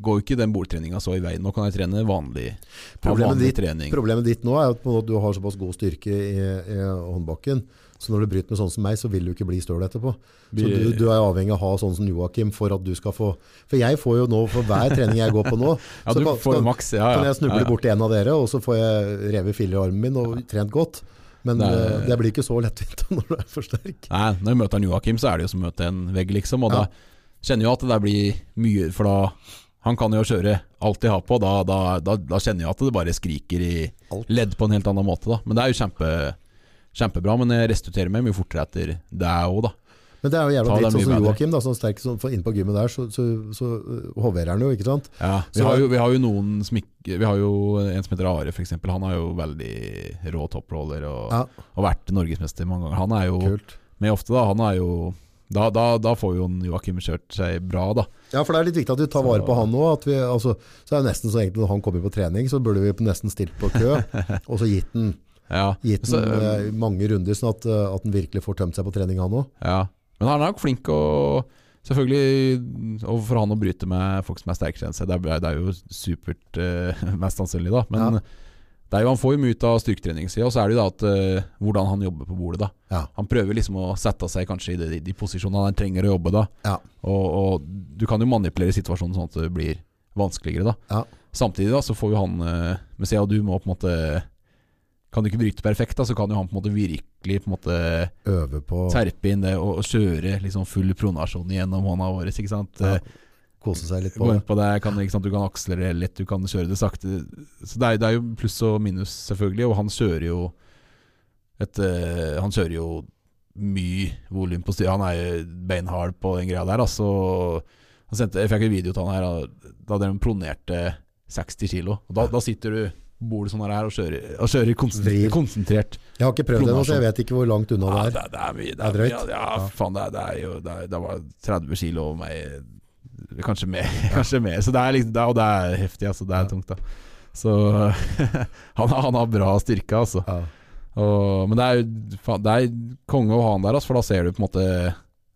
går jo ikke den bordtreninga så i veien. Nå kan jeg trene vanlig, ha
Problemet
vanlig
ditt-
trening.
Problemet ditt nå er at på en måte du har såpass god styrke i, i håndbakken, så når du bryter med sånn som meg, så vil du ikke bli støl etterpå. Så du, du er avhengig av å ha sånn som Joakim for at du skal få For jeg får jo nå, for hver trening jeg går på nå,
ja,
så
du
kan,
får
kan,
maks. Ah, Ja, ja.
kan jeg snuble
ja, ja.
borti en av dere, og så får jeg revet filler i armen min og trent godt. Men
Det
det,
er-
det blir ikke så lettvint når du er for sterk.
Nei, når jeg møter en Joakim, så er det jo som å møte en vegg, liksom. Og
Ja.
da kjenner jeg at det der blir mye, for da han kan jo kjøre alt de har på. Da, da, da, da kjenner jeg at det bare skriker i
Alt.
ledd på en helt annen måte, da. Men det er jo kjempe, kjempebra. Men jeg restituerer meg mye fortere etter det òg, da.
Men det er jo jævla
Ta det
dritt, sånn
mye
som
bedre.
Joakim, da, sånn sterk som for inne på gymmet der, så, så, så øh, hoverer han jo, ikke sant?
Ja, vi,
Så-
har jo, vi har jo noen smikke Vi har jo en som heter Are, f.eks. Han er jo veldig rå topproller og,
Ja.
og vært norgesmester mange ganger. Han er jo
Kult.
med ofte, da. Han er jo Da, da, da får jo en Joakim kjørt seg bra, da.
Ja, for det er litt viktig at vi tar
Så-
vare på han òg. Altså, så er det nesten så egentlig når han kommer på trening, så burde vi på nesten stilt på kø, og så gitt den,
Ja.
gitt
Så, um,
den eh, mange runder, sånn at, eh, at han virkelig får tømt seg på trening, han òg.
ja. Men han er nok flink og Selvfølgelig og for han å bryte med folk som er sterkere enn seg. Det er, det er jo supert, eh, mest sannsynlig, da. Men
Ja.
det er jo, han får jo mye ut av styrketreningssida, og så er det jo da at eh, hvordan han jobber på bordet, da.
Ja.
Han prøver liksom å sette seg kanskje i de, de posisjonene han trenger å jobbe da.
Ja.
Og, og du kan jo manipulere situasjonen sånn at det blir vanskeligere da.
Ja.
Samtidig da så får jo han eh, Men se, og du må på en måte Kan du ikke bryte perfekt da, så kan jo han på en måte virkelig på en måte
Øve på å
terpe inn det og, og kjøre liksom full pronasjon gjennom hånda vår, ikke sant?
Ja,
Eh,
kose seg litt
Gå
på det.
inn på det, kan, ikke sant? Du kan akselerere litt, du kan kjøre det sakte. Så det er, det er jo pluss og minus, selvfølgelig. Og han kjører jo et, eh, Han kjører jo mye volum på styret. Han er jo beinhard på den greia der. Altså, han sendte, jeg fikk en video av han her da- da de pronerte 60 kilo. Og da, da sitter du på bordet sånn her og kjører, og kjører
Vrir.
konsentrert. konsentrert.
Jeg har ikke prøvd det ennå, så jeg vet ikke hvor langt unna
Ja,
det er.
det, det er mye. Det
Det er
er,
drøyt.
Ja, ja,
Ja.
faen, det er, det er jo det, er, det var 30 kilo over meg. eh, Kanskje mer. Kanskje mer. Så det er liksom, det er, og det er heftig, altså. Det er
Ja.
tungt, da. Så han, har- han har bra styrke, altså.
Ja.
Og, men det er, jo- faen, det er konge å ha han der, altså, for da ser du på en måte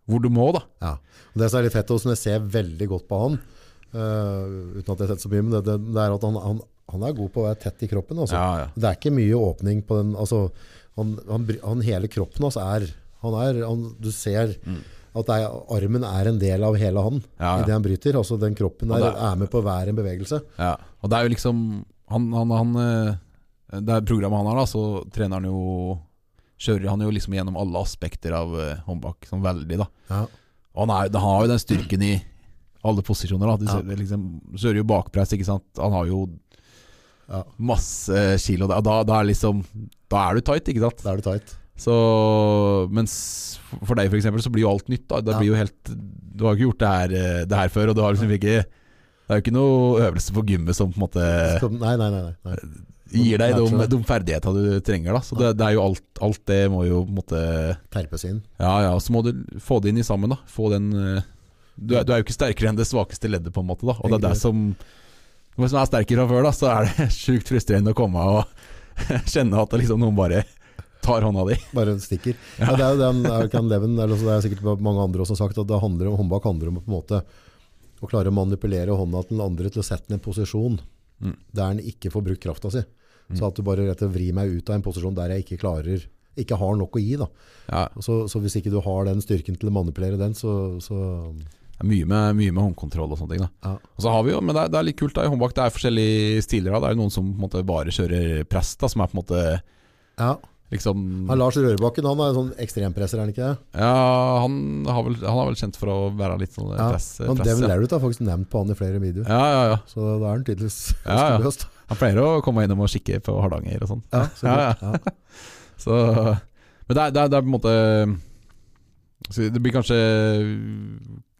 hvor du må, da.
Ja. Og det som er litt fett, og som jeg ser veldig godt på han, eh, uten at jeg har sett så mye, men det, det, det er at han, han, han er god på å være tett i kroppen. Altså.
Ja, ja.
Det er ikke mye åpning på den altså, han, han, bry- han hele kroppen hans er, han er han, Du ser at det er, armen er en del av hele han
Mm. Ja, ja.
i det han bryter. Altså den kroppen
Og
der
det-
er med på hver en bevegelse.
Ja, og det er jo liksom Han, han, han eh, Det er programmet han har da Så trener han jo Kjører han jo liksom gjennom alle aspekter av eh, håndbak Sånn veldig da
Ja.
Og han, er, jo- han har jo den styrken i alle posisjoner da Du
Ja.
ser- liksom, kjører jo bakpress, ikke sant Han har jo
Ja.
masse kilo der. da, da er liksom Da er du tight, ikke sant
Da er det tight.
Så Mens for deg for eksempel Så blir jo alt nytt da Det
Ja.
blir jo helt Du har jo ikke gjort det her, eh, det her før Og du har liksom ikke Det er jo ikke noe øvelse på gymmet Som på en måte
Så, nei, nei, nei. nei, nei.
gir deg de,
Kanskje.
de ferdighetene du trenger. Da. Så det, det er jo alt, alt det må jo på en måte
Terpes inn.
Ja ja, så må du få det inn i sammen. da Få den eh, du er, du er jo ikke sterkere enn det svakeste leddet, på en måte. da Og det er det som Hvis man er sterkere fra før, da, så er det sjukt frustrerende å komme og kjenne at det liksom noen bare tar hånda di.
Bare stikker. Ja. det er jo den Erkan Leven, eller så det er sikkert mange andre også som har sagt, at det handler om, håndbak handler om å på en måte å klare å manipulere hånda til den andre til å sette den i en posisjon
Mm.
der den ikke får brukt krafta si.
Mm.
Så at du bare rett og slett vrir meg ut av en posisjon der jeg ikke klarer, ikke har nok å gi. da.
Ja,
Og Så, så hvis ikke du har den styrken til å manipulere den, så, så
det er mye med, mye med håndkontroll og sånne ting. da
ja.
Og så har vi jo, men det er, det er litt kult da i håndbak. Det er forskjellige stiler. da Det er jo noen som på en måte bare kjører press, da som er på en måte
ja.
liksom
Ja, Lars Rørbakken han er en sånn ekstrempresser, er han ikke det?
Ja, han, har vel, han er vel kjent for å være litt sånn
Ja.
press.
Men
press
Devin
ja.
Larrett har faktisk nevnt på han i flere videoer,
Ja, ja, ja.
så da er han tydeligvis
Ja, ja.
løst.
Han pleier å komme innom og kikke på Hardanger og sånn.
Ja, så
Ja,
kult. ja.
Så, men det er, det, er, det er på en måte så Det blir kanskje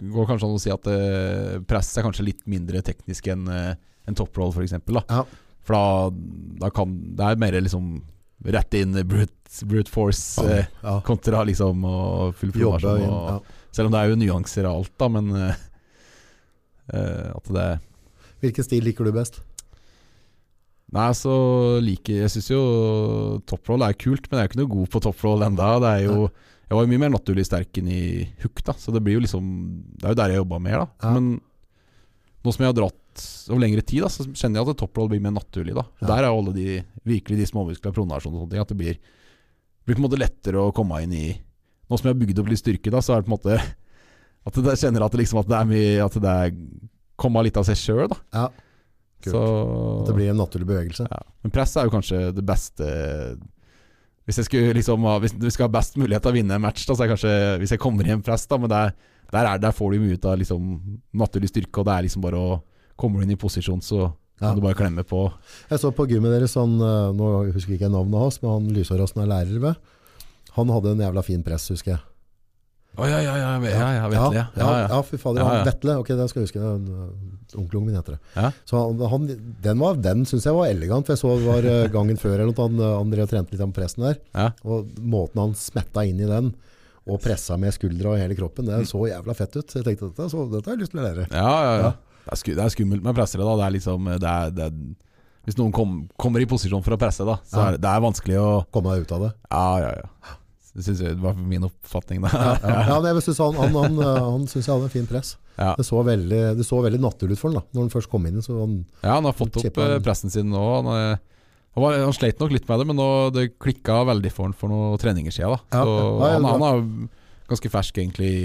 Går kanskje an å si at eh, press er kanskje litt mindre teknisk enn eh, en topproll, for eksempel. Da.
Ja.
For da, da kan Det er mer liksom rett inn brute, brute force eh,
Ja.
kontra liksom og full
Jobbe
pronasjon
inn.
og-
Ja.
Selv om det er jo nyanser av alt, da, men eh, eh, At det
Hvilken stil liker du best?
Nei, så liker Jeg syns jo topproll er kult, men jeg er jo ikke noe god på topproll enda Det er jo Jeg var jo mye mer naturlig sterk enn i hook, da, så det blir jo liksom Det er jo der jeg jobba mer, da.
Ja.
Men Nå som jeg har dratt over lengre tid, da, så kjenner jeg at topproll blir mer naturlig. da. Og
Ja.
Der er jo alle de virkelig de småmusklene, pronasjon og sånne ting, at det blir, blir på en måte lettere å komme inn i Nå som jeg har bygd opp litt styrke, da, så er det på en måte at det- jeg kjenner at det, liksom, at det er mye At det er komma litt av seg sjøl, da.
Ja, Kult.
Så-
at det blir en naturlig bevegelse.
ja. Men press er jo kanskje det beste Hvis jeg skulle liksom ha- Hvis du skal ha best mulighet til å vinne en match, da, så er kanskje Hvis jeg kommer i en press, da, men der, der, er, der får du mye ut av liksom naturlig styrke, og det er liksom bare å Kommer du inn i posisjon, så kan
Ja.
du bare klemme på.
Jeg så på gymmet deres, han, eh, nå husker jeg ikke navnet hans, men han lyshåret som er lærer ved, han hadde en jævla fin press, husker jeg.
Å ja, ja,
ja,
ja,
ja, ja, fy fader.
Ja, ja.
han Vetle, ok, det skal jeg huske. den, øh, Onkelen min heter det.
Ja.
Så han, han, den var- den syns jeg var elegant. for Jeg så det var øh, gangen før eller noe, han, øh, han drev og trente litt av pressen der.
Ja.
Og måten han smetta inn i den, og pressa med skuldra og hele kroppen, det så jævla fett ut. Jeg tenkte dette, så, dette har jeg lyst til å lære.
Ja, ja, ja. Det, er sku, det er skummelt med pressere. da Det er liksom det er, det er, Hvis noen kom, kommer i posisjon for å presse, da så
Ja.
er det, det er vanskelig å
Komme meg ut av det.
Ja, ja, ja. Det syns jeg var min oppfatning, da.
Ja, ja. ja men jeg synes Han, han, han, øh, han syns jeg hadde en fin press.
Ja.
Det så veldig, det så veldig naturlig ut for han da Når han først kom inn. Så han,
Ja, han har fått opp
Chipper.
eh, pressen sin nå. Han, eh, han, var, han sleit nok litt med det, men nå, det klikka veldig for han for noen treninger siden. Da.
Ja,
Så
ja, ja,
han,
ja.
han er jo ganske fersk egentlig i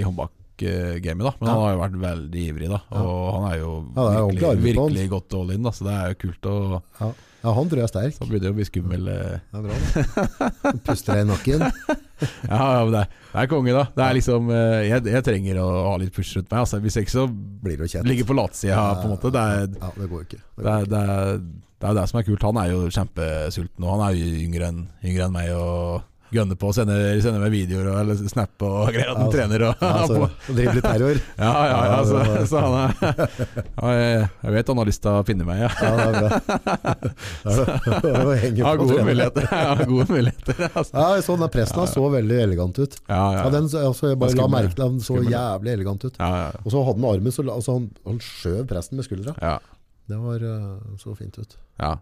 håndbakgamet, da. men
Ja.
han har jo vært veldig ivrig. da Og han er jo
Ja, det er jo
virkelig,
ordentlig arvet på
virkelig godt all in, da, så det er jo kult. Og
ja. ja, han tror jeg er sterk.
så begynner det å bli skummel. eh.
Det er bra, da. Puster deg i nakken.
Ja, ja, men det, er- det er konge, da. Det er liksom, eh, jeg, jeg trenger å ha litt push rundt meg. Altså. Hvis ikke så
Blir du kjent.
ligger på latsida, på en måte. Det er,
Ja, det går jo ikke. Det
Det er, det, er, det er det som er kult. Han er jo kjempesulten, og han er jo yngre enn yngre enn meg. Og gønner på og sender, sender meg videoer og eller snapper og greier. At han
Ja,
trener og
Ja, altså, å drive litt terror.
Ja, ja, ja. Så,
Ja, det
så han er ja, jeg, jeg vet han har lyst til å finne meg, ja.
Ja, det er bra. Det er det. Det er å henge
Jeg har
på
gode
treneren.
muligheter. Jeg har gode muligheter altså.
Ja, jeg så den der pressen han så veldig elegant ut.
Ja, ja.
Ja, den, så- altså, jeg bare
Det er
la
skummel.
merke til at den så
Skummel.
jævlig elegant ut.
ja, ja,
Og så hadde han armen, så la- altså, han, han skjøv pressen med skuldra.
ja,
Det var eh, så fint ut.
ja.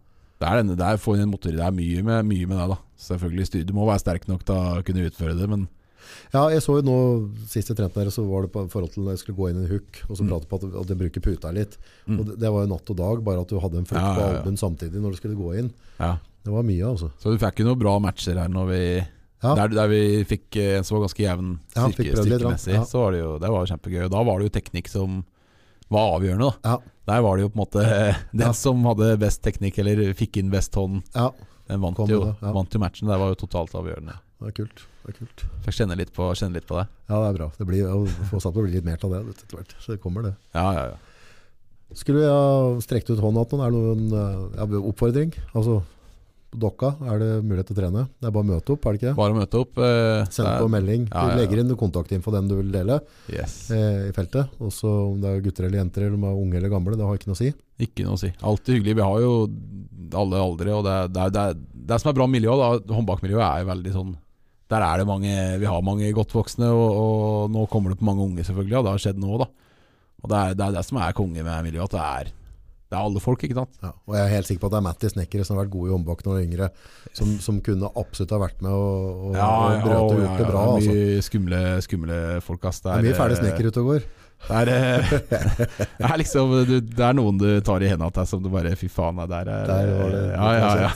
Det er, denne, det er, å få inn en motor, det er mye med, mye med det, da. Selvfølgelig, styr- Du må være sterk nok til å kunne utføre det, men
Ja, jeg så jo nå, sist jeg trente dere, så var det på forhold til når jeg skulle gå inn i en hook, og så pratet på at, at jeg bruker puta litt.
Mm.
Og det, det var jo natt og dag, bare at du hadde en flukt
Ja, ja,
på
ja.
albuen samtidig når du skulle gå inn.
ja.
Det var mye, altså.
Så du fikk jo noen bra matcher her når vi
Ja.
der, der vi fikk eh, en som var ganske jevn
Ja,
styrke,
fikk prøvd litt, da.
styrkemessig,
Ja.
så var det jo det var jo kjempegøy. Og Da var det jo teknikk som var avgjørende. da.
Ja,
Der var det jo på en måte eh, den
Ja.
som hadde best teknikk eller fikk inn best hånd,
ja.
den vant
Kom med
jo,
det, ja.
vant jo matchen. Det var jo totalt avgjørende.
Det er kult. Det er kult.
Fikk kjenne litt på, kjenne litt på det.
Ja, det er bra. Det blir, jeg får satt på å bli litt mer av det vet du, etter hvert. Så det kommer det.
Ja, ja, ja.
Skulle jeg ha strekt ut hånda til noen? Er det noen eh, ja, oppfordring? Altså, på dokka er det mulighet til å trene. Det er bare å møte opp, er det ikke det?
Bare å møte opp. eh,
Send
det er-
på melding.
Ja, ja, ja.
Du legger inn kontaktinfo den du vil dele
Yes.
eh, i feltet. Og så om det er gutter eller jenter, eller om de er unge eller gamle, det har ikke noe å si.
Ikke noe å si. Alltid hyggelig. Vi har jo alle aldre, og det, er- det, er- det, er- det som er bra miljø, da, håndbakmiljøet er jo veldig sånn Der er det mange Vi har mange godt voksne, og, og nå kommer det på mange unge, selvfølgelig, og det har skjedd nå, da. Og det er det, er det som er konge med miljøet, at det er det er alle folk, ikke sant?
Ja, og jeg er helt sikker på at det er Matti Snekkere som har vært god i håndbak når han er yngre, som, som kunne absolutt ha vært med og, og, og brøt og
å,
gjort det bra.
det
Altså.
er mye eh, skumle, skumle folk, ass.
Det er mye ferdig snekker ute og går.
Det er, eh, det er liksom du, Det er noen du tar i hendene til som du bare Fy faen, nei, der er
Der var det-
Ja, ja, ja.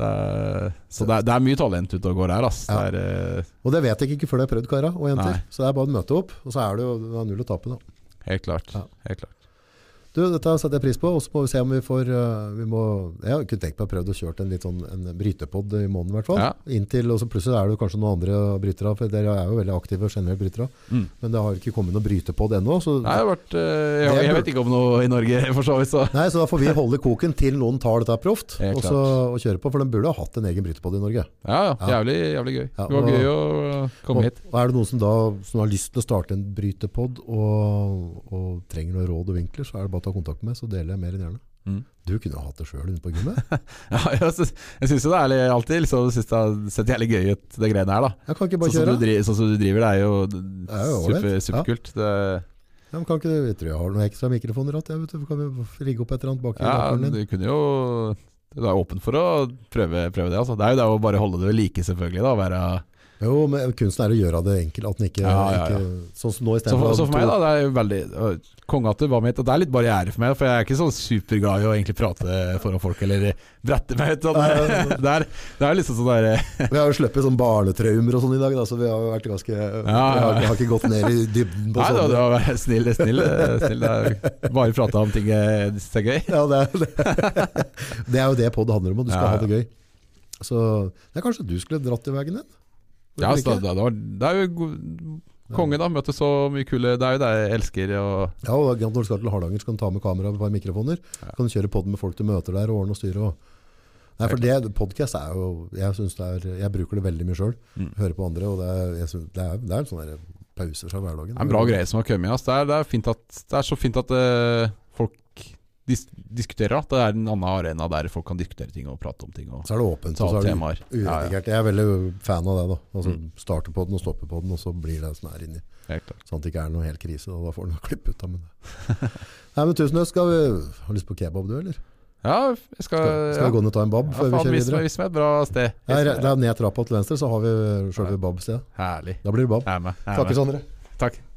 Det er, så det er, det er mye talent ute og går her, ass. Det er eh,
Og det vet jeg ikke før det er prøvd, karer og jenter.
Nei.
Så det er bare å møte opp, og så er det jo det er null å tape. Da.
helt klart.
Ja.
Helt klart.
Du, dette setter jeg pris på, og så må vi se om vi får øh, vi må, Jeg kunne tenkt meg å prøve å kjøre en, litt sånn, en brytepod i måneden, i hvert fall.
Ja.
Inntil, og så plutselig er det jo kanskje noen andre brytere, for dere er jo veldig aktive generelt brytere.
Mm.
Men det har ikke kommet noen brytepod ennå, så,
Det har vært eh, jeg, jeg vet ikke om noe i Norge, for så vidt, så
nei, så da får vi holde koken til noen tar dette proft,
Helt
og, så, og kjøre på. For den burde ha hatt en egen brytepod i Norge.
Ja, ja.
Ja.
Jævlig, jævlig gøy.
Ja,
Det var
og-
gøy å
Og,
komme hit.
og er det noen som da som har lyst til å starte en brytepod og, og trenger noen råd og vinkler, så er det bare å ta kontakt med meg, så deler jeg mer enn gjerne.
Mm.
Du kunne jo hatt det sjøl inne på gymmet.
Ja, jeg syns jeg syns jo det er litt- alltid liksom, jeg synes det har sett jævlig gøy ut, det greiene her, da.
Jeg kan ikke
Sånn
bare
som,
kjøre.
du driver, sånn som du driver, det er jo
er jo
super,
ålreit. Ja.
superkult. Det,
Ja, men kan ikke du, jeg tror jeg har noen ekstra mikrofoner igjen, jeg vet du, kan vi rigge opp et eller annet bak i
ja,
bakgrunnen din.
du kunne jo Du er åpen for å prøve, prøve det, altså. Det er jo det å bare holde det ved like, selvfølgelig, da. Være
Jo, men kunsten er å gjøre det enkelt. At den ikke,
Ja, ja, ja.
ikke Sånn som nå
Så for,
istedenfor
så for meg, da, det er jo veldig øh, Kongehatter var mitt, og det er litt barriere for meg, for jeg er ikke sånn superglad i å egentlig prate foran folk eller brette meg ut. Sånn.
Nei,
Det, er, det er liksom sånn der
Vi har jo sluppet sånn barnetraumer og sånn i dag, da, så vi har jo vært ganske
ja,
Vi
ja.
har, har ikke gått ned i dybden på
Nei da,
sånne
du har vært snill, snill, snill. Det er bare prata om ting jeg syns er gøy.
Ja, det er jo det. det er jo det podd handler om, og du skal
Ja, ja.
ha det gøy. Så det er kanskje du skulle dratt i veien din?
Ja,
Hvorfor ikke?
så det, det, var, det er jo go- konge, da. Møter så mye kule Det er jo det jeg elsker. Og,
ja, og når du skal til Hardanger, så kan du ta med kamera og et par mikrofoner.
Ja.
Kan du kjøre podd med folk du møter der, og ordne og styre. Og... Nei, for det, podcast er jo Jeg, synes det er, jeg bruker det veldig mye sjøl.
Mm.
Hører på andre, og det er, jeg synes, det er, det er en sånn der pauser fra hverdagen.
det er en bra greie som har kommet. ass. Det, er, det, er fint at, det er så fint at eh, folk dis diskuterer. At det er en annen arena der folk kan diskutere ting og prate om ting. Og
Så er det åpent,
ta
og så er
opp
det
temaer. Ja, ja,
uredigert. Jeg er veldig fan av det. da altså, Starte på den og stoppe på den, og så blir det sånn her inni.
helt klart.
Sånn at det ikke er noe helt krise, og da får du noe klipp ut av men det. Nei, men tusen takk. Skal vi ha lyst på kebab, du, eller?
ja jeg skal,
Skal, skal vi gå ned og ta en bab
Øh, ja,
før vi
faen,
kjører
vis
videre?
meg- vis meg et bra sted.
Ja,
Vis
re-
meg-
det er ned trappa til venstre, så har vi sjølve babstedet.
Herlig.
Da blir det bab.
Jeg er med. Jeg er
Takker,
med.
Sondre.
Takk.